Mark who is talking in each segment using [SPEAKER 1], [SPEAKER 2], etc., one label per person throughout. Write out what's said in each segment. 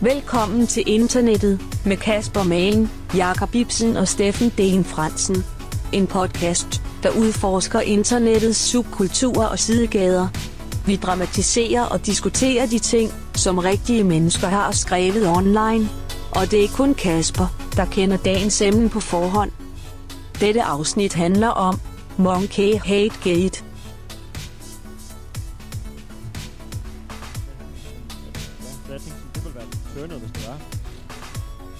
[SPEAKER 1] Velkommen til internettet med Kasper Magen, Jakob Ibsen og Steffen Dehn Fransen. En podcast, der udforsker internettets subkulturer og sidegader. Vi dramatiserer og diskuterer de ting, som rigtige mennesker har skrevet online. Og det er kun Kasper, der kender dagens emne på forhånd. Dette afsnit handler om Monkey Hate Gate.
[SPEAKER 2] Så jeg tænkte, sådan, det ville være lidt turnet, hvis det var.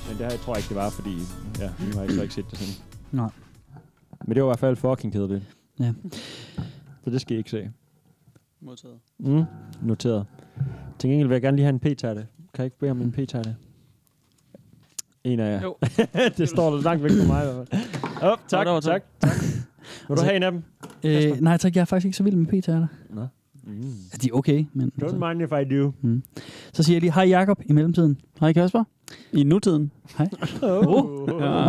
[SPEAKER 2] Men det her, jeg tror ikke, det var, fordi ja, nu har jeg så ikke set det sådan.
[SPEAKER 3] Nej.
[SPEAKER 2] Men det var i hvert fald fucking kedeligt.
[SPEAKER 3] Ja.
[SPEAKER 2] Så det skal I ikke se.
[SPEAKER 3] Modtaget.
[SPEAKER 2] Mm, noteret. Til gengæld vil jeg gerne lige have en p-tærte. Kan jeg ikke bede om en p-tærte? En af jer.
[SPEAKER 4] Jo.
[SPEAKER 2] det står lidt langt væk fra mig i hvert fald. Op, tak,
[SPEAKER 4] der var
[SPEAKER 2] tak,
[SPEAKER 4] to.
[SPEAKER 2] tak, tak. Vil du
[SPEAKER 3] Altså-
[SPEAKER 2] have en af dem?
[SPEAKER 3] Øh, nej tak, jeg er faktisk ikke så vild med p-tater.
[SPEAKER 2] Nå. Mm.
[SPEAKER 3] Altså, de er okay, men... Mm.
[SPEAKER 2] Don't mind if I do.
[SPEAKER 3] Så siger jeg lige, hej Jakob i mellemtiden. Hej Kasper.
[SPEAKER 4] I nutiden.
[SPEAKER 2] Oh.
[SPEAKER 4] Ja.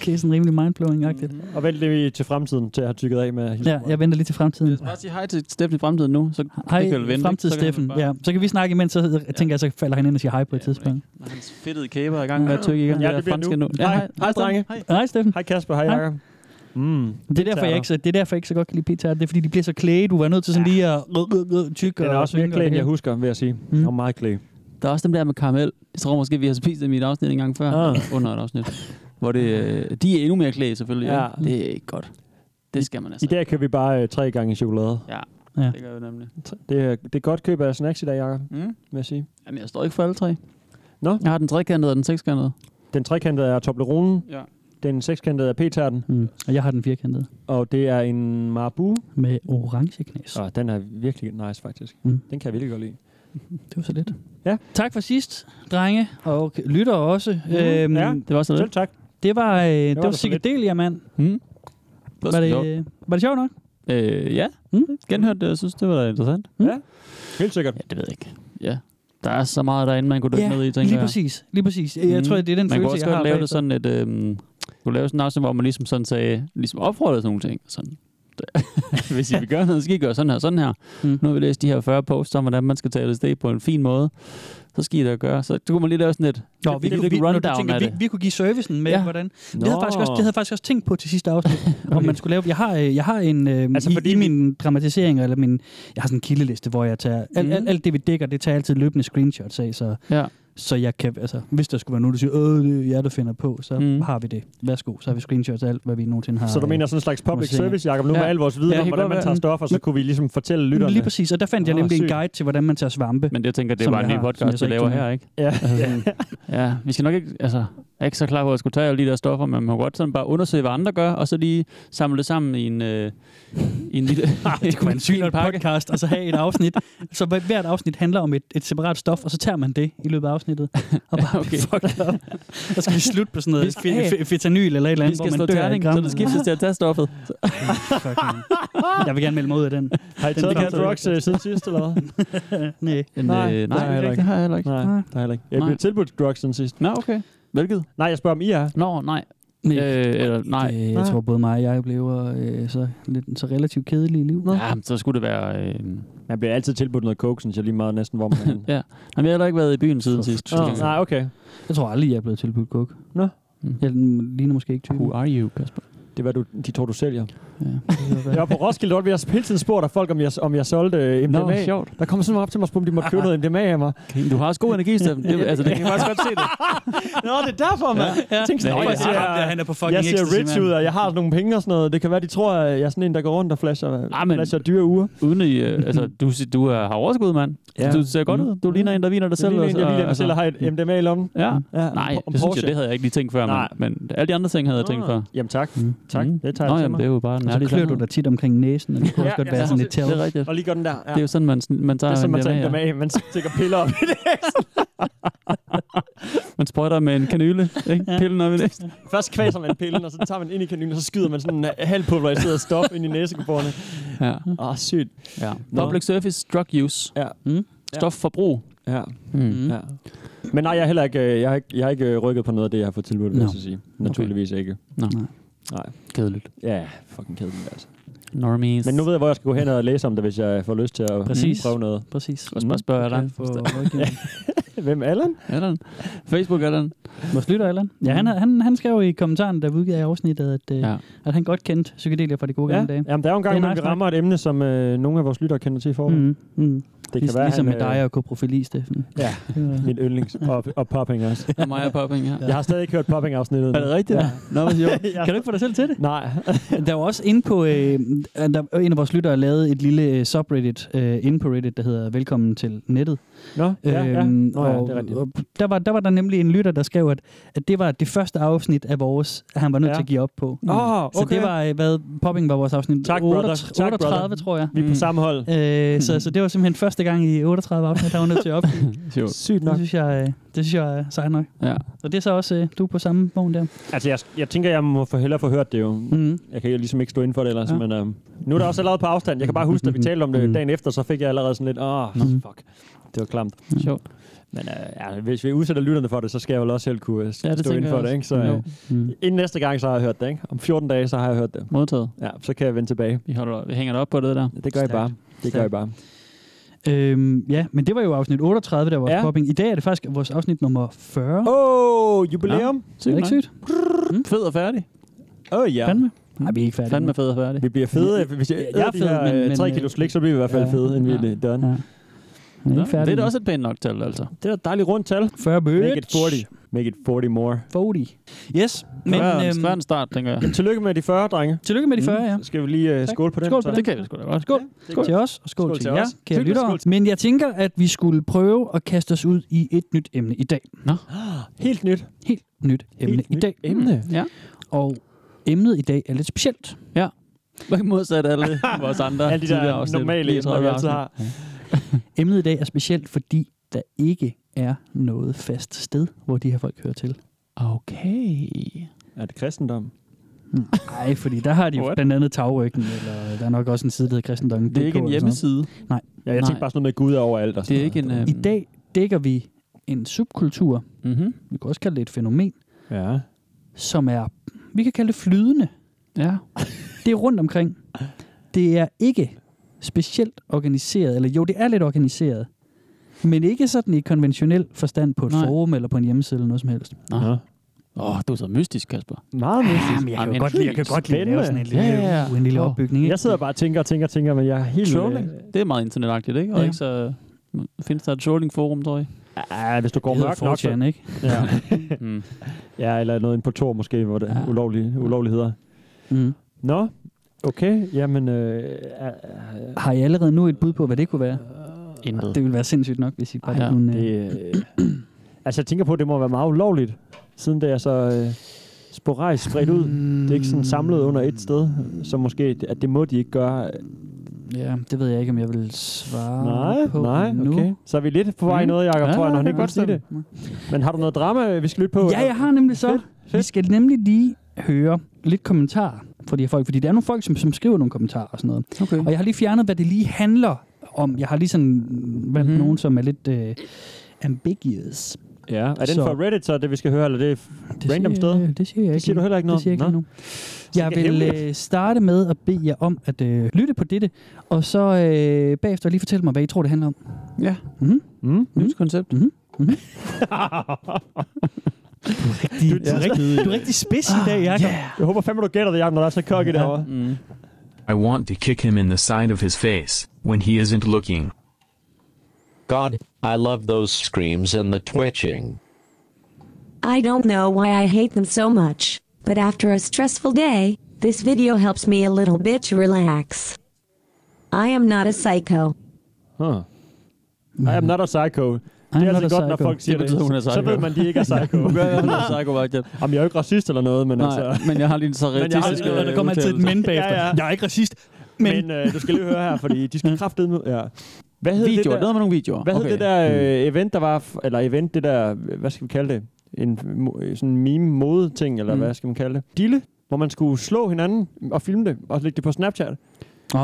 [SPEAKER 3] Okay, sådan rimelig mindblowing-agtigt. Mm-hmm.
[SPEAKER 2] Og vent lidt til fremtiden, til jeg har tykket af med
[SPEAKER 3] Ja, jeg venter lige til fremtiden.
[SPEAKER 4] Bare sige hej til Steffen i fremtiden nu, så
[SPEAKER 3] Hej,
[SPEAKER 4] det kan vel vente,
[SPEAKER 3] fremtid
[SPEAKER 4] ikke? Så kan
[SPEAKER 3] Steffen.
[SPEAKER 4] han bare-
[SPEAKER 3] Ja, så kan vi snakke imens, så tænker jeg, så falder han ind og siger hej på et
[SPEAKER 4] Ja,
[SPEAKER 3] tidspunkt.
[SPEAKER 4] når hans fedtede kæber er i gang med at tykke igennem
[SPEAKER 2] Ja,
[SPEAKER 4] det
[SPEAKER 2] det bliver
[SPEAKER 4] der franske
[SPEAKER 2] nu.
[SPEAKER 4] nu. Ja,
[SPEAKER 2] Hej.
[SPEAKER 4] hej,
[SPEAKER 2] Hej, drenge.
[SPEAKER 4] Hej.
[SPEAKER 3] Hej Steffen.
[SPEAKER 2] Hej Kasper, hej
[SPEAKER 3] Hej.
[SPEAKER 2] Jakob. Mm.
[SPEAKER 3] Det er, derfor, jeg ikke, så- det er derfor, jeg ikke så godt kan lide pizza. Det er fordi, de bliver så klæde. Du var nødt til sådan lige at tykke
[SPEAKER 2] Den er også mere klæden, jeg husker, vil jeg sige. Mm. Den var meget klæd.
[SPEAKER 4] Der er også dem der med karamel. Jeg tror måske, vi har spist dem i et afsnit en gang før.
[SPEAKER 2] Ah.
[SPEAKER 4] Under et afsnit. Hvor det, øh, de er endnu mere klæde selvfølgelig.
[SPEAKER 2] Ja.
[SPEAKER 4] Ja. Det er ikke godt. Det skal man altså.
[SPEAKER 2] I dag kan vi bare øh, tre gange chokolade.
[SPEAKER 4] Ja,
[SPEAKER 3] Ja.
[SPEAKER 4] det gør jeg nemlig.
[SPEAKER 2] Det, er, det er godt køb af snacks i dag, Jacob,
[SPEAKER 4] Mm.
[SPEAKER 2] vil jeg sige.
[SPEAKER 4] Jamen, jeg står ikke for alle tre.
[SPEAKER 2] Nå.
[SPEAKER 4] Jeg har den trekantede og den sekskantede.
[SPEAKER 2] Den trekantede er Toblerone,
[SPEAKER 4] Ja.
[SPEAKER 2] den sekskantede er P-tarten,
[SPEAKER 3] Mm. Og jeg har den firkantede
[SPEAKER 2] og det er en Marabu.
[SPEAKER 3] med orange knas.
[SPEAKER 2] Og den er virkelig nice, faktisk.
[SPEAKER 3] Mm.
[SPEAKER 2] Den kan jeg virkelig godt lide.
[SPEAKER 3] Det var så lidt.
[SPEAKER 2] Ja.
[SPEAKER 3] Tak for sidst, drenge, og lytter også. Mm. Øhm,
[SPEAKER 2] Ja.
[SPEAKER 3] ja.
[SPEAKER 4] Det var så
[SPEAKER 2] Selv
[SPEAKER 4] lidt.
[SPEAKER 2] tak.
[SPEAKER 3] Det var, øh, det
[SPEAKER 2] var
[SPEAKER 3] var,
[SPEAKER 2] da
[SPEAKER 3] var
[SPEAKER 2] for
[SPEAKER 3] psykedelia, mand.
[SPEAKER 4] Mm.
[SPEAKER 3] Var det, øh, var det sjovt nok?
[SPEAKER 4] Øh, ja,
[SPEAKER 3] Mm.
[SPEAKER 4] genhørt det. Jeg synes, det var da interessant.
[SPEAKER 2] Helt sikkert.
[SPEAKER 4] det ved jeg ikke. Ja, der er så meget derinde, man kunne dykke ned i, tænker
[SPEAKER 3] lige
[SPEAKER 4] jeg.
[SPEAKER 3] præcis. Lige præcis. Jeg
[SPEAKER 4] Mm.
[SPEAKER 3] tror, det er den
[SPEAKER 4] Man kunne
[SPEAKER 3] følelse,
[SPEAKER 4] også
[SPEAKER 3] jeg
[SPEAKER 4] godt
[SPEAKER 3] har.
[SPEAKER 4] lave
[SPEAKER 3] bagefter.
[SPEAKER 4] det sådan, at øhm, kunne lave sådan en afsnit, hvor man ligesom sådan sagde, ligesom opfordrede sådan nogle ting. Sådan. Hvis I vil gøre noget, så skal I gøre sådan her, sådan her.
[SPEAKER 3] Mm.
[SPEAKER 4] Nu har vi læst de her 40 posts om, hvordan man skal tale det på en fin måde. Så skal I da gøre. Så du kunne man lige lave sådan et,
[SPEAKER 3] Nå, vi,
[SPEAKER 4] lidt
[SPEAKER 3] kunne, vi, når du
[SPEAKER 4] rundown
[SPEAKER 3] tænker,
[SPEAKER 4] af
[SPEAKER 3] vi,
[SPEAKER 4] det.
[SPEAKER 3] vi kunne give servicen med,
[SPEAKER 4] Ja.
[SPEAKER 3] ja. hvordan...
[SPEAKER 2] Nå.
[SPEAKER 3] Det havde, jeg faktisk også, det havde jeg faktisk også tænkt på til sidste afsnit, okay. om man skulle lave... Jeg har, øh, jeg har en... Øh,
[SPEAKER 2] Altså,
[SPEAKER 3] altså, i,
[SPEAKER 2] fordi
[SPEAKER 3] i
[SPEAKER 2] vi-
[SPEAKER 3] min dramatisering, eller min... Jeg har sådan en kildeliste, hvor jeg tager... Alt,
[SPEAKER 4] Mm.
[SPEAKER 3] alt, alt det, vi dækker, det tager jeg altid løbende screenshots af, så,
[SPEAKER 4] Ja.
[SPEAKER 3] så jeg kan... Altså, hvis der skulle være nogen, der siger, øh, det er jer, der finder på, så
[SPEAKER 4] Mm.
[SPEAKER 3] mm. har vi det. Værsgo, så har vi screenshots af alt, hvad vi nogensinde har...
[SPEAKER 2] Så du
[SPEAKER 3] øh,
[SPEAKER 2] mener sådan en slags public
[SPEAKER 3] Måske.
[SPEAKER 2] service, Jacob, nu med
[SPEAKER 4] Ja.
[SPEAKER 2] al vores viden
[SPEAKER 4] Ja,
[SPEAKER 2] om,
[SPEAKER 4] helt
[SPEAKER 2] hvordan
[SPEAKER 4] godt
[SPEAKER 2] man tager
[SPEAKER 4] være.
[SPEAKER 2] stoffer, så kunne vi ligesom fortælle
[SPEAKER 3] Lige
[SPEAKER 2] lytterne.
[SPEAKER 3] prægt, og der fandt jeg
[SPEAKER 2] Åh,
[SPEAKER 3] nemlig en
[SPEAKER 2] sygt.
[SPEAKER 3] guide til, hvordan man tager svampe.
[SPEAKER 4] Men det jeg tænker, det
[SPEAKER 3] Som
[SPEAKER 4] var en
[SPEAKER 3] jeg
[SPEAKER 4] ny
[SPEAKER 3] har, som jeg
[SPEAKER 4] podcast,
[SPEAKER 3] så
[SPEAKER 4] vi
[SPEAKER 3] ikke
[SPEAKER 4] laver
[SPEAKER 3] kender.
[SPEAKER 4] her, ikke? Altså,
[SPEAKER 2] Ja.
[SPEAKER 4] Ja, vi skal nok ikke, altså, jeg er ikke så klar på, at jeg skulle tage alle de der stoffer, men man må godt sådan bare undersøge, hvad andre gør, og så lige samle det sammen i en, øh, i en lille
[SPEAKER 3] Det kunne være en
[SPEAKER 4] fin
[SPEAKER 3] sygt podcast, og så have et afsnit. så hver- hvert afsnit handler om et, et separat stof, og så tager man det i løbet af afsnittet. Og bare,
[SPEAKER 4] Okay.
[SPEAKER 3] okay. fuck it up. Så skal vi slutte på sådan
[SPEAKER 4] Vi
[SPEAKER 3] noget
[SPEAKER 4] skal-
[SPEAKER 3] fe- fe- fentanyl eller et eller
[SPEAKER 4] Vi
[SPEAKER 3] andet, hvor man
[SPEAKER 4] skal slå
[SPEAKER 3] dør af
[SPEAKER 4] terning, så det
[SPEAKER 3] grammet.
[SPEAKER 4] skiftes til at tage stoffet.
[SPEAKER 3] Fuck, man. Jeg vil gerne melde mig ud af den.
[SPEAKER 2] Har I
[SPEAKER 3] Den
[SPEAKER 2] taget
[SPEAKER 3] ligger
[SPEAKER 2] nogle
[SPEAKER 3] altså-
[SPEAKER 2] drugs øh, siden sidst, eller hvad?
[SPEAKER 3] Nej.
[SPEAKER 4] Men,
[SPEAKER 2] Nej,
[SPEAKER 4] øh,
[SPEAKER 2] det har jeg
[SPEAKER 4] nej,
[SPEAKER 2] heller
[SPEAKER 4] det,
[SPEAKER 2] ikke.
[SPEAKER 4] det har jeg heller ikke.
[SPEAKER 2] Nej,
[SPEAKER 3] Nej.
[SPEAKER 2] det har jeg heller ikke. Jeg
[SPEAKER 4] Nej.
[SPEAKER 2] blev tilbudt drugs siden sidst.
[SPEAKER 4] Nå, okay. Hvilket?
[SPEAKER 2] Nej, jeg spørger om I er.
[SPEAKER 4] Nå, nej.
[SPEAKER 3] Nej.
[SPEAKER 4] Øh, eller, nej.
[SPEAKER 3] Øh, jeg tror både mig og jeg bliver øh, så, lidt, så relativt kedelige i livet.
[SPEAKER 4] Ja, men så skulle det være... Øh...
[SPEAKER 2] Man bliver altid tilbudt noget coke, synes jeg lige meget næsten, hvor man er henne.
[SPEAKER 4] Ja. Jamen, jeg har heller ikke været i byen siden sidst.
[SPEAKER 2] Nå, nej, okay.
[SPEAKER 3] Jeg tror aldrig, jeg er blevet tilbudt kuk.
[SPEAKER 2] Nå.
[SPEAKER 3] Jeg ligner måske ikke typen.
[SPEAKER 4] Who are you, Kasper?
[SPEAKER 2] Det er, hvad du, de tror, du sælger.
[SPEAKER 4] Ja.
[SPEAKER 2] Jeg var på Roskilde, hvor vi har hele tiden spurgt af folk, om jeg, om jeg solgte øh, MDMA.
[SPEAKER 4] Nå, sjovt.
[SPEAKER 2] der kom sådan op til mig og spurgte, om de måtte købe noget MDMA af mig.
[SPEAKER 4] Du har også god energi, Steffen. Det, altså, det kan jeg faktisk godt se det.
[SPEAKER 2] Nå, det er derfor, mand. Ja, Jeg tænkte
[SPEAKER 4] Nå,
[SPEAKER 2] sådan,
[SPEAKER 4] ja,
[SPEAKER 2] jeg, ser,
[SPEAKER 3] ham der, han er på fucking
[SPEAKER 2] jeg ser
[SPEAKER 3] ecstasy,
[SPEAKER 2] rich
[SPEAKER 3] mand.
[SPEAKER 2] ud, og jeg har sådan nogle penge og sådan noget. Det kan være, de tror, at jeg er sådan en, der går rundt og flasher,
[SPEAKER 4] Ah, men-
[SPEAKER 2] flasher dyre uger.
[SPEAKER 4] Uden i, øh, altså, du, si- du er, har overskud, mand.
[SPEAKER 2] Ja. Mm.
[SPEAKER 4] Ja. Du ser godt ud. Du ligner en, der viner dig
[SPEAKER 2] Det er
[SPEAKER 4] selv.
[SPEAKER 2] lige en,
[SPEAKER 4] og-
[SPEAKER 2] der lige der
[SPEAKER 4] altså,
[SPEAKER 2] selv har et MDMA i lommen.
[SPEAKER 4] Ja.
[SPEAKER 2] Mm. Ja,
[SPEAKER 4] Nej,
[SPEAKER 2] en Por- en
[SPEAKER 4] det synes jeg,
[SPEAKER 2] Porsche.
[SPEAKER 4] det havde jeg ikke lige tænkt før, men,
[SPEAKER 2] Nej.
[SPEAKER 4] men alle de andre ting havde jeg tænkt
[SPEAKER 2] Nå.
[SPEAKER 4] før.
[SPEAKER 2] Jamen tak.
[SPEAKER 3] Mm.
[SPEAKER 2] Tak.
[SPEAKER 4] Mm.
[SPEAKER 2] Det tager
[SPEAKER 4] Nå,
[SPEAKER 2] jeg til
[SPEAKER 4] jamen,
[SPEAKER 2] mig.
[SPEAKER 4] det er jo bare en
[SPEAKER 3] Så
[SPEAKER 4] ærlig
[SPEAKER 3] klør du
[SPEAKER 4] sandhed.
[SPEAKER 3] dig tit omkring næsen, og det kunne
[SPEAKER 2] Ja,
[SPEAKER 3] også godt
[SPEAKER 2] ja,
[SPEAKER 3] være sådan lidt
[SPEAKER 4] Det
[SPEAKER 3] tæt.
[SPEAKER 4] er rigtigt.
[SPEAKER 2] Og lige gør den der. Ja.
[SPEAKER 4] Det er jo sådan, man, man tager
[SPEAKER 2] det er som
[SPEAKER 4] en
[SPEAKER 2] at tage
[SPEAKER 4] MDMA, ja.
[SPEAKER 2] MDMA, man stikker piller op i det.
[SPEAKER 4] Man sprøjter med en kanyle, ikke? Pillen op i næsten.
[SPEAKER 2] Først kvaser man pillen, og så tager man ind i kanylen, og så skyder man sådan en halvpulveriseret stof ind i næsegaborene.
[SPEAKER 4] Ja.
[SPEAKER 2] Åh, oh, sygt.
[SPEAKER 4] ja.
[SPEAKER 2] Nå.
[SPEAKER 4] Public service, drug use.
[SPEAKER 2] Ja.
[SPEAKER 3] Mm.
[SPEAKER 4] Stofforbrug.
[SPEAKER 2] Ja.
[SPEAKER 4] Mm.
[SPEAKER 2] ja. Men nej, jeg har heller ikke, øh, jeg har ikke, jeg har ikke øh, rykket på noget af det, jeg har fået tilbudt, vil
[SPEAKER 3] Nå.
[SPEAKER 2] jeg så sige. Naturligvis ikke.
[SPEAKER 4] Nå.
[SPEAKER 3] Nej.
[SPEAKER 2] Nej.
[SPEAKER 4] Kedeligt.
[SPEAKER 2] Ja, fucking kedeligt altså.
[SPEAKER 4] Normies.
[SPEAKER 2] Men nu ved jeg, hvor jeg skal gå hen og læse om det, hvis jeg får lyst til at
[SPEAKER 3] Præcis.
[SPEAKER 2] prøve noget.
[SPEAKER 3] Præcis.
[SPEAKER 4] Og så bare spørge dig.
[SPEAKER 3] Kan få rådgivning.
[SPEAKER 2] Hvem Allan?
[SPEAKER 4] Allan. Facebook Allan.
[SPEAKER 3] Vores lytter, Allan. Ja, han, er- han, han skrev i kommentaren, der udgav i afsnittet, at, øh,
[SPEAKER 4] Ja.
[SPEAKER 3] ja. at han godt kendte psykedelia fra de gode gamle
[SPEAKER 2] Ja,
[SPEAKER 3] dage.
[SPEAKER 2] jamen, der er jo en gang,
[SPEAKER 3] Det er
[SPEAKER 2] når
[SPEAKER 3] nice
[SPEAKER 2] vi rammer et emne, som øh, nogle af vores lyttere kender til i forvejen. Mm.
[SPEAKER 3] Mm, mm.
[SPEAKER 2] Det
[SPEAKER 3] Liges, være, ligesom
[SPEAKER 2] han, øh,
[SPEAKER 3] med dig og koprofili, Steffen.
[SPEAKER 2] Ja, mit yndlings. Og, og popping også.
[SPEAKER 4] Og mig og Popping, ja.
[SPEAKER 2] Jeg har stadig ikke hørt popping-afsnittet.
[SPEAKER 4] Er det rigtigt?
[SPEAKER 2] Ja.
[SPEAKER 4] Nå, hvad siger du?
[SPEAKER 3] Kan du ikke få dig selv til det?
[SPEAKER 2] Nej.
[SPEAKER 3] Der var også inde på, øh, der, var en af vores lyttere lavede et lille øh, subreddit øh, inde på Reddit, der hedder Velkommen til nettet. Øhm,
[SPEAKER 2] Nå, ja, ja. Nå, ja,
[SPEAKER 3] og,
[SPEAKER 2] det er rigtigt.
[SPEAKER 3] og der, var, der var der nemlig en lytter, der skrev, at, at det var det første afsnit af vores, at han var nødt
[SPEAKER 2] Ja.
[SPEAKER 3] ja. til at give op på. Mm.
[SPEAKER 4] Mm.
[SPEAKER 2] Åh, Ah, okay.
[SPEAKER 3] Så det var, øh, hvad Popping var vores afsnit
[SPEAKER 2] Tak, brother.
[SPEAKER 3] 38,
[SPEAKER 2] Tak,
[SPEAKER 3] 38
[SPEAKER 2] brother.
[SPEAKER 3] tror jeg.
[SPEAKER 2] Vi er på
[SPEAKER 4] Mm.
[SPEAKER 2] samme hold.
[SPEAKER 3] Øh, så, så det var simpelthen første gang i 38 afsnit, der var nødt til at op.
[SPEAKER 4] Sjovt.
[SPEAKER 2] Sygt
[SPEAKER 3] Det
[SPEAKER 2] nok.
[SPEAKER 3] synes jeg, øh, det synes jeg er sejt nok.
[SPEAKER 4] Ja.
[SPEAKER 3] Og det er så også, øh, du er på samme vogn der.
[SPEAKER 2] Altså, jeg, jeg tænker, jeg må for hellere få hørt det jo.
[SPEAKER 3] Mm.
[SPEAKER 2] Jeg kan jo ligesom ikke stå inden for det ellers, ja.
[SPEAKER 4] Ja.
[SPEAKER 2] men øh, nu er der også allerede på afstand. Jeg kan bare huske, at vi talte om det
[SPEAKER 4] Mm.
[SPEAKER 2] dagen efter, så fik jeg allerede sådan lidt, åh,
[SPEAKER 4] Mm.
[SPEAKER 2] fuck, det var klamt.
[SPEAKER 4] Sjovt.
[SPEAKER 2] Men øh, ja, hvis vi udsætter lytterne for det, så skal jeg vel også selv kunne øh,
[SPEAKER 4] Ja, det
[SPEAKER 2] stå
[SPEAKER 4] tænker
[SPEAKER 2] inden for
[SPEAKER 4] jeg
[SPEAKER 2] det,
[SPEAKER 4] også.
[SPEAKER 2] ikke? Så
[SPEAKER 4] Jo.
[SPEAKER 2] øh,
[SPEAKER 4] Mm.
[SPEAKER 2] inden næste gang, så har jeg hørt det, ikke? Om 14 dage, så har jeg hørt det.
[SPEAKER 4] Modtaget.
[SPEAKER 2] Ja, så kan jeg vende tilbage.
[SPEAKER 4] Vi, holder, vi hænger det op på det der. Øh,
[SPEAKER 2] Det gør jeg
[SPEAKER 3] Stærkt.
[SPEAKER 2] bare. Det gør jeg bare.
[SPEAKER 3] Øhm, ja, men det var jo afsnit 38, der var
[SPEAKER 2] Ja.
[SPEAKER 3] ja. Popping. I dag er det faktisk vores afsnit nummer 40. Oh,
[SPEAKER 2] Åh, oh, jubilæum!
[SPEAKER 3] er det ikke sygt?
[SPEAKER 4] Fed og færdig.
[SPEAKER 2] Åh oh, ja.
[SPEAKER 3] Ja. Fandme? Nej, vi er ikke færdige.
[SPEAKER 4] Fandme fed og færdig.
[SPEAKER 2] Vi bliver fede. Hvis jeg,
[SPEAKER 4] Jeg er
[SPEAKER 2] jeg er
[SPEAKER 4] fed,
[SPEAKER 2] de her
[SPEAKER 4] men-
[SPEAKER 2] øh, 3
[SPEAKER 4] men, øh,
[SPEAKER 2] kilo slik, så bliver vi i hvert fald
[SPEAKER 3] ja.
[SPEAKER 2] fede, inden vi
[SPEAKER 4] Ja.
[SPEAKER 2] er done.
[SPEAKER 3] Ja. Vi er
[SPEAKER 4] Nå,
[SPEAKER 3] ikke færdige.
[SPEAKER 4] det er da også et pænt nok tal, altså.
[SPEAKER 2] Det er et dejligt rundt tal.
[SPEAKER 3] 40 bøger.
[SPEAKER 2] Make it 40. Make it 40 more.
[SPEAKER 3] 40. Yes, men
[SPEAKER 4] Men, øhm,
[SPEAKER 3] øhm,
[SPEAKER 4] en start, tænker jeg.
[SPEAKER 2] Jamen, tillykke med de 40, drenge.
[SPEAKER 3] tillykke med de 40, ja.
[SPEAKER 2] Så skal vi lige uh, skåle på den.
[SPEAKER 3] Skål
[SPEAKER 2] så.
[SPEAKER 3] på
[SPEAKER 4] Det kan vi sgu da godt. Skål.
[SPEAKER 3] Skål til os, og skål,
[SPEAKER 2] Skål
[SPEAKER 3] skål til
[SPEAKER 2] til
[SPEAKER 3] jer,
[SPEAKER 2] os.
[SPEAKER 3] kære
[SPEAKER 2] Skål,
[SPEAKER 3] lyttere.
[SPEAKER 2] skål.
[SPEAKER 3] Men jeg tænker, at vi skulle prøve at kaste os ud i et nyt emne i dag.
[SPEAKER 2] Ah, Helt nyt.
[SPEAKER 3] Helt nyt emne
[SPEAKER 2] Helt
[SPEAKER 3] i
[SPEAKER 2] nyt
[SPEAKER 3] dag. Mm,
[SPEAKER 2] Emne.
[SPEAKER 4] Ja.
[SPEAKER 3] Og emnet i dag er lidt specielt.
[SPEAKER 4] Hvad modsat alle vores andre
[SPEAKER 2] Alle de der
[SPEAKER 4] tidligere afsnit,
[SPEAKER 2] normale
[SPEAKER 4] lige
[SPEAKER 2] emner, vi
[SPEAKER 4] 30
[SPEAKER 2] altid
[SPEAKER 4] afsnit.
[SPEAKER 2] har.
[SPEAKER 3] Emnet i dag er specielt, fordi der ikke er noget fast sted, hvor de her folk hører til.
[SPEAKER 4] Okay.
[SPEAKER 2] Er det kristendom?
[SPEAKER 3] Nej, fordi der har de jo
[SPEAKER 4] What?
[SPEAKER 3] blandt andet tagryggen, eller der er nok også en side, der hedder kristendommen.
[SPEAKER 4] Det er ikke en hjemmeside.
[SPEAKER 2] Ja, jeg tænkte
[SPEAKER 4] Nej.
[SPEAKER 2] bare sådan noget med Gud er overalt. Og
[SPEAKER 4] Det
[SPEAKER 2] sådan
[SPEAKER 4] er ikke en...
[SPEAKER 2] noget.
[SPEAKER 4] Øh,
[SPEAKER 3] I dag dækker vi en subkultur,
[SPEAKER 4] Mm-hmm.
[SPEAKER 3] vi kan også kalde det et fænomen,
[SPEAKER 2] Ja.
[SPEAKER 3] som er, vi kan kalde det flydende.
[SPEAKER 4] Ja.
[SPEAKER 3] Det er rundt omkring. Det er ikke specielt organiseret, eller jo, det er lidt organiseret, men ikke sådan i konventionel forstand på et
[SPEAKER 4] Nej.
[SPEAKER 3] Nej. forum eller på en hjemmeside eller noget som helst.
[SPEAKER 4] Nå. Åh, oh, du er så mystisk, Kasper.
[SPEAKER 2] Meget mystisk.
[SPEAKER 3] Jamen, jeg
[SPEAKER 4] Jamen,
[SPEAKER 3] kan, jo godt, lide- jeg kan godt lide at lave sådan en lille,
[SPEAKER 4] Ja, ja, ja.
[SPEAKER 3] en lille
[SPEAKER 4] Åh.
[SPEAKER 3] opbygning. Ikke?
[SPEAKER 2] Jeg sidder bare og tænker og tænker og tænker, men jeg er helt... øh,
[SPEAKER 4] Trolling. Det er meget internetagtigt, ikke? Og
[SPEAKER 3] Ja.
[SPEAKER 4] ikke så... Findes der et trolling-forum, tror jeg?
[SPEAKER 2] Ja, Ah, hvis du går
[SPEAKER 3] Det hedder
[SPEAKER 2] mørkt nok, så...
[SPEAKER 3] 4chan, ikke?
[SPEAKER 2] Ja.
[SPEAKER 4] Mm.
[SPEAKER 2] ja, eller noget ind på Tor måske, hvor det er
[SPEAKER 4] Ja.
[SPEAKER 2] ulovlige, ulovligheder.
[SPEAKER 3] Mm.
[SPEAKER 2] Nå, okay. Jamen, øh, øh,
[SPEAKER 3] Har I allerede nu et bud på, hvad det kunne være?
[SPEAKER 4] Intet.
[SPEAKER 3] Det ville være sindssygt nok, hvis I bare
[SPEAKER 4] Ej,
[SPEAKER 3] Ej,
[SPEAKER 4] ja,
[SPEAKER 3] kunne... Øh,
[SPEAKER 2] Det, øh, altså, jeg tænker på, at det må være meget ulovligt, siden det er så øh, sporadisk spredt ud. Det er ikke sådan samlet under et sted, så måske, at det må de ikke gøre.
[SPEAKER 3] Ja, det ved jeg ikke, om jeg vil svare
[SPEAKER 2] Nej,
[SPEAKER 3] på
[SPEAKER 2] nej,
[SPEAKER 3] nu.
[SPEAKER 2] okay. Så er vi lidt på vej i
[SPEAKER 4] Mm.
[SPEAKER 2] noget, Jacob,
[SPEAKER 4] Ja,
[SPEAKER 2] tror jeg, når han
[SPEAKER 4] det
[SPEAKER 2] ikke
[SPEAKER 4] kan
[SPEAKER 2] vil sige det. Men har du noget drama, øh, vi skal lytte på?
[SPEAKER 3] Ja, jeg har nemlig så.
[SPEAKER 2] Fedt,
[SPEAKER 3] Vi skal nemlig lige høre lidt kommentarer fra de her folk, fordi der er nogle folk, som, som skriver nogle kommentarer og sådan noget.
[SPEAKER 4] Okay.
[SPEAKER 3] Og jeg har lige fjernet, hvad det lige handler om. Jeg har lige sådan valgt
[SPEAKER 4] Mhm.
[SPEAKER 3] mm-hmm. nogen, som er lidt øh, ambiguous.
[SPEAKER 2] Ja, er den
[SPEAKER 3] Så-
[SPEAKER 2] fra Reddit, så det, vi skal høre, eller det er
[SPEAKER 3] Det
[SPEAKER 2] Random
[SPEAKER 3] siger, jeg- Det siger jeg ikke.
[SPEAKER 2] Det siger du
[SPEAKER 3] endnu.
[SPEAKER 2] heller ikke noget
[SPEAKER 3] Det siger jeg ikke
[SPEAKER 2] om.
[SPEAKER 3] endnu. Jeg
[SPEAKER 2] Sikke
[SPEAKER 3] vil
[SPEAKER 2] hemmeligt.
[SPEAKER 3] øh, starte med at bede jer om at øh, lytte på dette, og så øh, bagefter lige fortælle mig, hvad I tror, det handler om. Mhm.
[SPEAKER 4] Ja,
[SPEAKER 3] Mm-hmm.
[SPEAKER 2] Mm?
[SPEAKER 4] nyt koncept.
[SPEAKER 3] De, du, er rigtig, du er rigtig spids i dag, Jacob. Ah, Yeah.
[SPEAKER 2] Jeg håber fandme, du gætter det, Jacob, når der er så kokke ja. derovre.
[SPEAKER 4] Mm.
[SPEAKER 5] I want to kick him in the side of his face when he isn't looking.
[SPEAKER 6] God, I love those screams and the twitching.
[SPEAKER 7] I don't know why I hate them so much, but after a stressful day, this video helps me a little bit to relax. I am not a psycho.
[SPEAKER 2] Huh. I am not a psycho. Det er
[SPEAKER 3] not
[SPEAKER 2] altså
[SPEAKER 3] a
[SPEAKER 2] godt, når
[SPEAKER 3] psycho.
[SPEAKER 2] folk siger
[SPEAKER 4] Det
[SPEAKER 2] det.
[SPEAKER 4] betyder, hun er
[SPEAKER 2] Så
[SPEAKER 4] psycho.
[SPEAKER 2] ved man, de ikke er psycho. Jamen, jeg er jo ikke racist eller noget, men altså...
[SPEAKER 4] Nej, men jeg har lige en så
[SPEAKER 2] jeg har-
[SPEAKER 4] realistisk... øh,
[SPEAKER 2] og
[SPEAKER 3] Der kommer altid et men bagefter.
[SPEAKER 2] Ja, ja.
[SPEAKER 3] Jeg er ikke racist, men...
[SPEAKER 2] Men, men øh, du skal lige høre her, fordi de skal kraftedeme... Ja. Hvad hed
[SPEAKER 4] Videoer,
[SPEAKER 2] det
[SPEAKER 4] der
[SPEAKER 2] der,
[SPEAKER 4] med nogle videoer. Mm.
[SPEAKER 2] hvad hed det der øh, event, der var... f- Eller event, det der... Hvad skal vi kalde det? En mo- øh, sådan meme-mode-ting, eller
[SPEAKER 4] Mm.
[SPEAKER 2] mm. hvad skal man kalde det? Dille, hvor man skulle slå hinanden og filme det, og lægge det på Snapchat.
[SPEAKER 3] Åh,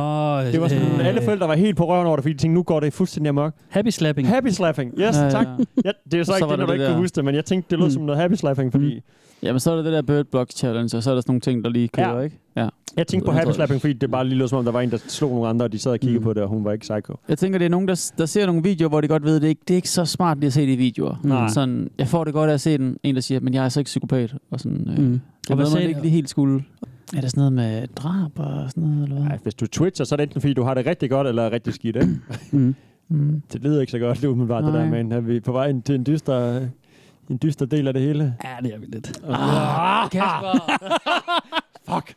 [SPEAKER 2] Det var sådan, øh. alle forældre var helt på røven over det, fordi de tænkte, nu går det fuldstændig amok.
[SPEAKER 3] Happy slapping.
[SPEAKER 2] Happy slapping. Yes, tak. Ja, det er jo så,
[SPEAKER 4] Så
[SPEAKER 2] så
[SPEAKER 4] var
[SPEAKER 2] ikke det, når
[SPEAKER 4] der
[SPEAKER 2] du
[SPEAKER 4] det
[SPEAKER 2] ikke kunne
[SPEAKER 4] der.
[SPEAKER 2] huske det, men jeg tænkte, det lød
[SPEAKER 3] Mm.
[SPEAKER 2] som noget happy slapping, fordi
[SPEAKER 4] Jamen, så er der det der Bird Block Challenge, og så er der sådan nogle ting, der lige kører,
[SPEAKER 2] Ja.
[SPEAKER 4] ikke? Ja.
[SPEAKER 2] Jeg tænkte på
[SPEAKER 4] Jeg
[SPEAKER 2] happy
[SPEAKER 4] tror-
[SPEAKER 2] slapping, fordi det bare lige lød som om, der var en, der slog nogle andre, og de sad og kiggede
[SPEAKER 4] Mm.
[SPEAKER 2] på det, og hun var ikke psycho.
[SPEAKER 4] Jeg tænker, det er nogen, der, s- der ser nogle videoer, hvor de godt ved, at det ikke det er ikke så smart lige at se de videoer.
[SPEAKER 2] Nej.
[SPEAKER 4] Sådan, jeg får det godt af at se den, en, der siger, men jeg er så ikke psykopat. Og sådan, øh, mm.
[SPEAKER 3] Mm.
[SPEAKER 4] Det er noget, man
[SPEAKER 3] sagde-
[SPEAKER 4] ikke lige helt skulle. Er der sådan noget med drab og sådan noget? Eller hvad?
[SPEAKER 2] Nej, hvis du twitcher, så er det enten fordi, du har det rigtig godt, eller rigtig skidt, ikke?
[SPEAKER 3] Mm.
[SPEAKER 4] Mm.
[SPEAKER 2] Det lyder ikke så godt, det umiddelbart, det
[SPEAKER 4] Nej.
[SPEAKER 2] der, men er vi på vej ind til en dyster, en dyster del af det hele?
[SPEAKER 3] Ja, det er vi lidt.
[SPEAKER 2] Ah, Fuck.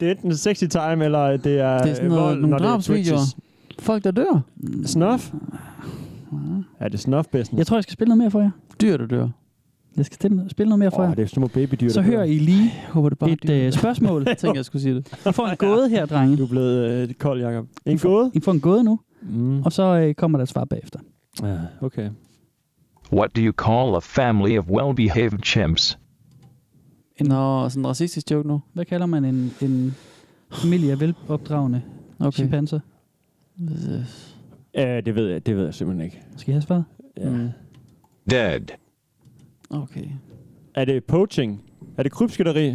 [SPEAKER 2] Det er enten sexy time, eller det er, øh,
[SPEAKER 4] Det er sådan noget,
[SPEAKER 2] vold,
[SPEAKER 4] nogle
[SPEAKER 2] når det er
[SPEAKER 4] drabsvideoer.
[SPEAKER 2] twitches.
[SPEAKER 4] Folk, der dør.
[SPEAKER 2] Snuff? Er det snuff business?
[SPEAKER 3] Jeg tror, jeg skal spille noget mere for jer.
[SPEAKER 4] Dyr, der dør.
[SPEAKER 3] Jeg skal stille- spille noget mere for
[SPEAKER 2] Åh,
[SPEAKER 3] jer.
[SPEAKER 2] oh, det er små babydyr,
[SPEAKER 3] Så
[SPEAKER 2] der dør.
[SPEAKER 3] hører I lige
[SPEAKER 4] Jeg håber, det bare
[SPEAKER 3] et øh, spørgsmål.
[SPEAKER 4] Jeg tænkte, jeg skulle sige det.
[SPEAKER 3] I får en gåde her, drenge.
[SPEAKER 2] Du er blevet øh, kold, Jacob. En gåde?
[SPEAKER 3] I får en gåde nu,
[SPEAKER 2] Mm.
[SPEAKER 3] og så øh, kommer der et svar bagefter.
[SPEAKER 2] Ja, okay.
[SPEAKER 8] What do you call a family of well behaved chimps?
[SPEAKER 4] Nå, sådan en racistisk joke nu.
[SPEAKER 3] Hvad kalder man en, en familie af velopdragende okay.
[SPEAKER 4] Okay.
[SPEAKER 3] chimpanser?
[SPEAKER 2] Ja, det ved jeg, det ved jeg simpelthen ikke.
[SPEAKER 3] Skal I have svaret?
[SPEAKER 2] Ja. Mm.
[SPEAKER 6] Dead.
[SPEAKER 4] Okay.
[SPEAKER 2] Er det poaching? Er det krybskytteri?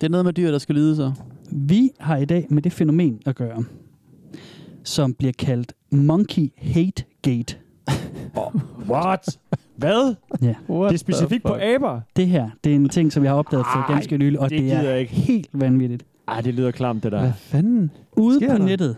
[SPEAKER 4] Det er noget med dyr, der skal lide sig.
[SPEAKER 3] Vi har i dag med det fænomen at gøre, som bliver kaldt Monkey Hate Gate.
[SPEAKER 2] What? Hvad?
[SPEAKER 3] Ja.
[SPEAKER 4] What
[SPEAKER 2] Det er specifikt på aber?
[SPEAKER 3] Det her, det er en ting, som jeg har opdaget for
[SPEAKER 2] Ej,
[SPEAKER 3] ganske nylig, og
[SPEAKER 2] det
[SPEAKER 3] det, det
[SPEAKER 2] gider
[SPEAKER 3] er
[SPEAKER 2] jeg ikke.
[SPEAKER 3] helt vanvittigt.
[SPEAKER 2] Ej, det lyder klamt, det der.
[SPEAKER 4] Hvad fanden?
[SPEAKER 3] Ude
[SPEAKER 4] Sker
[SPEAKER 3] på
[SPEAKER 4] der?
[SPEAKER 3] nettet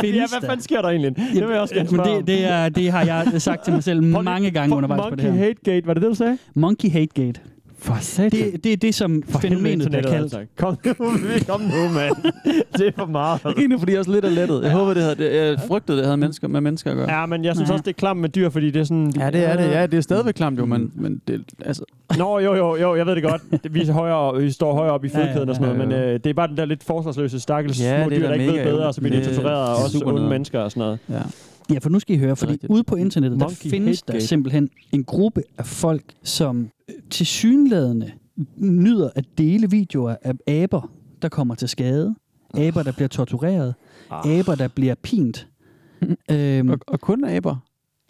[SPEAKER 3] findes
[SPEAKER 2] ja, hvad fanden sker der egentlig? Det vil jeg også gerne
[SPEAKER 3] Jamen,
[SPEAKER 2] spørge
[SPEAKER 3] det, det, er, det har jeg sagt til mig selv
[SPEAKER 2] om.
[SPEAKER 3] mange gange
[SPEAKER 2] Fuck,
[SPEAKER 3] undervejs på
[SPEAKER 2] Monkey
[SPEAKER 3] det her.
[SPEAKER 2] Hate Gate, var det det, du sagde?
[SPEAKER 3] Monkey Hate Gate.
[SPEAKER 2] For satan.
[SPEAKER 3] Det, det er det, som fænomenet bliver kaldt.
[SPEAKER 2] Altså. Kom nu, kom nu, mand. Det er for meget.
[SPEAKER 4] Egentlig fordi jeg også lidt er lettet. Jeg håber, det havde, det, jeg frygtede, det havde mennesker, med mennesker at gøre.
[SPEAKER 2] Ja, men jeg synes
[SPEAKER 3] Ja.
[SPEAKER 2] også, det er klamt med dyr, fordi det er sådan...
[SPEAKER 4] Ja, det er det. Ja, det er stadigvæk klamt jo, men, men det, altså,
[SPEAKER 2] Nå, jo, jo, jo, jeg ved det godt. Det- Vi, er højere, vi står højere op i
[SPEAKER 3] Ja, ja,
[SPEAKER 2] fødekæden og sådan
[SPEAKER 4] ja,
[SPEAKER 2] noget, men
[SPEAKER 4] ja.
[SPEAKER 2] øh, det er bare den der lidt forsvarsløse, stakkels
[SPEAKER 4] Ja,
[SPEAKER 2] små
[SPEAKER 4] det er
[SPEAKER 2] dyr,
[SPEAKER 4] da
[SPEAKER 2] der ikke ved
[SPEAKER 4] mega
[SPEAKER 2] bedre, og så bliver de
[SPEAKER 4] det-
[SPEAKER 2] tortureret, og
[SPEAKER 4] det er
[SPEAKER 2] også
[SPEAKER 4] super
[SPEAKER 2] onde
[SPEAKER 4] nederen.
[SPEAKER 2] mennesker og sådan noget.
[SPEAKER 4] ja.
[SPEAKER 3] Ja, for nu skal I høre, fordi
[SPEAKER 4] rigtigt.
[SPEAKER 3] ude på internettet, der
[SPEAKER 2] Monkey
[SPEAKER 3] findes
[SPEAKER 2] Hate
[SPEAKER 3] der
[SPEAKER 2] Gate.
[SPEAKER 3] simpelthen en gruppe af folk, som til synlædende nyder at dele videoer af aber, der kommer til skade, aber, der bliver tortureret, aber, der bliver pint. Øhm,
[SPEAKER 4] Og, og kun aber.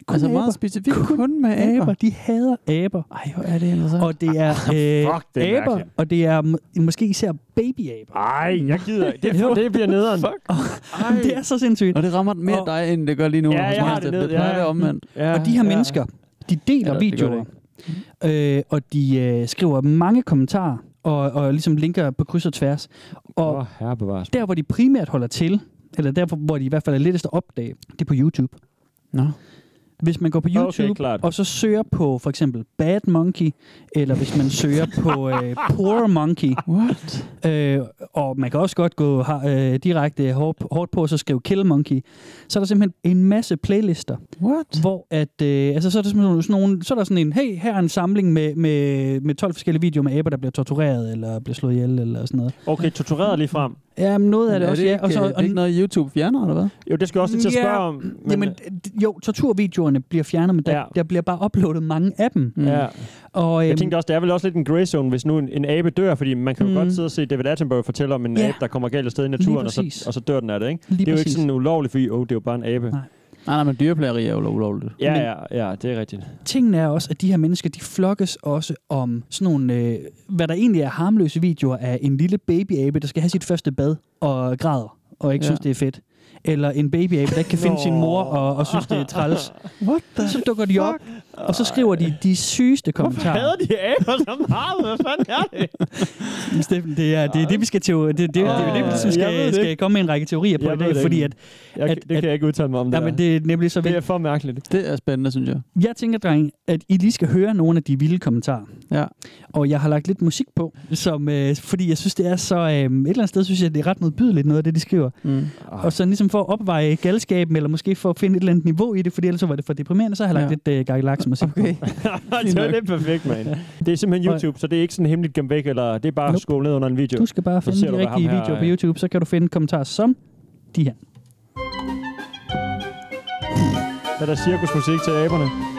[SPEAKER 4] Kun
[SPEAKER 3] altså
[SPEAKER 4] altså
[SPEAKER 3] meget
[SPEAKER 4] meget specifikt kun, kun med aber.
[SPEAKER 3] aber, de hader aber.
[SPEAKER 4] Ej, hvor er det interessant.
[SPEAKER 3] Og det er øh,
[SPEAKER 2] Fuck, det er
[SPEAKER 3] aber,
[SPEAKER 2] mærkeligt.
[SPEAKER 3] og det er m- måske især babyaber.
[SPEAKER 2] Ej, jeg gider ikke. Det, det bliver nederen. Fuck. Ej.
[SPEAKER 3] Det er så sindssygt.
[SPEAKER 4] og det rammer mere
[SPEAKER 3] og-
[SPEAKER 4] og, dig, end det gør lige nu.
[SPEAKER 2] Ja,
[SPEAKER 4] hos
[SPEAKER 2] jeg
[SPEAKER 4] mig,
[SPEAKER 2] har det
[SPEAKER 4] Steffen.
[SPEAKER 2] ned,
[SPEAKER 4] Det plejer
[SPEAKER 2] ja.
[SPEAKER 4] at være omvendt.
[SPEAKER 2] Ja,
[SPEAKER 3] Og de her
[SPEAKER 2] ja.
[SPEAKER 3] mennesker, de deler
[SPEAKER 4] Ja, det gør
[SPEAKER 3] videoer, øh, og de øh, skriver mange kommentarer, og, og ligesom linker på kryds og tværs. Og
[SPEAKER 2] Åh, herre bevares.
[SPEAKER 3] der, hvor de primært holder til, eller der, hvor de i hvert fald er lettest at opdage, det er på YouTube.
[SPEAKER 4] Nå.
[SPEAKER 3] Hvis man går på YouTube,
[SPEAKER 2] klart.
[SPEAKER 3] og så søger på for eksempel Bad Monkey, eller hvis man søger på øh, Poor Monkey,
[SPEAKER 4] What?
[SPEAKER 3] Øh, og man kan også godt gå har- øh, direkte hårdt, hårdt på og så skrive Kill Monkey. Så er der simpelthen en masse playlister,
[SPEAKER 4] What?
[SPEAKER 3] hvor at, øh, altså, så, er der simpelthen sådan nogle, så er der sådan en, hey, her er en samling med, med, med 12 forskellige videoer med aber, der bliver tortureret eller bliver slået ihjel eller sådan noget.
[SPEAKER 2] Okay, tortureret lige frem.
[SPEAKER 3] Ja, men noget af det,
[SPEAKER 4] er
[SPEAKER 3] også,
[SPEAKER 4] det
[SPEAKER 3] ja.
[SPEAKER 4] ikke, og så, og det er ikke noget, YouTube fjerner, eller hvad?
[SPEAKER 2] Jo, det skal jeg også lige til at
[SPEAKER 3] Ja,
[SPEAKER 2] spørge om. Men, øh,
[SPEAKER 3] Jamen, d- jo, torturvideoerne bliver fjernet, men der,
[SPEAKER 2] Ja.
[SPEAKER 3] ja. der bliver bare uploadet mange af dem.
[SPEAKER 2] ja.
[SPEAKER 3] Og,
[SPEAKER 2] Jeg
[SPEAKER 3] øhm,
[SPEAKER 2] tænkte også, det er vel også lidt en gray zone, hvis nu en, en abe dør, fordi man kan jo
[SPEAKER 3] Mm.
[SPEAKER 2] godt sidde og se David Attenborough fortælle om en
[SPEAKER 3] Ja.
[SPEAKER 2] abe, der kommer galt af sted i
[SPEAKER 3] Lige
[SPEAKER 2] naturen, og så,
[SPEAKER 3] præcis.
[SPEAKER 2] og så dør den af det, ikke?
[SPEAKER 3] lige
[SPEAKER 2] det er jo
[SPEAKER 3] præcis.
[SPEAKER 2] ikke sådan ulovligt, fordi oh, det er jo bare en abe.
[SPEAKER 3] Nej.
[SPEAKER 4] Nej, nej, men dyreplageri er jo ulovligt.
[SPEAKER 2] Ja,
[SPEAKER 3] Men-
[SPEAKER 2] ja, ja, det er rigtigt.
[SPEAKER 3] Tingen er også, at de her mennesker, de flokkes også om sådan nogle, øh, hvad der egentlig er harmløse videoer af en lille babyabe, der skal have sit første bad og græder, og ikke ja.
[SPEAKER 4] Ja.
[SPEAKER 3] synes, det er fedt. Eller en babyabe, der ikke kan finde sin mor og, og synes, det er træls.
[SPEAKER 4] What the?
[SPEAKER 3] Så dukker de op, og så skriver de de sygeste kommentarer.
[SPEAKER 2] de aber så meget? Hvad fanden er det?
[SPEAKER 3] Steffen, det er det, er det vi skal teo- det, det, det, er jo det, vi ligesom
[SPEAKER 2] Jeg ved
[SPEAKER 3] skal,
[SPEAKER 2] det
[SPEAKER 3] skal
[SPEAKER 2] ikke.
[SPEAKER 3] komme med en række teorier på
[SPEAKER 2] Jeg
[SPEAKER 3] i
[SPEAKER 2] ved
[SPEAKER 3] dag,
[SPEAKER 2] det
[SPEAKER 3] fordi
[SPEAKER 2] ikke.
[SPEAKER 3] at,
[SPEAKER 2] Jeg,
[SPEAKER 3] At-
[SPEAKER 2] det kan jeg ikke udtale mig om, det,
[SPEAKER 3] nej,
[SPEAKER 2] der.
[SPEAKER 3] men det er nemlig så
[SPEAKER 2] det
[SPEAKER 3] vigtigt.
[SPEAKER 2] er for mærkeligt.
[SPEAKER 4] Det er spændende, synes jeg.
[SPEAKER 3] Jeg tænker, dreng, at I lige skal høre nogle af de vilde kommentarer.
[SPEAKER 4] Ja.
[SPEAKER 3] Og jeg har lagt lidt musik på, som, øh, fordi jeg synes, det er så... Øh, et eller andet sted synes jeg, det er ret modbydeligt, noget af det, de skriver.
[SPEAKER 4] Mm.
[SPEAKER 2] Ah.
[SPEAKER 3] Og så ligesom for at opveje galskaben, eller måske for at finde et eller andet niveau i det, fordi ellers så var det for deprimerende, så har jeg lagt
[SPEAKER 4] Ja.
[SPEAKER 3] lidt øh, Gary Laks musik
[SPEAKER 4] Okay.
[SPEAKER 3] på.
[SPEAKER 2] det er lidt perfekt, man. Det er simpelthen YouTube, så det er ikke sådan hemmeligt gemt væk, eller det er bare
[SPEAKER 3] Nope.
[SPEAKER 2] nope. skålet ned under en video.
[SPEAKER 3] Du skal bare
[SPEAKER 2] Så
[SPEAKER 3] finde
[SPEAKER 2] ser du,
[SPEAKER 3] de
[SPEAKER 2] hvad ham
[SPEAKER 3] rigtige
[SPEAKER 2] her,
[SPEAKER 3] videoer på
[SPEAKER 2] øh,
[SPEAKER 3] YouTube, så kan du finde kommentarer som de her.
[SPEAKER 2] Er der cirkusmusik til aberne?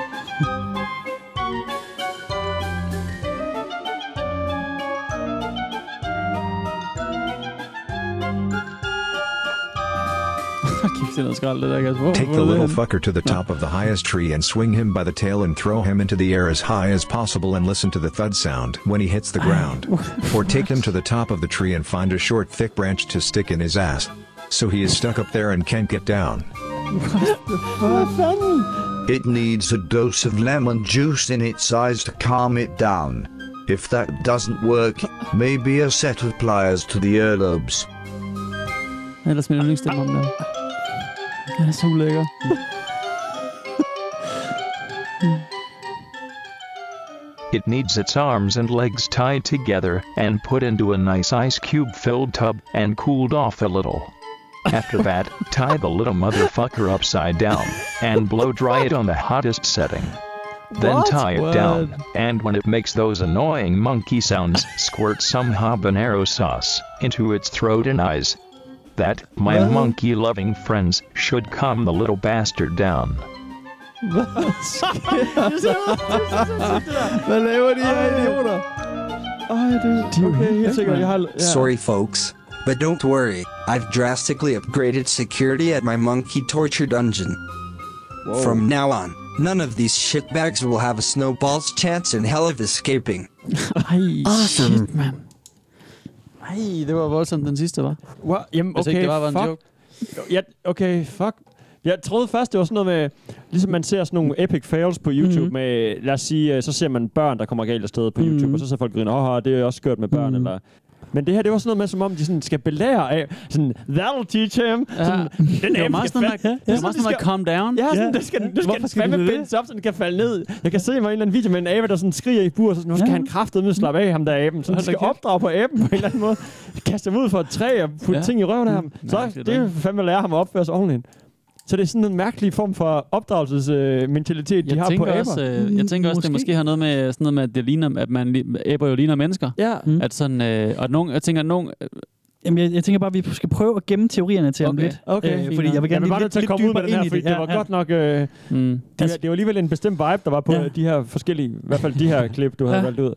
[SPEAKER 4] til noget skrald, det der, Kasper. Hvor-
[SPEAKER 9] Take
[SPEAKER 4] hvor
[SPEAKER 9] the
[SPEAKER 4] er det
[SPEAKER 9] little
[SPEAKER 4] henne?
[SPEAKER 9] fucker to the top of the highest tree and swing him by the tail and throw him into the air as high as possible and listen to the thud sound when he hits the ground. or take him to the top of the tree and find a short, thick branch to stick in his ass. So he is stuck up there and can't get down.
[SPEAKER 2] Hvad fanden?
[SPEAKER 10] It needs a dose of lemon juice in its eyes to calm it down. If that doesn't work, maybe a set of pliers to the earlobes.
[SPEAKER 4] Ellers min yndlingsstemme om der. Den er så ulækker.
[SPEAKER 8] It needs its arms and legs tied together and put into a nice ice cube filled tub and cooled off a little. After that, tie the little motherfucker upside down and blow dry it on the hottest setting. Then
[SPEAKER 4] What?
[SPEAKER 8] tie it
[SPEAKER 4] What?
[SPEAKER 8] down, and when it makes those annoying monkey sounds, squirt some habanero sauce into its throat and eyes. That, my
[SPEAKER 4] What?
[SPEAKER 8] monkey loving friends, should calm the little bastard down.
[SPEAKER 4] Hvad laver de her idioter? Ej, det er
[SPEAKER 2] Okay, helt sikkert. Jeg har... Ja.
[SPEAKER 11] Sorry, folks. But don't worry, I've drastically upgraded security at my monkey torture dungeon. From now on, none of these shitbags will have a snowball's chance in hell of escaping.
[SPEAKER 4] Ej, shit, mand. Ej, det var voldsomt den sidste, var.
[SPEAKER 2] Wow, jamen,
[SPEAKER 4] Hvis
[SPEAKER 2] okay,
[SPEAKER 4] ikke det var, var en
[SPEAKER 2] fuck.
[SPEAKER 4] joke.
[SPEAKER 2] Ja, okay, fuck. Jeg troede først, det var sådan noget med, ligesom man ser sådan nogle epic fails på YouTube
[SPEAKER 4] Mhm.
[SPEAKER 2] mm-hmm. med, lad os sige, øh, så ser man børn, der kommer galt af sted på mm-hmm.
[SPEAKER 4] Mhm.
[SPEAKER 2] YouTube, og så ser folk griner, åh, det er også skørt med børn,
[SPEAKER 4] Mhm.
[SPEAKER 2] mm-hmm. eller... Men det her, det var sådan noget med, som om de sådan skal belære af, sådan, that'll teach him,
[SPEAKER 4] Ja.
[SPEAKER 2] sådan, abe
[SPEAKER 4] Det var meget
[SPEAKER 2] skal
[SPEAKER 4] sådan noget,
[SPEAKER 2] fa-
[SPEAKER 4] med- det var
[SPEAKER 2] sådan,
[SPEAKER 4] meget
[SPEAKER 2] de
[SPEAKER 4] sådan noget,
[SPEAKER 2] skal-
[SPEAKER 4] calm down.
[SPEAKER 2] Ja, sådan, det skal, det skal
[SPEAKER 4] Hvorfor
[SPEAKER 2] den
[SPEAKER 4] skal
[SPEAKER 2] fandme
[SPEAKER 4] den det?
[SPEAKER 2] bindes op, så den kan falde ned. Jeg kan se mig i en eller anden video med en abe, der sådan skriger i bur, så sådan, nu skal
[SPEAKER 4] Ja.
[SPEAKER 2] ja. han kraftedeme slappe af ham der aben. Så
[SPEAKER 4] Hold da
[SPEAKER 2] han skal
[SPEAKER 4] kæft.
[SPEAKER 2] opdrage på aben på en eller anden måde. Kaste ham ud for et træ og putte
[SPEAKER 4] Ja.
[SPEAKER 2] ja. ting i røven af ham.
[SPEAKER 4] Mm,
[SPEAKER 2] Så
[SPEAKER 4] mærkeligt,
[SPEAKER 2] det er
[SPEAKER 4] ikke?
[SPEAKER 2] jo fandme at lære ham at opføre sig ordentligt. Så det er sådan en mærkelig form for opdragelsesmentalitet, øh, de
[SPEAKER 4] Jeg
[SPEAKER 2] har på
[SPEAKER 4] tænker,
[SPEAKER 2] aber.
[SPEAKER 4] også, øh, jeg tænker også, det
[SPEAKER 3] Måske.
[SPEAKER 4] måske har noget med, øh, sådan noget med at, det ligner, at man, li- æber jo ligner mennesker.
[SPEAKER 2] ja,
[SPEAKER 3] Mm.
[SPEAKER 4] At sådan, øh, og nogen, jeg tænker, nogen,
[SPEAKER 3] Jamen, jeg, jeg tænker bare, at vi skal prøve at gemme teorierne til ham
[SPEAKER 4] Okay.
[SPEAKER 3] lidt.
[SPEAKER 2] okay.
[SPEAKER 3] Øh, fordi jeg vil
[SPEAKER 2] jeg
[SPEAKER 3] gerne
[SPEAKER 2] vil
[SPEAKER 3] lige
[SPEAKER 2] bare nødt
[SPEAKER 3] lidt,
[SPEAKER 2] til at
[SPEAKER 3] lidt
[SPEAKER 2] komme ud med
[SPEAKER 3] dybere
[SPEAKER 2] den her,
[SPEAKER 3] ind i
[SPEAKER 2] fordi
[SPEAKER 3] det.
[SPEAKER 2] det var godt nok... Øh,
[SPEAKER 4] mm,
[SPEAKER 2] det,
[SPEAKER 3] Altså-
[SPEAKER 2] var- det var alligevel en bestemt vibe, der var på
[SPEAKER 3] Ja.
[SPEAKER 2] ja. de her forskellige... I hvert fald de her klip, du havde
[SPEAKER 3] Ja.
[SPEAKER 2] ja. valgt ud.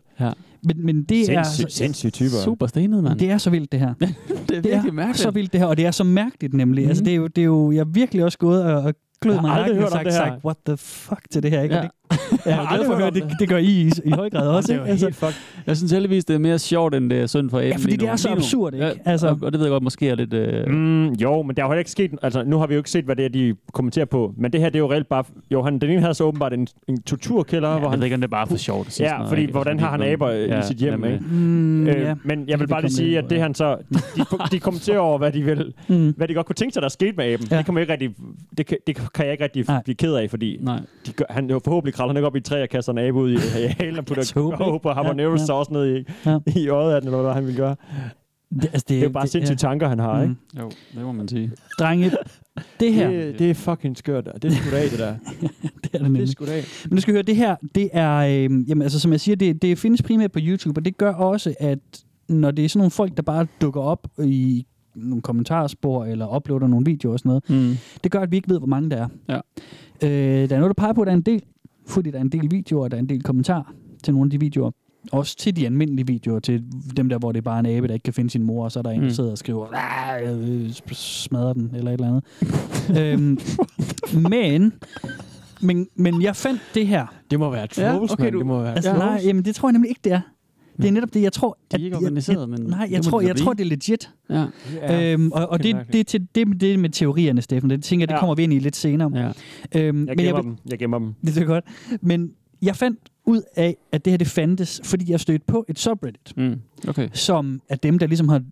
[SPEAKER 3] Men, men det, er,
[SPEAKER 2] Sindssyge sindssyg typer.
[SPEAKER 4] super stenet, mand.
[SPEAKER 3] det er så vildt, det her.
[SPEAKER 4] det er
[SPEAKER 3] Det
[SPEAKER 4] virkelig
[SPEAKER 3] er
[SPEAKER 4] mærkeligt.
[SPEAKER 3] så vildt, det her. Og det er så mærkeligt, nemlig. Altså,
[SPEAKER 4] Mhm.
[SPEAKER 3] det er jo, det er jo, jeg er virkelig også gået og, og
[SPEAKER 2] Jeg
[SPEAKER 3] klød
[SPEAKER 2] har
[SPEAKER 3] mig i
[SPEAKER 2] aldrig
[SPEAKER 3] nakken og
[SPEAKER 2] hørt om
[SPEAKER 3] sagt,
[SPEAKER 2] det her.
[SPEAKER 3] sagt, what the fuck til det her, ikke?
[SPEAKER 4] Ja.
[SPEAKER 3] Ja. Det, ja, jeg er glad
[SPEAKER 2] aldrig
[SPEAKER 3] for at
[SPEAKER 2] hørt
[SPEAKER 3] høre,
[SPEAKER 2] om
[SPEAKER 3] det, det gør I i, i høj grad også,
[SPEAKER 2] det
[SPEAKER 3] ikke?
[SPEAKER 2] var
[SPEAKER 3] Altså,
[SPEAKER 2] helt fuck.
[SPEAKER 4] Jeg synes heldigvis, det er mere sjovt, end det er synd for aben
[SPEAKER 3] ja, fordi
[SPEAKER 4] lige
[SPEAKER 3] det
[SPEAKER 4] nu.
[SPEAKER 3] er så
[SPEAKER 4] Lige nu.
[SPEAKER 3] absurd,
[SPEAKER 4] Ja,
[SPEAKER 3] ikke? Altså,
[SPEAKER 4] og, og det ved jeg godt, måske er lidt... Øh, mm.
[SPEAKER 2] Mm, jo, men der har jo heller ikke sket... Altså, nu har vi jo ikke set, hvad det er, de kommenterer på. Men det her, det er jo reelt bare... Jo, han, den ene havde så åbenbart en, en torturkælder, ja, hvor
[SPEAKER 4] Jeg
[SPEAKER 2] han
[SPEAKER 4] ved ikke, om det er bare for sjovt. at sige
[SPEAKER 2] Ja,
[SPEAKER 4] sådan noget,
[SPEAKER 2] fordi
[SPEAKER 4] ikke? Altså,
[SPEAKER 2] hvordan
[SPEAKER 4] Fordi
[SPEAKER 2] har han
[SPEAKER 4] man-
[SPEAKER 2] aber, øh, i sit hjem,
[SPEAKER 4] nemlig.
[SPEAKER 2] ikke?
[SPEAKER 3] mm,
[SPEAKER 2] Øh,
[SPEAKER 3] ja.
[SPEAKER 2] Men
[SPEAKER 4] kan
[SPEAKER 2] jeg vil bare
[SPEAKER 4] vi
[SPEAKER 2] lige
[SPEAKER 4] komme lidt
[SPEAKER 2] sige,
[SPEAKER 4] ind på,
[SPEAKER 2] at det
[SPEAKER 4] ja.
[SPEAKER 2] han så... De, de, de kommenterer over, hvad de, vil,
[SPEAKER 3] Mm.
[SPEAKER 2] hvad de godt kunne tænke sig, der skete med aben.
[SPEAKER 3] Ja.
[SPEAKER 2] Ja. Det, kan man ikke rigtig, det, kan, det kan jeg ikke rigtig
[SPEAKER 3] Nej.
[SPEAKER 2] Nej. blive ked af, fordi
[SPEAKER 4] Nej.
[SPEAKER 2] de gør, han, jo forhåbentlig kravler han ikke op i et træ og kaster en abe ud i, i halen og
[SPEAKER 3] Lad os
[SPEAKER 2] putter
[SPEAKER 3] håbe,
[SPEAKER 2] håb og habanero
[SPEAKER 3] Ja,
[SPEAKER 2] ja,
[SPEAKER 3] ja.
[SPEAKER 2] sauce ned i,
[SPEAKER 3] Ja.
[SPEAKER 2] ja. i øjet af den, eller hvad han vil gøre.
[SPEAKER 3] Det, Mm. altså,
[SPEAKER 2] Det er jo bare sindssyge tanker, han har, ikke?
[SPEAKER 4] Jo, det må man sige.
[SPEAKER 3] Drenge, det her,
[SPEAKER 2] Det, det er fucking skørt. Det er sgu da af, det der.
[SPEAKER 3] det er det nemlig.
[SPEAKER 2] sgu da af.
[SPEAKER 3] Men du skal høre, det her, det er, øh, jamen, altså, som jeg siger, det, det findes primært på YouTube, og det gør også, at når det er sådan nogle folk, der bare dukker op i nogle kommentarspor, eller uploader nogle videoer og sådan noget,
[SPEAKER 4] Mm.
[SPEAKER 3] det gør, at vi ikke ved, hvor mange der er.
[SPEAKER 4] Ja.
[SPEAKER 3] Øh, der er noget, der peger på, at der er en del, fordi der er en del videoer, og der er en del kommentarer til nogle af de videoer. Også til de almindelige videoer, til dem der, hvor det er bare en abe, der ikke kan finde sin mor, og så er der en, der
[SPEAKER 4] Mm.
[SPEAKER 3] sidder og skriver, "Ah, jeg, øh, sp- smadrer den, eller et eller andet. øhm, men, men, men jeg fandt det her.
[SPEAKER 2] Det må være trolls, ja, okay,
[SPEAKER 4] okay,
[SPEAKER 2] mand.
[SPEAKER 4] du-
[SPEAKER 2] Det må være
[SPEAKER 3] Altså, ja. nej, jamen, det tror jeg nemlig ikke, det er. Det er netop det, jeg tror...
[SPEAKER 4] De er ikke
[SPEAKER 3] jeg-
[SPEAKER 4] organiseret,
[SPEAKER 3] jeg,
[SPEAKER 4] men
[SPEAKER 3] Nej, jeg
[SPEAKER 4] det må
[SPEAKER 3] tror,
[SPEAKER 4] de da
[SPEAKER 3] jeg tror,
[SPEAKER 4] blive.
[SPEAKER 3] det er legit.
[SPEAKER 4] Ja,
[SPEAKER 2] Ja.
[SPEAKER 3] Ja, øhm, og og
[SPEAKER 2] det er
[SPEAKER 3] det,
[SPEAKER 2] mærkeligt.
[SPEAKER 3] det, til, det, det er med teorierne, Steffen. Det tænker jeg, det
[SPEAKER 2] Ja.
[SPEAKER 3] kommer vi ind i lidt senere.
[SPEAKER 4] ja.
[SPEAKER 3] Øhm,
[SPEAKER 2] Jeg
[SPEAKER 3] men jeg vil,
[SPEAKER 2] gemmer dem. Jeg gemmer dem.
[SPEAKER 3] det er godt. Men jeg fandt ud af, at det her det fandtes, fordi jeg stødte på et subreddit,
[SPEAKER 4] Mm. Okay.
[SPEAKER 3] som er dem, der ligesom har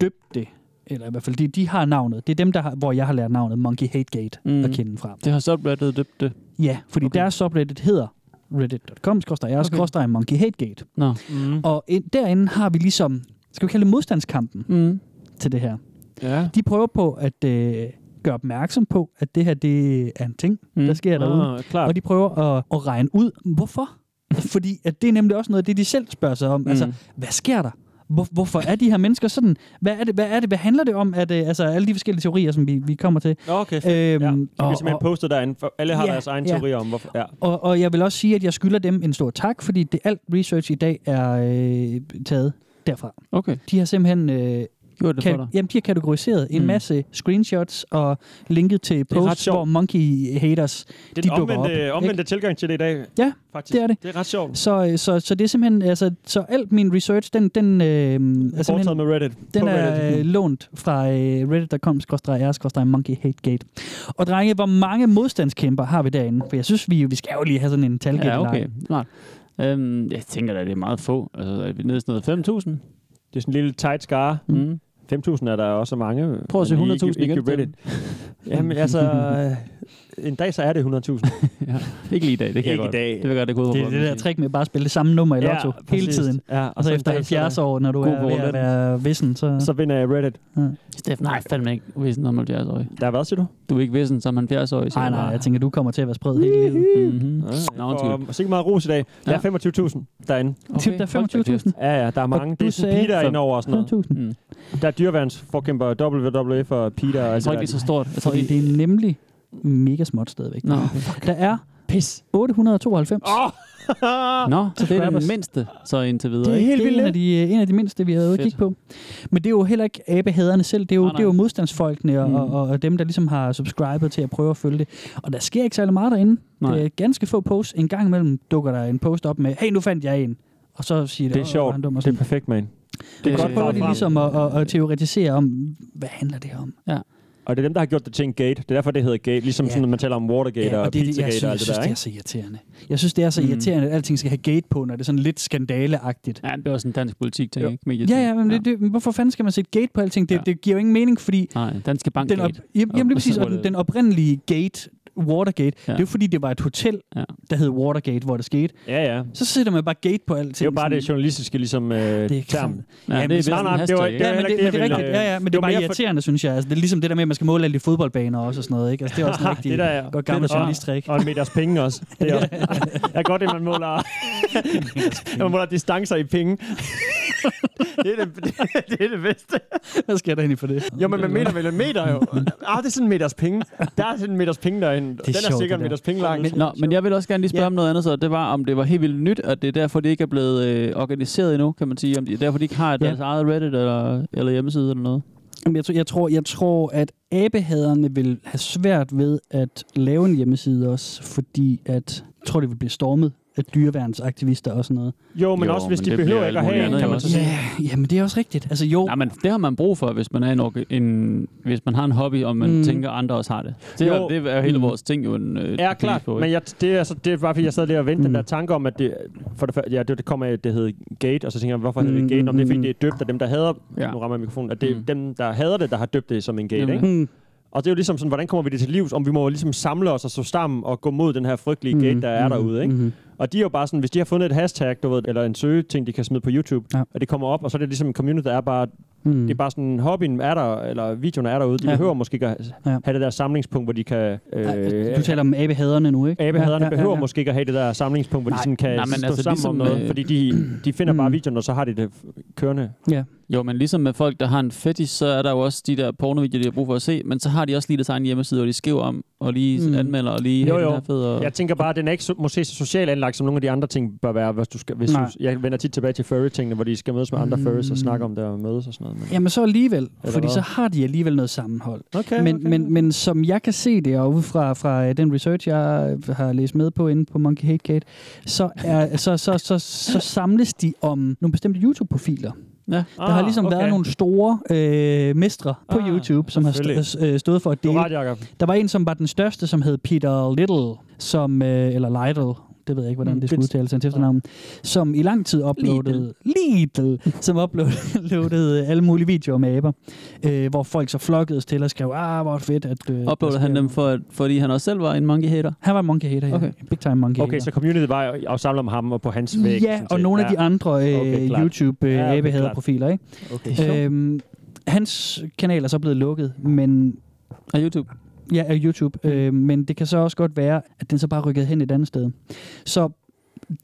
[SPEAKER 3] døbt det, eller i hvert fald de, de har navnet. Det er dem, der har, hvor jeg har lært navnet Monkey Hategate
[SPEAKER 4] Mm.
[SPEAKER 3] mm. at kende fra.
[SPEAKER 4] Det har så blevet døbt det.
[SPEAKER 3] Ja, fordi
[SPEAKER 4] Okay.
[SPEAKER 3] okay. deres subreddit hedder reddit.com, skorstræk jeg, skorstræk Monkey Hategate.
[SPEAKER 4] Nå.
[SPEAKER 2] Mm.
[SPEAKER 3] Og ind, derinde har vi ligesom, skal vi kalde det modstandskampen
[SPEAKER 4] Mm.
[SPEAKER 3] til det her.
[SPEAKER 2] Ja.
[SPEAKER 3] De prøver på at øh, gøre opmærksom på, at det her det er en ting,
[SPEAKER 4] Mm.
[SPEAKER 3] der sker derude.
[SPEAKER 2] Ah, klart.
[SPEAKER 3] Og de prøver at, at regne ud, hvorfor. Fordi at det er nemlig også noget af det, de selv spørger sig om. Mm. Altså, hvad sker der? Hvor, hvorfor er de her mennesker sådan? Hvad er det? Hvad, er det? hvad handler det om? At, øh, altså, alle de forskellige teorier, som vi, vi kommer til.
[SPEAKER 2] Okay, fedt. Ja,
[SPEAKER 3] Øhm,
[SPEAKER 2] de bliver
[SPEAKER 3] og,
[SPEAKER 2] simpelthen
[SPEAKER 3] og,
[SPEAKER 2] postet derinde. For alle har
[SPEAKER 3] Ja,
[SPEAKER 2] ja, deres egen
[SPEAKER 3] ja.
[SPEAKER 2] teorier om, hvorfor. Ja.
[SPEAKER 3] og, og jeg vil også sige, at jeg skylder dem en stor tak, fordi det alt research i dag er øh, taget derfra.
[SPEAKER 4] Okay.
[SPEAKER 3] De har simpelthen øh,
[SPEAKER 4] Gjorde det for
[SPEAKER 3] ka-
[SPEAKER 4] dig?
[SPEAKER 3] Jamen, de har kategoriseret en
[SPEAKER 4] Mm.
[SPEAKER 3] masse screenshots og linket til
[SPEAKER 2] er ret
[SPEAKER 3] posts, hvor monkey haters
[SPEAKER 2] Det
[SPEAKER 3] de
[SPEAKER 2] er den
[SPEAKER 3] dukker op.
[SPEAKER 2] omvendte, omvendte tilgang til det i dag.
[SPEAKER 3] Ja,
[SPEAKER 2] faktisk.
[SPEAKER 3] det er det.
[SPEAKER 2] Det er ret sjovt.
[SPEAKER 3] Så, øh, så, så det er simpelthen, altså, så alt min research, den, den øh, er simpelthen,
[SPEAKER 2] Foretaget med Reddit.
[SPEAKER 3] den
[SPEAKER 2] På
[SPEAKER 3] er
[SPEAKER 2] Reddit.
[SPEAKER 3] øh, lånt fra øh, reddit.com-r-monkeyhategate. Og drenge, hvor mange modstandskæmper har vi derinde? For jeg synes, vi, vi skal jo lige have sådan en talgæld.
[SPEAKER 4] Ja, okay. Smart. Øhm, jeg tænker da, det er meget få. Altså, er vi nede i sådan noget 5.000?
[SPEAKER 2] Det er sådan en lille tight skare.
[SPEAKER 4] Mm.
[SPEAKER 2] 5.000 er der også mange.
[SPEAKER 4] Prøv at se
[SPEAKER 2] men ikke-
[SPEAKER 4] 100.000
[SPEAKER 2] ikke
[SPEAKER 4] igen.
[SPEAKER 2] Reddit. Jamen altså, øh, en dag så er det 100.000.
[SPEAKER 4] ja. Ikke lige i dag, det kan
[SPEAKER 2] ikke
[SPEAKER 4] jeg godt.
[SPEAKER 2] i dag.
[SPEAKER 4] Det vil jeg godt, det kunne
[SPEAKER 3] Det er det der trick med at bare at spille det samme nummer i
[SPEAKER 2] Ja,
[SPEAKER 3] lotto ja, hele
[SPEAKER 2] præcis.
[SPEAKER 3] tiden.
[SPEAKER 2] Ja,
[SPEAKER 3] Ja,
[SPEAKER 2] og
[SPEAKER 3] og, og så
[SPEAKER 2] så
[SPEAKER 3] efter
[SPEAKER 2] en dag, så er
[SPEAKER 3] 70
[SPEAKER 2] der
[SPEAKER 3] år, når du
[SPEAKER 2] god
[SPEAKER 3] er ved
[SPEAKER 2] roulette.
[SPEAKER 3] at være vissen, så...
[SPEAKER 2] Så vinder jeg Reddit.
[SPEAKER 3] Ja.
[SPEAKER 4] Steffen, nej, fandme ikke vissen som 70-årig.
[SPEAKER 2] Der er hvad, siger du?
[SPEAKER 4] Du er ikke vissen som 70-årig.
[SPEAKER 3] Nej, nej, jeg tænker, du kommer til at være spred hele livet.
[SPEAKER 4] Mm-hmm.
[SPEAKER 2] Ja, og sikkert meget ros i dag. Der
[SPEAKER 4] Ja.
[SPEAKER 2] er 25.000 derinde.
[SPEAKER 3] Okay. Der er 25.000?
[SPEAKER 2] Ja, ja, der er mange.
[SPEAKER 3] Og
[SPEAKER 2] Det
[SPEAKER 3] du
[SPEAKER 2] er
[SPEAKER 3] sagde
[SPEAKER 2] Peter ind over og sådan noget.
[SPEAKER 3] 5.000.
[SPEAKER 4] Mm.
[SPEAKER 2] Der er dyrvandsforkæmper WWF og E Peter. altså og alt
[SPEAKER 3] tror ikke, det er
[SPEAKER 2] det
[SPEAKER 3] så
[SPEAKER 2] der.
[SPEAKER 3] stort. Jeg tror, Fordi Altså, det er nemlig mega småt stadigvæk.
[SPEAKER 2] Nå,
[SPEAKER 3] Der er Pis. 892.
[SPEAKER 2] Oh!
[SPEAKER 4] Nå, så det er
[SPEAKER 3] Subscribers.
[SPEAKER 4] den mindste så indtil videre.
[SPEAKER 3] Det er
[SPEAKER 4] ikke?
[SPEAKER 3] helt vildt. en af de, øh, en af de mindste, vi har været ude at kigge på. Men det er jo heller ikke abehaderne selv. Det er jo, det er jo modstandsfolkene og, og, og, dem, der ligesom har subscribet til at prøve at følge det. Og der sker ikke særlig meget derinde.
[SPEAKER 4] Nej.
[SPEAKER 3] Det er ganske få posts. En gang imellem dukker der en post op med, hey, nu fandt jeg en. Og så siger
[SPEAKER 2] Det er
[SPEAKER 3] "Åh, hvor
[SPEAKER 2] sjovt.
[SPEAKER 3] han dum," og
[SPEAKER 2] Det
[SPEAKER 3] sådan.
[SPEAKER 2] er perfekt, man.
[SPEAKER 3] Det er godt prøve de ligesom at, at, at teoretisere om, hvad handler det om?
[SPEAKER 4] Ja.
[SPEAKER 2] Og det er dem, der har gjort det til en gate. Det er derfor, det hedder gate. Ligesom
[SPEAKER 3] Ja.
[SPEAKER 2] sådan, når man taler om Watergate
[SPEAKER 3] Ja,
[SPEAKER 2] og,
[SPEAKER 3] og det er det, jeg
[SPEAKER 2] Pizzagate
[SPEAKER 3] synes,
[SPEAKER 2] og alt det
[SPEAKER 3] synes,
[SPEAKER 2] der,
[SPEAKER 3] det er så irriterende. Jeg synes, det er så
[SPEAKER 4] Mm.
[SPEAKER 3] irriterende, at alting skal have gate på, når det er sådan lidt skandaleagtigt.
[SPEAKER 4] Ja, det er også en dansk politik, tænker jeg. Ikke? Medieting.
[SPEAKER 3] Ja, ja, men det, det, hvorfor fanden skal man sætte gate på alting? Det, ja. det giver jo ingen mening, fordi
[SPEAKER 4] Nej, Danske Bank
[SPEAKER 3] den, op,
[SPEAKER 4] Gate.
[SPEAKER 3] jamen,
[SPEAKER 4] Og
[SPEAKER 3] jamen, lige
[SPEAKER 4] så
[SPEAKER 3] præcis,
[SPEAKER 4] var
[SPEAKER 3] og den,
[SPEAKER 4] det-
[SPEAKER 3] den oprindelige gate, Watergate, ja.
[SPEAKER 4] Ja.
[SPEAKER 3] det er jo fordi, det var et hotel,
[SPEAKER 4] ja.
[SPEAKER 3] der hed Watergate, hvor det skete.
[SPEAKER 2] Ja, ja.
[SPEAKER 3] Så sætter man bare gate på alting.
[SPEAKER 2] Det er jo bare det journalistiske ligesom, øh, det
[SPEAKER 3] er klart.
[SPEAKER 2] term.
[SPEAKER 3] Ja, det er
[SPEAKER 2] men
[SPEAKER 3] vist
[SPEAKER 2] nej,
[SPEAKER 3] en
[SPEAKER 2] nej, det var
[SPEAKER 3] hashtag, ikke?
[SPEAKER 2] ikke det, var
[SPEAKER 3] Ja, men
[SPEAKER 2] heller
[SPEAKER 3] det-
[SPEAKER 2] ikke
[SPEAKER 3] men det er
[SPEAKER 2] det, jeg ville,
[SPEAKER 3] rigtigt. Ja, ja, men
[SPEAKER 2] øh,
[SPEAKER 3] det er bare
[SPEAKER 2] mere for-
[SPEAKER 3] irriterende, synes jeg. Altså, det er ligesom det der med, at man skal måle alle de fodboldbaner også og sådan noget. Ikke? Altså, det er også en
[SPEAKER 2] Ah,
[SPEAKER 3] rigtig
[SPEAKER 2] det der er-
[SPEAKER 3] godt gammel
[SPEAKER 2] det- og-
[SPEAKER 3] journalisttrik.
[SPEAKER 2] Og en meters penge også. Det er, også. jeg er godt, at man måler, man måler distancer i penge. det, er det, det, er det bedste.
[SPEAKER 3] Hvad skal jeg da egentlig for det?
[SPEAKER 2] Jo, men man mener vel en meter jo. Ah, det er sådan en meters penge. Der er sådan en meters penge derinde. Den er
[SPEAKER 4] sjovt,
[SPEAKER 2] sikkert
[SPEAKER 4] det
[SPEAKER 2] en
[SPEAKER 4] der.
[SPEAKER 2] meters penge lang.
[SPEAKER 4] Men, Nå, men jeg vil også gerne lige spørge ja. om noget andet, så det var, om det var helt vildt nyt, og det er derfor, det ikke er blevet øh, organiseret endnu, kan man sige. Om det, derfor, de ikke har deres eget Reddit eller, eller hjemmeside eller noget.
[SPEAKER 3] Jamen, jeg, tror, jeg, tror, jeg tror, at abehaderne vil have svært ved at lave en hjemmeside også, fordi at, jeg tror, det vil blive stormet af dyreværnsaktivister og sådan noget.
[SPEAKER 2] Jo, men Jo, også hvis men de det behøver bliver ikke at alt have muligt en, andet kan man jo så også. sige.
[SPEAKER 3] Ja, ja, men det er også rigtigt. Altså jo.
[SPEAKER 4] Nej, men det har man brug for, hvis man, er en, orga- en, hvis man har en hobby, og man
[SPEAKER 2] Mm.
[SPEAKER 4] mm. tænker, andre også har det. Det,
[SPEAKER 2] Jo.
[SPEAKER 4] er, det er jo hele
[SPEAKER 2] Mm.
[SPEAKER 4] vores ting jo en øh,
[SPEAKER 2] Ja,
[SPEAKER 4] bevis
[SPEAKER 2] klart.
[SPEAKER 4] På,
[SPEAKER 2] men jeg, det, er, så, det er bare, fordi jeg sad lige og ventede mm. den der tanke om, at det, for det, før- ja, det, det kommer af, at det hed Gate, og så tænker jeg, hvorfor hedder det
[SPEAKER 3] Mm,
[SPEAKER 2] Gate? Om det er, fordi
[SPEAKER 3] mm,
[SPEAKER 2] det er døbt af dem, der hader, ja.
[SPEAKER 3] Ja.
[SPEAKER 2] nu rammer jeg mikrofonen, at det er dem, der hader det, der har døbt det som en gate,
[SPEAKER 3] Nemlig.
[SPEAKER 2] ikke?
[SPEAKER 3] Mm.
[SPEAKER 2] Og det er jo ligesom sådan, hvordan kommer vi det til livs? Om vi må jo ligesom samle os og stå sammen og gå mod den her frygtelige
[SPEAKER 3] Mhm,
[SPEAKER 2] gate, der er
[SPEAKER 3] mhm,
[SPEAKER 2] derude, ikke?
[SPEAKER 3] mhm.
[SPEAKER 2] Og de er jo bare sådan, hvis de har fundet et hashtag, du ved, eller en søgeting, de kan smide på YouTube, ja. og det kommer op, og så er det ligesom en community, der er bare,
[SPEAKER 3] Mm.
[SPEAKER 2] det er bare sådan, hobbyen er der, eller videoen er derude, de
[SPEAKER 3] Ja.
[SPEAKER 2] behøver måske ikke at
[SPEAKER 3] Ja.
[SPEAKER 2] have det der samlingspunkt, hvor de kan... øh,
[SPEAKER 3] Du taler om abehaderne nu, ikke?
[SPEAKER 2] Abehaderne ja, ja, ja. behøver måske ikke at have det der samlingspunkt, hvor de
[SPEAKER 3] Nej.
[SPEAKER 2] sådan kan
[SPEAKER 4] Nej,
[SPEAKER 2] nej,
[SPEAKER 4] men
[SPEAKER 2] stå altså, mm.
[SPEAKER 4] altså
[SPEAKER 2] sammen
[SPEAKER 4] ligesom,
[SPEAKER 2] om noget,
[SPEAKER 4] øh,
[SPEAKER 2] fordi de, de finder bare videoen, og så har de det f- kørende.
[SPEAKER 3] Ja.
[SPEAKER 4] Jo, men ligesom med folk, der har en fetish, så er der jo også de der pornovideoer, de har brug for at se, men så har de også lige deres egen hjemmeside, hvor de skriver om, og lige
[SPEAKER 2] Mm.
[SPEAKER 4] mm. anmelder, og lige
[SPEAKER 2] Jo,
[SPEAKER 4] "Hey, den
[SPEAKER 2] jo.
[SPEAKER 4] her er fed, og...
[SPEAKER 2] Jeg tænker bare, at den er ikke så, måske så socialt anlagt, som nogle af de andre ting bør være. Hvis du skal, hvis du,
[SPEAKER 3] Nej.
[SPEAKER 2] jeg vender tit tilbage til furry-tingene, hvor de skal mødes med andre
[SPEAKER 3] Mm.
[SPEAKER 2] furries og snakke om det og mødes og sådan noget. Men,
[SPEAKER 3] Jamen så alligevel,
[SPEAKER 2] Eller
[SPEAKER 3] fordi
[SPEAKER 2] hvad?
[SPEAKER 3] så har de alligevel noget sammenhold.
[SPEAKER 2] Okay,
[SPEAKER 3] men,
[SPEAKER 2] okay,
[SPEAKER 3] men, men som jeg kan se det, og ud fra, fra øh, den research, jeg øh, har læst med på inde på Monkey Hate Gate, så, er, så, så, så, så samles de om nogle bestemte YouTube-profiler.
[SPEAKER 4] Ja. Der
[SPEAKER 3] ah, har ligesom okay. været nogle store øh, mestre på ah, YouTube, som har
[SPEAKER 2] selvfølgelig.
[SPEAKER 3] stå, øh, stået for at dele.
[SPEAKER 2] ret, Jacob.
[SPEAKER 3] der var en, som var den største, som hed Peter Little, som, øh, eller Lidl, det ved jeg ikke, hvordan
[SPEAKER 4] Mm,
[SPEAKER 3] det skulle
[SPEAKER 4] det-
[SPEAKER 3] udtales hans efternavn, som i lang tid uploadede, Lidl, som uploadede uploadede alle mulige videoer med aber, øh, hvor folk så flokkedes til og skrev, ah, hvor fedt, at... Øh,
[SPEAKER 4] Uploadede han dem, for, fordi han også selv var en monkey hater?
[SPEAKER 3] Han var en monkey hater, ja.
[SPEAKER 4] Okay.
[SPEAKER 3] Big time monkey
[SPEAKER 2] okay, så community var jo- og samler om ham og på hans væg.
[SPEAKER 3] Ja,
[SPEAKER 2] sådan
[SPEAKER 3] og
[SPEAKER 2] set.
[SPEAKER 3] nogle af
[SPEAKER 2] Ja.
[SPEAKER 3] de andre øh,
[SPEAKER 2] Okay,
[SPEAKER 3] okay,
[SPEAKER 2] klart. Ja, okay,
[SPEAKER 3] YouTube-abehader-profiler, ikke?
[SPEAKER 2] klart. Okay, sjovt.
[SPEAKER 3] Øhm, hans kanal er så blevet lukket, men...
[SPEAKER 4] Af YouTube?
[SPEAKER 3] Ja, af YouTube.
[SPEAKER 2] Mm.
[SPEAKER 3] Øh, men det kan så også godt være, at den så bare rykkede hen et andet sted. Så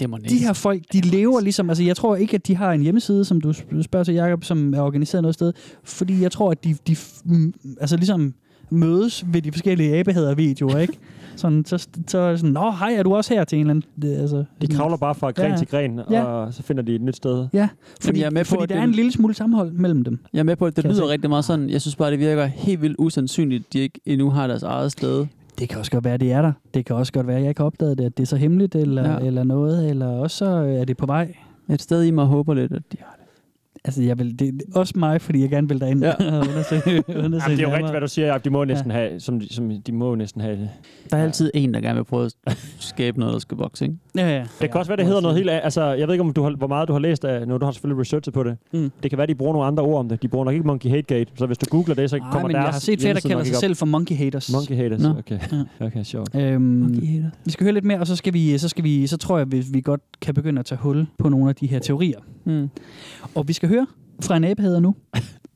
[SPEAKER 4] det må
[SPEAKER 3] de her folk, de lever ligesom... Altså, jeg tror ikke, at de har en hjemmeside, som du sp- spørger til, Jacob, som er organiseret noget sted. Fordi jeg tror, at de, de f- mm, altså ligesom mødes ved de forskellige abehader-videoer, ikke? Sådan, så, så er det sådan, nå, hej, er du også her til en eller anden... Det, altså,
[SPEAKER 2] De kravler bare fra gren til gren,
[SPEAKER 3] Ja,
[SPEAKER 2] og så finder de et nyt sted.
[SPEAKER 3] ja fordi,
[SPEAKER 4] jeg er med på,
[SPEAKER 3] fordi
[SPEAKER 4] at
[SPEAKER 3] der
[SPEAKER 4] det-
[SPEAKER 3] er en lille smule sammenhold mellem dem.
[SPEAKER 4] Jeg er med på, at det
[SPEAKER 3] Kan jeg
[SPEAKER 4] lyder
[SPEAKER 3] se?
[SPEAKER 4] rigtig meget sådan. Jeg synes bare, det virker helt vildt usandsynligt, at de ikke endnu har deres eget sted.
[SPEAKER 3] Det kan også godt være, det er der. Det kan også godt være, jeg ikke har opdaget det, at det er så hemmeligt eller,
[SPEAKER 4] Ja.
[SPEAKER 3] ja. eller noget, eller også så øh, er det på vej.
[SPEAKER 4] Et sted i mig håber lidt, at de
[SPEAKER 3] har det. Altså, jeg vil, det, det er også mig, fordi jeg gerne vil derind ja. og undersøge, undersøge
[SPEAKER 2] Jamen, det er jo
[SPEAKER 3] nærmere.
[SPEAKER 2] rigtigt, hvad du siger, Jacob. De må næsten
[SPEAKER 3] Ja.
[SPEAKER 2] ja. have, som, de- som de må jo næsten have det.
[SPEAKER 4] Der er altid en, der gerne vil prøve at skabe noget, der skal vokse, ikke?
[SPEAKER 3] Ja, ja.
[SPEAKER 2] Det kan også være, det hedder noget helt af, altså, jeg ved ikke, om du har, hvor meget du har læst af, nu du har selvfølgelig researchet på det.
[SPEAKER 3] Mm.
[SPEAKER 2] Det kan være, de bruger nogle andre ord om det. De bruger nok ikke Monkey Hate Gate, så hvis du googler det, så
[SPEAKER 3] Nej,
[SPEAKER 2] kommer
[SPEAKER 3] men
[SPEAKER 2] deres
[SPEAKER 3] jeg har set flere, der
[SPEAKER 2] hjemmeside
[SPEAKER 3] kalder
[SPEAKER 2] nok
[SPEAKER 3] sig
[SPEAKER 2] ikke op.
[SPEAKER 3] selv for monkey haters.
[SPEAKER 2] Monkey haters,
[SPEAKER 3] Nå.
[SPEAKER 2] okay. Okay, sjovt.
[SPEAKER 3] Øhm, vi skal høre lidt mere, og så, skal vi, så, skal vi, så tror jeg, at vi, vi godt kan begynde at tage hul på nogle af de her teorier.
[SPEAKER 4] Mm.
[SPEAKER 3] Og vi skal høre fra en abehader nu.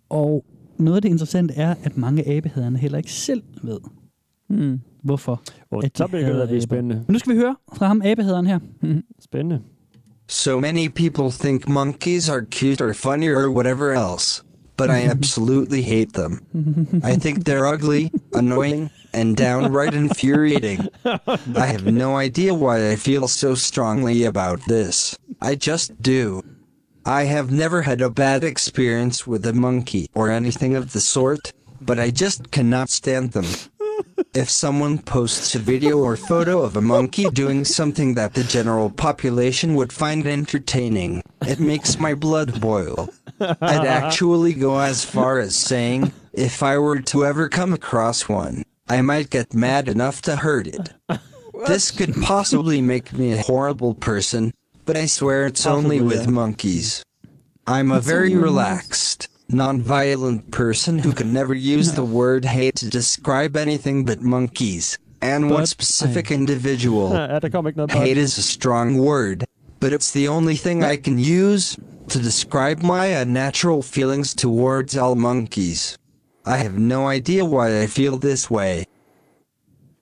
[SPEAKER 3] og noget af det interessante er, at mange abehaderne heller ikke selv ved,
[SPEAKER 4] Mm.
[SPEAKER 3] hvorfor.
[SPEAKER 2] Og
[SPEAKER 3] at de
[SPEAKER 2] så begynder det
[SPEAKER 3] hader
[SPEAKER 2] at blive
[SPEAKER 3] aber.
[SPEAKER 2] spændende. Mm.
[SPEAKER 3] Men nu skal vi høre fra ham, abehaderen her.
[SPEAKER 2] Spændende.
[SPEAKER 11] So many people think monkeys are cute or funny or whatever else, but I absolutely hate them. I think they're ugly, annoying, and downright infuriating. I have no idea why I feel so strongly about this. I just do. I have never had a bad experience with a monkey or anything of the sort, but I just cannot stand them. If someone posts a video or photo of a monkey doing something that the general population would find entertaining, it makes my blood boil. I'd actually go as far as saying, if I were to ever come across one, I might get mad enough to hurt it. This could possibly make me a horrible person, but I swear it's only
[SPEAKER 12] Possibly,
[SPEAKER 11] with
[SPEAKER 12] yeah.
[SPEAKER 11] monkeys. I'm a
[SPEAKER 12] That's
[SPEAKER 11] very
[SPEAKER 12] only with monkeys.
[SPEAKER 11] relaxed, non-violent person who can never use the word hate to describe anything but monkeys and one
[SPEAKER 2] But-
[SPEAKER 11] specific individual.
[SPEAKER 2] Ja, der kom ikke noget
[SPEAKER 11] Hate is a strong word, but it's the only thing I can use to describe my unnatural feelings towards all monkeys. I have no idea why I feel this way.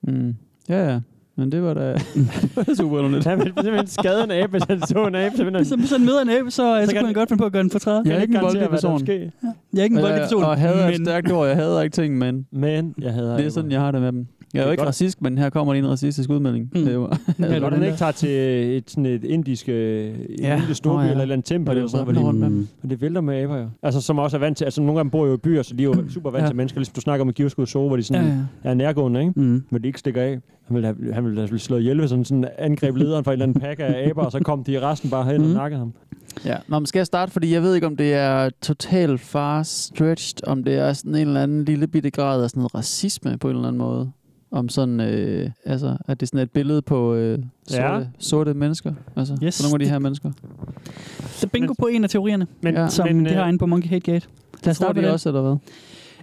[SPEAKER 4] Mm. Ja, ja. Men det var da super underligt.
[SPEAKER 2] Han ville simpelthen skade en abe, hvis han så en abe. Så
[SPEAKER 3] Hvis han møder en abe, så, øh, så, så
[SPEAKER 2] kan
[SPEAKER 3] kunne han godt finde på at gøre den for 30.
[SPEAKER 4] Jeg er ikke en voldelig person.
[SPEAKER 2] Jeg
[SPEAKER 3] Jeg er ikke en
[SPEAKER 4] Og
[SPEAKER 3] voldelig
[SPEAKER 2] Øh,
[SPEAKER 3] person.
[SPEAKER 4] Og hader er et
[SPEAKER 3] men-
[SPEAKER 4] stærkt ord. Jeg hader ikke ting, men...
[SPEAKER 2] Men jeg hader
[SPEAKER 4] Det er sådan, jeg har det med dem. Jeg er
[SPEAKER 2] Det
[SPEAKER 4] jo
[SPEAKER 2] er
[SPEAKER 4] ikke
[SPEAKER 2] godt.
[SPEAKER 4] racist, men her kommer lige en racistisk udmelding. Mm. Det var,
[SPEAKER 2] Ja, når den ikke tager til et, sådan et indisk øh,
[SPEAKER 4] Ja.
[SPEAKER 2] ja. lille storby
[SPEAKER 4] Nå,
[SPEAKER 2] oh,
[SPEAKER 4] ja.
[SPEAKER 2] ja. eller et eller andet tempel,
[SPEAKER 4] Hvor det
[SPEAKER 2] eller sådan
[SPEAKER 4] vrimler
[SPEAKER 2] noget, hvor
[SPEAKER 4] rundt med
[SPEAKER 2] de, hvor Mm. det vælter med aber jo. Altså, som også er vant til, altså nogle af dem bor jo i byer, så de er jo super vant
[SPEAKER 4] Ja.
[SPEAKER 2] ja. til mennesker, ligesom du snakker om i Giveskud Zoo, hvor de sådan
[SPEAKER 4] Ja,
[SPEAKER 2] ja, ja. er nærgående, ikke?
[SPEAKER 3] Mm.
[SPEAKER 2] Men de ikke stikker af. Han ville, have, han ville have slået ihjel, hvis han sådan angreb lederen fra en eller anden pakke af aber, og så kom de resten bare hen mm. og nakkede ham.
[SPEAKER 4] Ja. Nå, men skal jeg starte? Fordi jeg ved ikke, om det er totalt far stretched, om det er sådan en eller anden lille bitte grad af sådan noget racisme på en eller anden måde. Om sådan, øh, altså, at det er sådan et billede på øh, sorte, ja.
[SPEAKER 2] Ja.
[SPEAKER 4] sorte mennesker. Altså, yes,
[SPEAKER 3] Yes,
[SPEAKER 4] for nogle af de
[SPEAKER 3] det-
[SPEAKER 4] her mennesker.
[SPEAKER 3] Så bingo på en af teorierne,
[SPEAKER 2] Men-
[SPEAKER 3] men,
[SPEAKER 2] Ja.
[SPEAKER 3] som
[SPEAKER 2] men,
[SPEAKER 3] men, det har
[SPEAKER 2] øh,
[SPEAKER 3] inde på Monkey Hate Gate. Lad os
[SPEAKER 4] Tror
[SPEAKER 3] starte
[SPEAKER 4] de
[SPEAKER 3] med
[SPEAKER 4] også, eller hvad?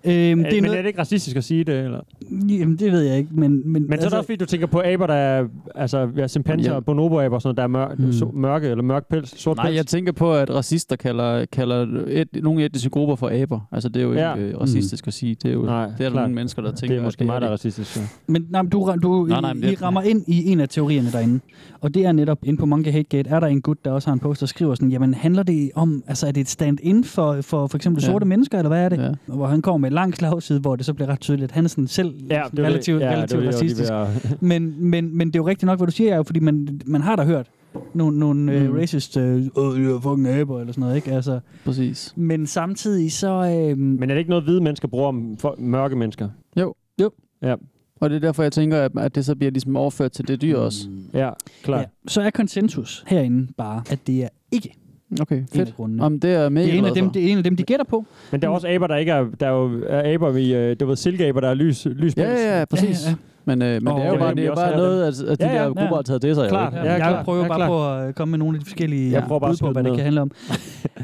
[SPEAKER 3] Øhm,
[SPEAKER 2] Men,
[SPEAKER 3] det er
[SPEAKER 2] er
[SPEAKER 3] noget,
[SPEAKER 2] det ikke racistisk at sige det, eller?
[SPEAKER 3] jamen, det ved jeg ikke, men... Men,
[SPEAKER 2] Men altså, så er det også, fordi du tænker på aber, der er, altså, ja, chimpanser
[SPEAKER 4] Ja.
[SPEAKER 2] og bonoboaber, og sådan noget, der er mør-
[SPEAKER 4] Mm.
[SPEAKER 2] so- mørke eller mørk pels, sort
[SPEAKER 4] Nej,
[SPEAKER 2] pels.
[SPEAKER 4] jeg tænker på, at racister kalder, kalder et, nogle etniske grupper for aber. Altså, det er jo
[SPEAKER 2] Ja.
[SPEAKER 4] ikke
[SPEAKER 3] Mm.
[SPEAKER 4] øh, racistisk at sige. Det er jo
[SPEAKER 2] Nej,
[SPEAKER 4] det er der
[SPEAKER 2] klart.
[SPEAKER 4] nogle mennesker, der
[SPEAKER 2] Det er
[SPEAKER 4] tænker. at
[SPEAKER 2] måske mig, der er
[SPEAKER 4] det.
[SPEAKER 2] racistisk. Ja.
[SPEAKER 3] Men nej, men du, ra- du nej,
[SPEAKER 4] Nej, nej,
[SPEAKER 3] nej,
[SPEAKER 4] men
[SPEAKER 3] I
[SPEAKER 4] det-
[SPEAKER 3] rammer ind i en af teorierne derinde. Og det er netop, inde på Monkey Hate Gate, er der en gut, der også har en post, der skriver sådan, jamen handler det om, altså er det et stand-in for for, for eksempel
[SPEAKER 2] Ja.
[SPEAKER 3] sorte mennesker, eller hvad er det?
[SPEAKER 4] Ja.
[SPEAKER 3] Hvor han kommer med en lang slagside, hvor det så bliver ret tydeligt, at han er sådan selv ja,
[SPEAKER 2] det var det.
[SPEAKER 3] relativt,
[SPEAKER 2] Ja, det var
[SPEAKER 3] relativt
[SPEAKER 2] det, jeg var lige
[SPEAKER 3] racistisk.
[SPEAKER 2] ved at-
[SPEAKER 3] men, men, men det er jo rigtigt nok, hvad du siger, Jacob, fordi man, man har da hørt nogle, nogle mm. øh,
[SPEAKER 4] Mm.
[SPEAKER 3] racist, øh, øh, you are fucking aber, eller sådan noget, ikke? Altså,
[SPEAKER 4] Præcis.
[SPEAKER 3] Men samtidig så... Øh,
[SPEAKER 2] Men er det ikke noget, hvide mennesker bruger om folk, mørke mennesker?
[SPEAKER 4] Jo.
[SPEAKER 3] Jo.
[SPEAKER 2] Ja.
[SPEAKER 4] Og det er derfor, jeg tænker, at, at det så bliver ligesom overført til det dyr også.
[SPEAKER 2] Ja, klart.
[SPEAKER 3] Mm. Ja, så er konsensus herinde bare, at det er ikke
[SPEAKER 4] Okay,
[SPEAKER 3] en af grundene.
[SPEAKER 4] Om det er med
[SPEAKER 3] det er en af dem, det er en af dem, de gætter på.
[SPEAKER 2] Men der er også aber, der ikke er... Der er jo er aber i... øh, Du ved, silkeaber, der er lys, lys
[SPEAKER 4] Ja, ja, ja, præcis. Ja, ja. Men, øh, men det er jo bare, det er bare noget, altså, at, at de ja, ja, der grupper har taget til sig. jo,
[SPEAKER 2] Klart.
[SPEAKER 4] ikke?
[SPEAKER 2] Ja, klart.
[SPEAKER 3] Jeg prøver
[SPEAKER 2] Ja,
[SPEAKER 3] bare
[SPEAKER 2] klart.
[SPEAKER 3] på at komme med nogle af de forskellige
[SPEAKER 2] Jeg prøver bare
[SPEAKER 3] bud
[SPEAKER 2] at
[SPEAKER 3] på,
[SPEAKER 2] skyde
[SPEAKER 3] hvad det
[SPEAKER 2] ned.
[SPEAKER 3] kan handle om.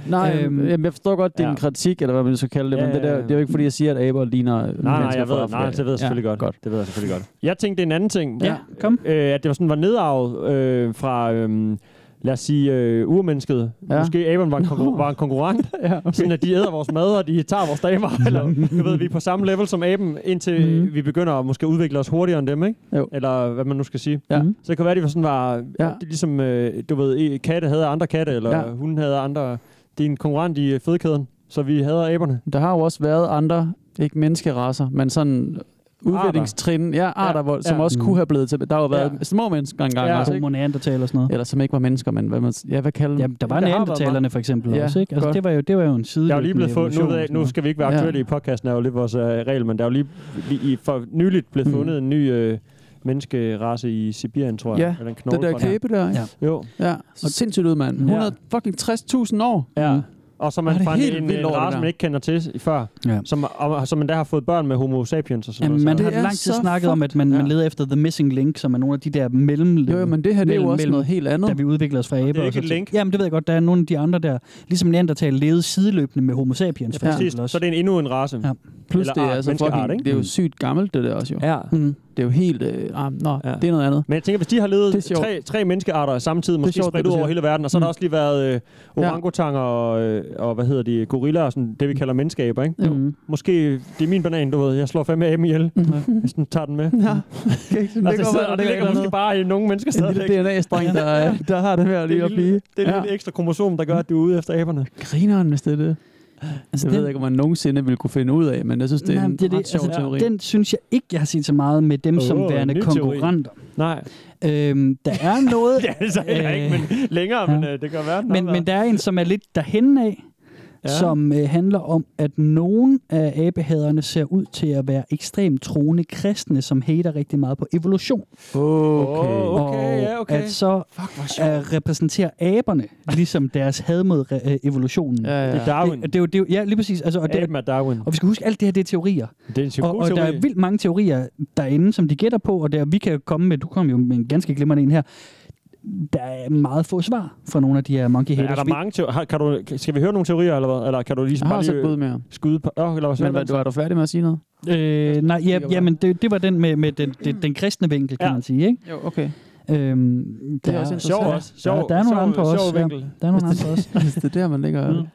[SPEAKER 4] Nej,
[SPEAKER 3] Øhm,
[SPEAKER 4] øhm, jeg forstår godt din ja.
[SPEAKER 2] ja.
[SPEAKER 4] kritik, eller hvad man nu skal kalde det, ja, men det, der, det er jo ikke, fordi jeg siger, at aber ligner mennesker
[SPEAKER 2] Nej, nej, jeg
[SPEAKER 4] fra
[SPEAKER 2] ved,
[SPEAKER 4] Afrika.
[SPEAKER 2] nej, det ved jeg selvfølgelig godt. godt. Det ved jeg selvfølgelig godt. Jeg tænkte en anden ting.
[SPEAKER 3] Ja, kom.
[SPEAKER 2] Øh, at det var sådan var nedarvet øh, fra, øh, lad os sige, øh, urmennesket.
[SPEAKER 4] Ja.
[SPEAKER 2] Ja. Måske Abram var en, konkur- var en konkurrent.
[SPEAKER 4] ja, okay.
[SPEAKER 2] Sådan at de æder vores mad, og de tager vores damer. Eller, du ved, vi er på samme level som aben, indtil mm. vi begynder at måske udvikle os hurtigere end dem, ikke?
[SPEAKER 4] Mhm. Jo.
[SPEAKER 2] Eller hvad man nu skal sige.
[SPEAKER 4] Ja.
[SPEAKER 2] Så det kan være, at de var sådan var,
[SPEAKER 4] Ja.
[SPEAKER 2] ja. ligesom, øh, du ved, eh, katte havde andre katte, eller
[SPEAKER 4] Ja.
[SPEAKER 2] ja. hunden havde andre. Det er en konkurrent i øh, fødekæden, så vi hader aberne.
[SPEAKER 4] Der har jo også været andre, ikke menneskeraser, men sådan udviklingstrin, ja, arter, ja, hvor, som også kunne have blevet til. Der har jo været
[SPEAKER 3] Ja.
[SPEAKER 4] små mennesker engang
[SPEAKER 3] Ja.
[SPEAKER 4] også,
[SPEAKER 3] Homo
[SPEAKER 4] ikke?
[SPEAKER 3] neandertaler og sådan noget.
[SPEAKER 4] Eller som ikke var mennesker, men hvad man, ja, hvad kalder
[SPEAKER 3] Jamen, der var neandertalerne for eksempel
[SPEAKER 4] Ja,
[SPEAKER 3] også, ikke? Altså,
[SPEAKER 4] godt.
[SPEAKER 3] det var jo, det var jo en side.
[SPEAKER 2] Der er jo lige blevet fund, nu, ved jeg, nu skal vi ikke være aktuelle ja. i podcasten, er jo lidt vores uh, regel, men der er jo lige, lige i, for nyligt blevet
[SPEAKER 4] Mm.
[SPEAKER 2] fundet en ny uh, menneskerace i Sibirien, tror jeg.
[SPEAKER 4] Ja,
[SPEAKER 2] eller en knogle
[SPEAKER 4] det der
[SPEAKER 2] fra den.
[SPEAKER 4] kæbe der, ikke?
[SPEAKER 2] Ja. Jo.
[SPEAKER 4] Ja, og sindssygt ud, mand. 100 fucking 60.000 år.
[SPEAKER 2] Ja. Og så man
[SPEAKER 4] Var det
[SPEAKER 2] fandt
[SPEAKER 4] helt
[SPEAKER 2] en,
[SPEAKER 4] vildt
[SPEAKER 2] en
[SPEAKER 4] lort, det
[SPEAKER 2] race,
[SPEAKER 4] der?
[SPEAKER 2] man ikke kender til s- før,
[SPEAKER 3] ja.
[SPEAKER 2] som, og, og, som man der har fået børn med homo sapiens og sådan
[SPEAKER 3] Jamen,
[SPEAKER 2] noget.
[SPEAKER 3] man
[SPEAKER 2] så-
[SPEAKER 3] har lang tid snakket om, at man, man leder efter the missing link, som er nogle af de der mellemled.
[SPEAKER 4] Jo, jo, men det her, det er jo også noget helt andet.
[SPEAKER 3] Da vi udvikler os fra aber.
[SPEAKER 2] ikke
[SPEAKER 3] og så
[SPEAKER 2] et
[SPEAKER 3] til-
[SPEAKER 2] link.
[SPEAKER 3] Jamen, det ved jeg godt. Der er nogle af de andre der, ligesom Neandertal, levede sideløbende med homo sapiens.
[SPEAKER 2] Ja,
[SPEAKER 3] for eksempel
[SPEAKER 2] præcis.
[SPEAKER 3] også.
[SPEAKER 2] Så er det er en, endnu en race.
[SPEAKER 3] Ja.
[SPEAKER 4] Plus
[SPEAKER 2] Eller
[SPEAKER 4] det er
[SPEAKER 2] art,
[SPEAKER 4] altså
[SPEAKER 2] menneskeart,
[SPEAKER 4] fucking,
[SPEAKER 2] ikke?
[SPEAKER 4] det er jo
[SPEAKER 2] Mm.
[SPEAKER 4] sygt gammelt, det der også jo.
[SPEAKER 2] Ja.
[SPEAKER 4] Mm. Det er jo helt, øh, ah, nå, ja. det er noget andet.
[SPEAKER 2] Men jeg tænker, hvis de har levet
[SPEAKER 4] sjovt.
[SPEAKER 2] tre, tre menneskearter samtidig,
[SPEAKER 4] Det er
[SPEAKER 2] måske
[SPEAKER 4] sjovt,
[SPEAKER 2] spredt
[SPEAKER 4] det
[SPEAKER 2] ud
[SPEAKER 4] du
[SPEAKER 2] over
[SPEAKER 4] siger.
[SPEAKER 2] hele verden, og så har
[SPEAKER 4] Mm.
[SPEAKER 2] der også lige været øh, orangutanger og, øh, og, hvad hedder de, gorillaer, og sådan det vi kalder menneskeaber, ikke? Mm.
[SPEAKER 4] Jo.
[SPEAKER 2] Måske, det er min banan, du ved, jeg slår fandme af ihjel, hvis den tager den med. Ja.
[SPEAKER 4] det
[SPEAKER 2] Altså, det sidder, og det ligger måske bare i nogle mennesker
[SPEAKER 4] En
[SPEAKER 2] stadigvæk.
[SPEAKER 4] lille DNA-streng, der, er-
[SPEAKER 3] øh,
[SPEAKER 4] der har det her lige at blive.
[SPEAKER 2] Det er lidt ekstra kromosom, der gør, at du er ude efter aberne.
[SPEAKER 4] Grineren, hvis det er det. Altså, jeg
[SPEAKER 3] den-
[SPEAKER 4] ved ikke, om man nogensinde ville kunne finde ud af, men jeg synes, det er
[SPEAKER 3] Nej,
[SPEAKER 4] en
[SPEAKER 3] men det er det.
[SPEAKER 4] ret sjov
[SPEAKER 3] Altså,
[SPEAKER 4] teori.
[SPEAKER 3] Den synes jeg ikke, jeg har set så meget med dem oh, som
[SPEAKER 2] Åh,
[SPEAKER 3] værende
[SPEAKER 2] en ny teori.
[SPEAKER 3] konkurrenter.
[SPEAKER 2] Nej.
[SPEAKER 3] Øhm, der er noget...
[SPEAKER 2] ja, det er så heller ikke, men længere, men øh, det gør verden.
[SPEAKER 3] men, men der er en, som er lidt derhen af,
[SPEAKER 2] Ja.
[SPEAKER 3] ja. som øh, handler om, at nogen af abehaderne ser ud til at være ekstremt troende kristne, som hater rigtig meget på evolution.
[SPEAKER 4] Okay.
[SPEAKER 2] Åh, okay,
[SPEAKER 3] og
[SPEAKER 2] ja, okay.
[SPEAKER 3] at så Fuck, at repræsenterer aberne ligesom deres had mod re- øh, evolutionen.
[SPEAKER 2] Ja, ja. Det er Darwin.
[SPEAKER 3] Det, det, er jo- det, er jo- ja, lige præcis. Altså, og, det,
[SPEAKER 2] Aben er Darwin.
[SPEAKER 3] og vi skal huske, alt det her, det er teorier.
[SPEAKER 2] Det er en
[SPEAKER 3] og,
[SPEAKER 2] god
[SPEAKER 3] og der
[SPEAKER 2] teori.
[SPEAKER 3] er vildt mange teorier derinde, som de gætter på, og der, vi kan jo komme med, du kom jo med en ganske glimrende en her, der er meget få svar fra nogle af de her monkey
[SPEAKER 2] Men
[SPEAKER 3] haters.
[SPEAKER 2] er der
[SPEAKER 3] Vi-
[SPEAKER 2] mange teorier? Kan du, kan- skal vi høre nogle teorier, eller hvad? Eller kan du lige
[SPEAKER 4] Jeg har
[SPEAKER 2] bare
[SPEAKER 4] også et
[SPEAKER 2] lige
[SPEAKER 4] bud mere.
[SPEAKER 2] skyde på? Oh, eller hvad,
[SPEAKER 4] Men var, var du færdig med at sige noget?
[SPEAKER 3] Øh, nej, ja, jamen, det, det var den med, med den, den, den kristne vinkel, kan ja. man sige, ikke?
[SPEAKER 4] Jo, okay.
[SPEAKER 3] Øhm,
[SPEAKER 4] Det er
[SPEAKER 3] der-
[SPEAKER 4] også interessant.
[SPEAKER 3] der-
[SPEAKER 4] Sjov også.
[SPEAKER 3] Der,
[SPEAKER 4] Sjov-
[SPEAKER 3] der er nogle
[SPEAKER 4] sjov-
[SPEAKER 3] andre
[SPEAKER 4] sjov
[SPEAKER 3] også. Ja,
[SPEAKER 4] vinkel.
[SPEAKER 3] der er nogle andre også.
[SPEAKER 4] Hvis det er der, man ligger... Mm.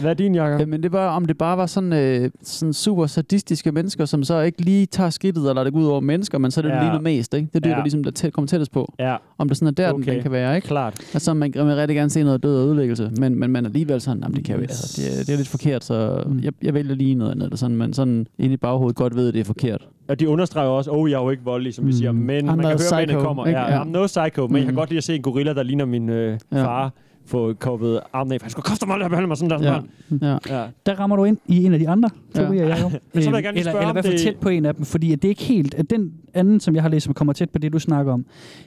[SPEAKER 2] Hvad er din, Jacob?
[SPEAKER 4] Men det var, om det bare var sådan, øh, sådan super sadistiske mennesker, som så ikke lige tager skridtet og lader det gå ud over mennesker, men så er det
[SPEAKER 2] Ja.
[SPEAKER 4] ja. lige noget mest, ikke? Det er det,
[SPEAKER 2] Ja.
[SPEAKER 4] ja. der ligesom der tæt, kommer tættest på.
[SPEAKER 2] Ja.
[SPEAKER 4] Om det sådan er der, okay.
[SPEAKER 2] Okay.
[SPEAKER 4] den, den kan være, ikke?
[SPEAKER 2] Klart.
[SPEAKER 4] Altså, man, man vil rigtig gerne se noget død og ødelæggelse, men, men man er alligevel sådan, jamen, det kan jo altså, det, er- det er lidt forkert, så
[SPEAKER 3] Mm.
[SPEAKER 4] jeg, jeg vælger lige noget andet, eller sådan, men sådan inde i baghovedet godt ved, at det er forkert.
[SPEAKER 2] Og de understreger jo også, oh, jeg er jo ikke voldelig, som vi siger, men
[SPEAKER 4] Mm. I'm
[SPEAKER 2] man kan
[SPEAKER 4] not
[SPEAKER 2] høre,
[SPEAKER 4] psycho,
[SPEAKER 2] psycho, kommer.
[SPEAKER 4] ikke?
[SPEAKER 2] Ja,
[SPEAKER 4] Ja.
[SPEAKER 2] I'm no psycho, men jeg kan
[SPEAKER 4] Mm.
[SPEAKER 2] godt lide at se en gorilla, der ligner min øh,
[SPEAKER 4] Ja.
[SPEAKER 2] far, få koppet armen af. Han skulle kræfte mig, at behandle mig sådan der.
[SPEAKER 4] Ja.
[SPEAKER 2] Sådan
[SPEAKER 4] Ja.
[SPEAKER 2] der. Ja.
[SPEAKER 3] Der rammer du ind i en af de andre teorier, ja. Jacob.
[SPEAKER 2] Men så vil jeg gerne lige
[SPEAKER 3] Øhm, eller,
[SPEAKER 2] spørge,
[SPEAKER 3] eller
[SPEAKER 2] om
[SPEAKER 3] i hvert fald
[SPEAKER 2] det-
[SPEAKER 3] tæt på en af dem, fordi at det er ikke helt... At den anden, som jeg har læst, som kommer tæt på det, du snakker om,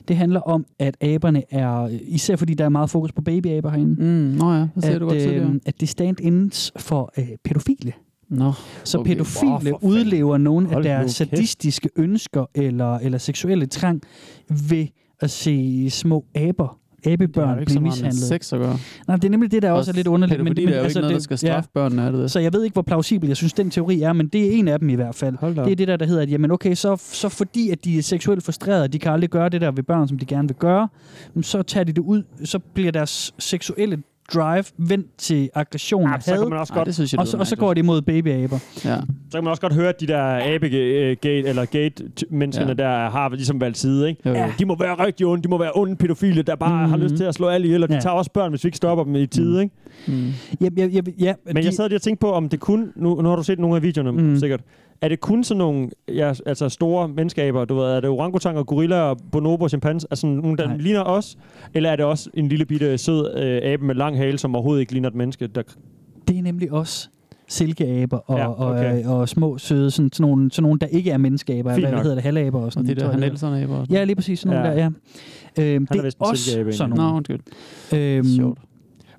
[SPEAKER 3] det handler om, at aberne er... Især fordi der er meget fokus på babyaber herinde.
[SPEAKER 4] Mm, nå ja, det
[SPEAKER 3] at,
[SPEAKER 4] sagde
[SPEAKER 3] øhm,
[SPEAKER 4] du godt tidligere.
[SPEAKER 3] at det er stand-ins for øh, pædofile.
[SPEAKER 4] Nå,
[SPEAKER 3] Så
[SPEAKER 4] okay.
[SPEAKER 3] okay.
[SPEAKER 4] Åh, for
[SPEAKER 3] pædofile
[SPEAKER 4] fanden.
[SPEAKER 3] udlever nogle af
[SPEAKER 4] Hold nu
[SPEAKER 3] deres
[SPEAKER 4] kæft.
[SPEAKER 3] sadistiske ønsker eller, eller seksuelle trang ved at se små aber,
[SPEAKER 4] har
[SPEAKER 3] abebørn
[SPEAKER 4] jo
[SPEAKER 3] blive
[SPEAKER 4] ikke så meget med
[SPEAKER 3] mishandlet.
[SPEAKER 4] sex at gøre.
[SPEAKER 3] Nej, det er nemlig det, der også er lidt underligt. altså,
[SPEAKER 4] Pædofili er jo ikke noget, der skal straffe børnene, er det det?
[SPEAKER 3] Så jeg ved ikke, hvor plausibel jeg synes, den teori er, men det er en af dem i hvert fald.
[SPEAKER 4] op.
[SPEAKER 3] Det er det der, der hedder, at jamen, okay, så, så fordi at de er seksuelt frustrerede, og de kan aldrig gøre det der ved børn, som de gerne vil gøre, jamen, så tager de det ud, så bliver deres seksuelle drive vendt til aggression
[SPEAKER 2] Ja,
[SPEAKER 3] og
[SPEAKER 2] så
[SPEAKER 3] had,
[SPEAKER 2] kan man også godt- Ej, det synes jeg
[SPEAKER 3] og,
[SPEAKER 2] lyder
[SPEAKER 3] så, og så
[SPEAKER 2] mærkeligt.
[SPEAKER 3] går det imod babyaber.
[SPEAKER 4] Ja.
[SPEAKER 2] Så kan man også godt høre, at de der abe-gate, øh, eller gate-menneskerne
[SPEAKER 4] Ja.
[SPEAKER 2] ja. der har ligesom valgt side, ikke?
[SPEAKER 4] Jo, Mm. jo.
[SPEAKER 2] De må være rigtig onde, de må være onde pædofile, der bare mm-hmm. har lyst til at slå alle ihjel, og de
[SPEAKER 3] Ja.
[SPEAKER 2] tager også børn, hvis vi ikke stopper dem i
[SPEAKER 4] Mm.
[SPEAKER 2] tide, ikke?
[SPEAKER 3] Ja, ja, ja, ja,
[SPEAKER 2] Men jeg sad lige og tænkte på, om det kun... Nu, nu har du set nogle af videoerne, mm. sikkert. Er det kun sådan nogle ja, altså store menneskeaber? Du ved, er det orangutanger, gorillaer, bonobo, chimpanse? Altså nogle, der Nej. ligner os? Eller er det også en lille bitte sød øh, abe med lang hale, som overhovedet ikke ligner et menneske? Der...
[SPEAKER 3] Det er nemlig os silkeaber og,
[SPEAKER 2] Ja,
[SPEAKER 3] ja, okay.
[SPEAKER 2] okay.
[SPEAKER 3] og, og, små søde, sådan, sådan, nogle, sådan nogle, der ikke er menneskeaber,
[SPEAKER 2] Fint
[SPEAKER 3] hvad,
[SPEAKER 2] nok.
[SPEAKER 3] hvad hedder det, halvaber og sådan
[SPEAKER 4] Og de
[SPEAKER 3] noget, tror
[SPEAKER 4] der
[SPEAKER 3] jeg, det hedder.
[SPEAKER 4] Hanelson-aber og sådan
[SPEAKER 3] Ja, lige præcis sådan nogle
[SPEAKER 2] Ja.
[SPEAKER 3] ja. der, ja. Øhm, det
[SPEAKER 2] Han er
[SPEAKER 3] er
[SPEAKER 2] vist en
[SPEAKER 3] også
[SPEAKER 2] silkeabe,
[SPEAKER 3] sådan
[SPEAKER 2] egentlig.
[SPEAKER 3] nogle.
[SPEAKER 4] Nå, undskyld.
[SPEAKER 3] Øhm,
[SPEAKER 4] Sjovt.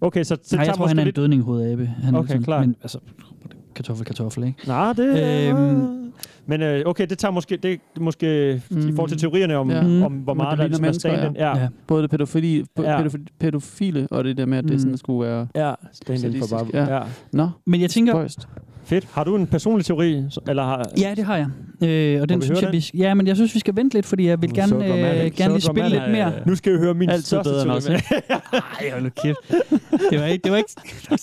[SPEAKER 2] Okay, så det
[SPEAKER 3] Nej,
[SPEAKER 2] tager
[SPEAKER 3] jeg tror, han
[SPEAKER 2] måske
[SPEAKER 3] er en
[SPEAKER 2] lidt-
[SPEAKER 3] dødning hovedabe. Han
[SPEAKER 2] Okay, klart.
[SPEAKER 3] Men altså, kartoffel, kartoffel, ikke?
[SPEAKER 2] Nej, det...
[SPEAKER 3] Øhm.
[SPEAKER 2] Øhm. Men øh, okay, det tager måske... Det, er måske mm. I forhold til teorierne om,
[SPEAKER 4] Ja.
[SPEAKER 2] ja. om hvor
[SPEAKER 4] Men det
[SPEAKER 2] meget der
[SPEAKER 4] ligner
[SPEAKER 2] ligesom er
[SPEAKER 4] mennesker,
[SPEAKER 2] stand
[SPEAKER 4] ja.
[SPEAKER 2] ja. ja.
[SPEAKER 4] Både det pædofili,
[SPEAKER 2] Ja.
[SPEAKER 4] ja. pædofile, og det der med, at det
[SPEAKER 2] Mm.
[SPEAKER 4] sådan skulle være...
[SPEAKER 2] Ja, stand-in for bare...
[SPEAKER 4] sadistisk.
[SPEAKER 2] Ja.
[SPEAKER 4] Ja.
[SPEAKER 2] ja.
[SPEAKER 4] Nå,
[SPEAKER 3] Men jeg tænker...
[SPEAKER 4] spøjst.
[SPEAKER 2] Fedt. Har du en personlig teori? så- Eller har...
[SPEAKER 3] Ja, det har jeg. Øh, og den
[SPEAKER 2] vi
[SPEAKER 3] synes
[SPEAKER 2] høre
[SPEAKER 3] jeg, vi, sk- ja, men jeg synes, vi skal vente lidt, fordi jeg vil gerne, øh, gerne lige spille lidt mere.
[SPEAKER 2] Nu skal vi høre min
[SPEAKER 4] Altid
[SPEAKER 2] største
[SPEAKER 4] bedre end os,
[SPEAKER 2] teori.
[SPEAKER 3] Ej, hold nu kæft. Det var ikke... Det var ikke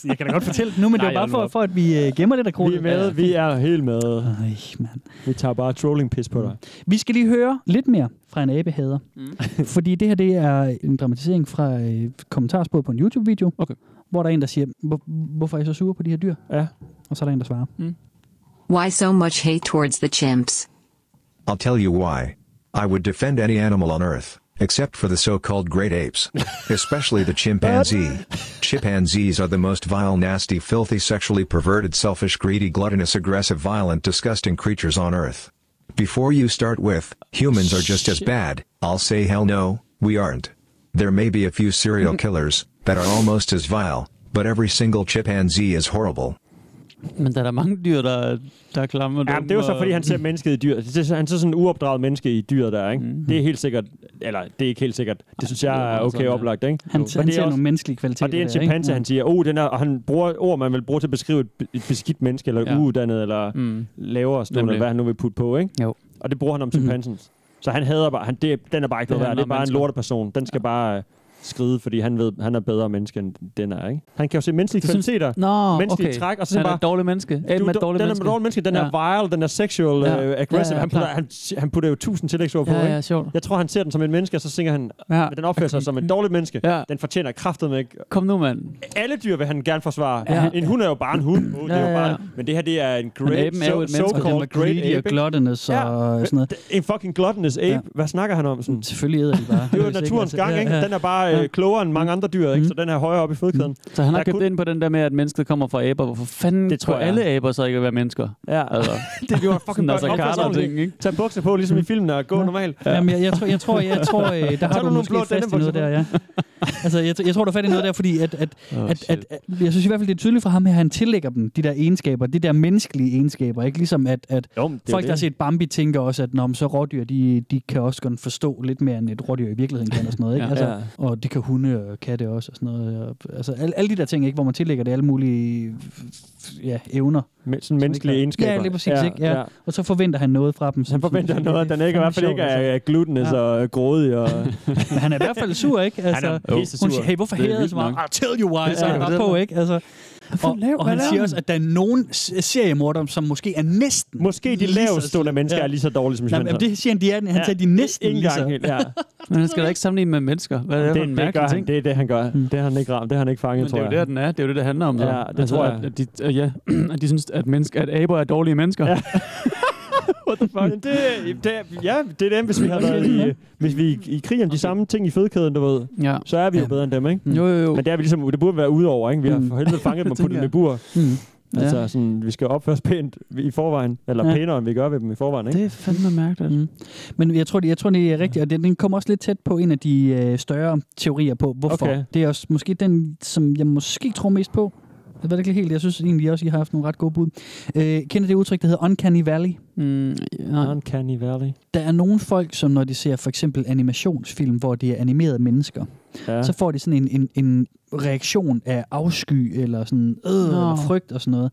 [SPEAKER 3] jeg kan da godt fortælle det nu, men
[SPEAKER 2] Nej,
[SPEAKER 3] det var bare
[SPEAKER 2] hold nu
[SPEAKER 3] for,
[SPEAKER 2] op.
[SPEAKER 3] for at vi øh, gemmer lidt af
[SPEAKER 2] Vi er
[SPEAKER 3] kronen.
[SPEAKER 2] med, vi er helt med.
[SPEAKER 3] Ej, mand. Mm.
[SPEAKER 2] Vi tager bare trolling-pis på dig.
[SPEAKER 3] Vi skal lige høre lidt mere fra en abehader. Mm. Fordi det her det er en dramatisering fra øh, kommentarsporet på en YouTube-video,
[SPEAKER 4] Okay.
[SPEAKER 3] hvor der er en, der siger, "Hvor- hvorfor er I så sure på de her dyr?
[SPEAKER 2] Ja. Mm.
[SPEAKER 3] Og så er der en, der svarer.
[SPEAKER 12] Why so much hate towards the chimps?
[SPEAKER 9] I'll tell you why. I would defend any animal on Earth, except for the so-called great apes, especially the chimpanzee. Chimpanzees are the most vile, nasty, filthy, sexually perverted, selfish, greedy, gluttonous, aggressive, violent, disgusting creatures on Earth. Before you start with, humans are just as bad, I'll say hell no, we aren't. There may be a few serial killers that are almost as vile, but every single chimpanzee is horrible.
[SPEAKER 4] Men der er der mange dyr, der, der er klamme.
[SPEAKER 2] Ja,
[SPEAKER 4] dumme
[SPEAKER 2] det er jo så,
[SPEAKER 4] og-
[SPEAKER 2] fordi han ser mennesket i dyret. Det er, han ser sådan en uopdraget menneske i dyret der, ikke?
[SPEAKER 3] Mm-hmm.
[SPEAKER 2] Mm. Det er helt sikkert, eller det er ikke helt sikkert. Det synes jeg er
[SPEAKER 3] meget
[SPEAKER 2] okay
[SPEAKER 3] sådan, ja.
[SPEAKER 2] oplagt, ikke?
[SPEAKER 3] Han-
[SPEAKER 2] Men
[SPEAKER 3] han
[SPEAKER 2] det er
[SPEAKER 3] ser nogle menneskelige kvaliteter
[SPEAKER 2] Og det er en
[SPEAKER 3] der, ikke?
[SPEAKER 2] chimpanse,
[SPEAKER 3] Ja.
[SPEAKER 2] han siger, oh, den er, og han bruger ord, man vil bruge til at beskrive et, et beskidt menneske, eller
[SPEAKER 3] Ja.
[SPEAKER 2] ja. uuddannet, eller mm. lavere stående,
[SPEAKER 3] Nemlig.
[SPEAKER 2] eller hvad han nu vil putte på, ikke?
[SPEAKER 4] Jo. Mhm.
[SPEAKER 2] Og det bruger han om chimpansen. Så han hader bare, han, det, den er bare ikke
[SPEAKER 4] Det
[SPEAKER 2] noget værd. Det
[SPEAKER 4] handler om
[SPEAKER 2] er bare
[SPEAKER 4] mennesker.
[SPEAKER 2] en lorteperson. Den skal bare øh, skride, fordi han ved, han er bedre menneske, end den er, ikke? Han kan jo se menneskelige
[SPEAKER 4] Du synes-
[SPEAKER 2] kvaliteter,
[SPEAKER 4] Nå,
[SPEAKER 2] menneskelige
[SPEAKER 4] okay.
[SPEAKER 2] træk, og så siger
[SPEAKER 4] Han er
[SPEAKER 2] bare,
[SPEAKER 4] et dårligt menneske. Aben er et
[SPEAKER 2] du,
[SPEAKER 4] dårligt
[SPEAKER 2] den
[SPEAKER 4] menneske."
[SPEAKER 2] er dårligt menneske, den er
[SPEAKER 4] Ja.
[SPEAKER 2] vile, den er sexual
[SPEAKER 4] Ja.
[SPEAKER 2] ja. øh,
[SPEAKER 4] Ja,
[SPEAKER 2] aggressive.
[SPEAKER 4] ja,
[SPEAKER 2] Ja, han, putter,
[SPEAKER 4] klart.
[SPEAKER 2] han, han putter jo tusind tillægsord på,
[SPEAKER 4] Ja, ja,
[SPEAKER 2] ikke?
[SPEAKER 4] sjovt.
[SPEAKER 2] Jeg tror, han ser den som et menneske, og så tænker han,
[SPEAKER 4] Ja.
[SPEAKER 2] ja. den opfører sig som et dårligt menneske.
[SPEAKER 4] Ja.
[SPEAKER 2] Den fortjener kraftedeme ikke.
[SPEAKER 4] Kom nu, mand.
[SPEAKER 2] Alle dyr vil han gerne forsvare.
[SPEAKER 4] Ja.
[SPEAKER 2] Ja. En hund er jo bare en hund. Oh, det
[SPEAKER 4] Ja,
[SPEAKER 2] er jo
[SPEAKER 4] ja,
[SPEAKER 2] bare,
[SPEAKER 4] ja.
[SPEAKER 2] Men det her, det er en
[SPEAKER 3] Men
[SPEAKER 2] great,
[SPEAKER 3] aben er jo
[SPEAKER 2] so,
[SPEAKER 3] et menneske, og den var
[SPEAKER 2] so-called great
[SPEAKER 3] greedy og
[SPEAKER 2] ape.
[SPEAKER 3] gluttonous og sådan noget.
[SPEAKER 2] En fucking gluttonous ape. Ja. Hvad snakker han om? Sådan?
[SPEAKER 3] Selvfølgelig æder de bare.
[SPEAKER 2] Det er jo
[SPEAKER 3] Hvis ikke,
[SPEAKER 2] naturens
[SPEAKER 3] altså.
[SPEAKER 2] gang, ikke?
[SPEAKER 3] Ja, ja.
[SPEAKER 2] Den er bare
[SPEAKER 3] Ja.
[SPEAKER 2] øh, klogere end mange andre dyr, ikke? Så den er højere oppe i fødekæden.
[SPEAKER 4] Så han
[SPEAKER 2] Der
[SPEAKER 4] har
[SPEAKER 2] er
[SPEAKER 4] købt ind på den der med, at mennesket kommer fra aber. Hvorfor fanden det tror
[SPEAKER 2] tror jeg.
[SPEAKER 4] alle aber så ikke at være mennesker?
[SPEAKER 2] Ja.
[SPEAKER 4] Altså,
[SPEAKER 2] det gjorde fucking
[SPEAKER 4] altså,
[SPEAKER 2] børn.
[SPEAKER 4] Carter og
[SPEAKER 2] Opfør sig
[SPEAKER 4] ting, ikke?
[SPEAKER 2] Tag bukser på, ligesom i filmen, og gå normalt.
[SPEAKER 3] Ja. Jamen, jeg, jeg, tror, jeg tror, jeg tror, øh, der har
[SPEAKER 2] Tag
[SPEAKER 3] du
[SPEAKER 2] nogle
[SPEAKER 3] måske
[SPEAKER 2] blå
[SPEAKER 3] fast i noget
[SPEAKER 2] dannebukser
[SPEAKER 3] der, ja. Altså, jeg, tr- jeg tror, du er fat i noget der, fordi at, at, oh, at, at, at, jeg synes i hvert fald, det er tydeligt for ham her, at han tillægger dem de der egenskaber, de der menneskelige egenskaber, ikke? Ligesom at, at
[SPEAKER 2] jo, folk,
[SPEAKER 3] der
[SPEAKER 2] det.
[SPEAKER 3] har set Bambi, tænker også, at når så rådyr, de, de kan også godt forstå lidt mere, end et rådyr i virkeligheden kan og sådan noget, ikke?
[SPEAKER 2] Ja.
[SPEAKER 3] Altså,
[SPEAKER 2] Ja.
[SPEAKER 3] Og det kan hunde og katte også og sådan noget. Og, altså, alle, alle de der ting, ikke? Hvor man tillægger det alle mulige ja, evner.
[SPEAKER 2] Men, sådan menneskelige egenskaber.
[SPEAKER 3] Ja, lige præcis, ja,
[SPEAKER 2] Ja,
[SPEAKER 3] ikke? Ja.
[SPEAKER 2] ja.
[SPEAKER 3] Og så forventer han noget fra dem.
[SPEAKER 2] Han forventer noget, at den ikke, i hvert fald ikke er, altså, øh, er glutenous
[SPEAKER 3] altså. Ja.
[SPEAKER 2] ja. og grådig. Og...
[SPEAKER 3] Men han er i hvert fald sur, ikke?
[SPEAKER 2] Han er
[SPEAKER 3] Altså,
[SPEAKER 2] pissesur.
[SPEAKER 3] hun siger, hey, hvorfor
[SPEAKER 2] Det er
[SPEAKER 3] hæder jeg
[SPEAKER 2] vildt
[SPEAKER 3] så meget?
[SPEAKER 2] nok.
[SPEAKER 3] I'll tell you why.
[SPEAKER 2] Ja,
[SPEAKER 3] Så er han
[SPEAKER 2] ja.
[SPEAKER 3] bare på, ikke? Altså, og,
[SPEAKER 2] laver-
[SPEAKER 3] og
[SPEAKER 2] hvad
[SPEAKER 3] han
[SPEAKER 2] laver
[SPEAKER 3] siger
[SPEAKER 2] han?
[SPEAKER 3] også, at der er nogen s- seriemordere, som måske er næsten...
[SPEAKER 2] Måske de
[SPEAKER 3] lige så
[SPEAKER 2] lavestående
[SPEAKER 3] slemme.
[SPEAKER 2] mennesker
[SPEAKER 3] Ja.
[SPEAKER 2] er lige så dårlige som
[SPEAKER 3] Nej, men
[SPEAKER 2] chimpanser.
[SPEAKER 3] det siger han, de er, han ja.
[SPEAKER 2] Ja.
[SPEAKER 3] sagde, de er næsten
[SPEAKER 2] Ikke
[SPEAKER 3] lige
[SPEAKER 2] engang
[SPEAKER 3] så.
[SPEAKER 2] helt, ja.
[SPEAKER 4] Men han skal da ikke sammenligne med mennesker. Hvad er det, for en
[SPEAKER 2] det, det,
[SPEAKER 4] mærkelig
[SPEAKER 2] gør han,
[SPEAKER 4] ting?
[SPEAKER 2] det er det, han gør.
[SPEAKER 3] Mm.
[SPEAKER 2] Det har han ikke ramt. Det har han ikke fanget,
[SPEAKER 4] Men det
[SPEAKER 2] tror
[SPEAKER 4] er
[SPEAKER 2] jeg.
[SPEAKER 4] jo der, den er. Det er jo det, det handler om.
[SPEAKER 2] Ja,
[SPEAKER 4] der.
[SPEAKER 2] det tror jeg.
[SPEAKER 4] At, at de, uh, ja, at de synes, at, mennesker, at aber er dårlige mennesker. Ja.
[SPEAKER 2] What the fuck? Det, det, ja, det er dem, hvis vi har været i, hvis vi er i, i krig om de samme ting i fødekæden, du ved.
[SPEAKER 4] Ja.
[SPEAKER 2] Så er vi jo bedre end dem, ikke?
[SPEAKER 4] Jo, jo, jo.
[SPEAKER 2] Men det, er vi ligesom, det burde være udover, ikke? Vi har
[SPEAKER 4] Mm.
[SPEAKER 2] for helvede fanget dem og
[SPEAKER 4] Det
[SPEAKER 2] puttet dem i
[SPEAKER 4] tænker
[SPEAKER 2] bur.
[SPEAKER 4] jeg. Mm. Ja.
[SPEAKER 2] Altså, sådan, vi skal opføre os pænt i forvejen. Eller
[SPEAKER 3] Ja.
[SPEAKER 2] pænere, end vi gør ved dem i forvejen, ikke?
[SPEAKER 4] Det er fandme mærkeligt.
[SPEAKER 3] Mm. Men jeg tror, det, jeg tror, det er rigtigt, og den, den kommer også lidt tæt på en af de øh, større teorier på, hvorfor. Okay.
[SPEAKER 2] Okay.
[SPEAKER 3] Det er også måske den, som jeg måske tror mest på. Jeg ved det ikke helt. Jeg synes egentlig også, I har haft nogle ret gode bud. Øh, kender det udtryk, der hedder Uncanny Valley?
[SPEAKER 4] Mm, nej.
[SPEAKER 2] Uncanny Valley.
[SPEAKER 3] Der er nogle folk, som når de ser for eksempel animationsfilm, hvor de er animerede mennesker, ja.
[SPEAKER 2] Ja.
[SPEAKER 3] så får de sådan en, en, en reaktion af afsky eller sådan øh, eller frygt og sådan noget.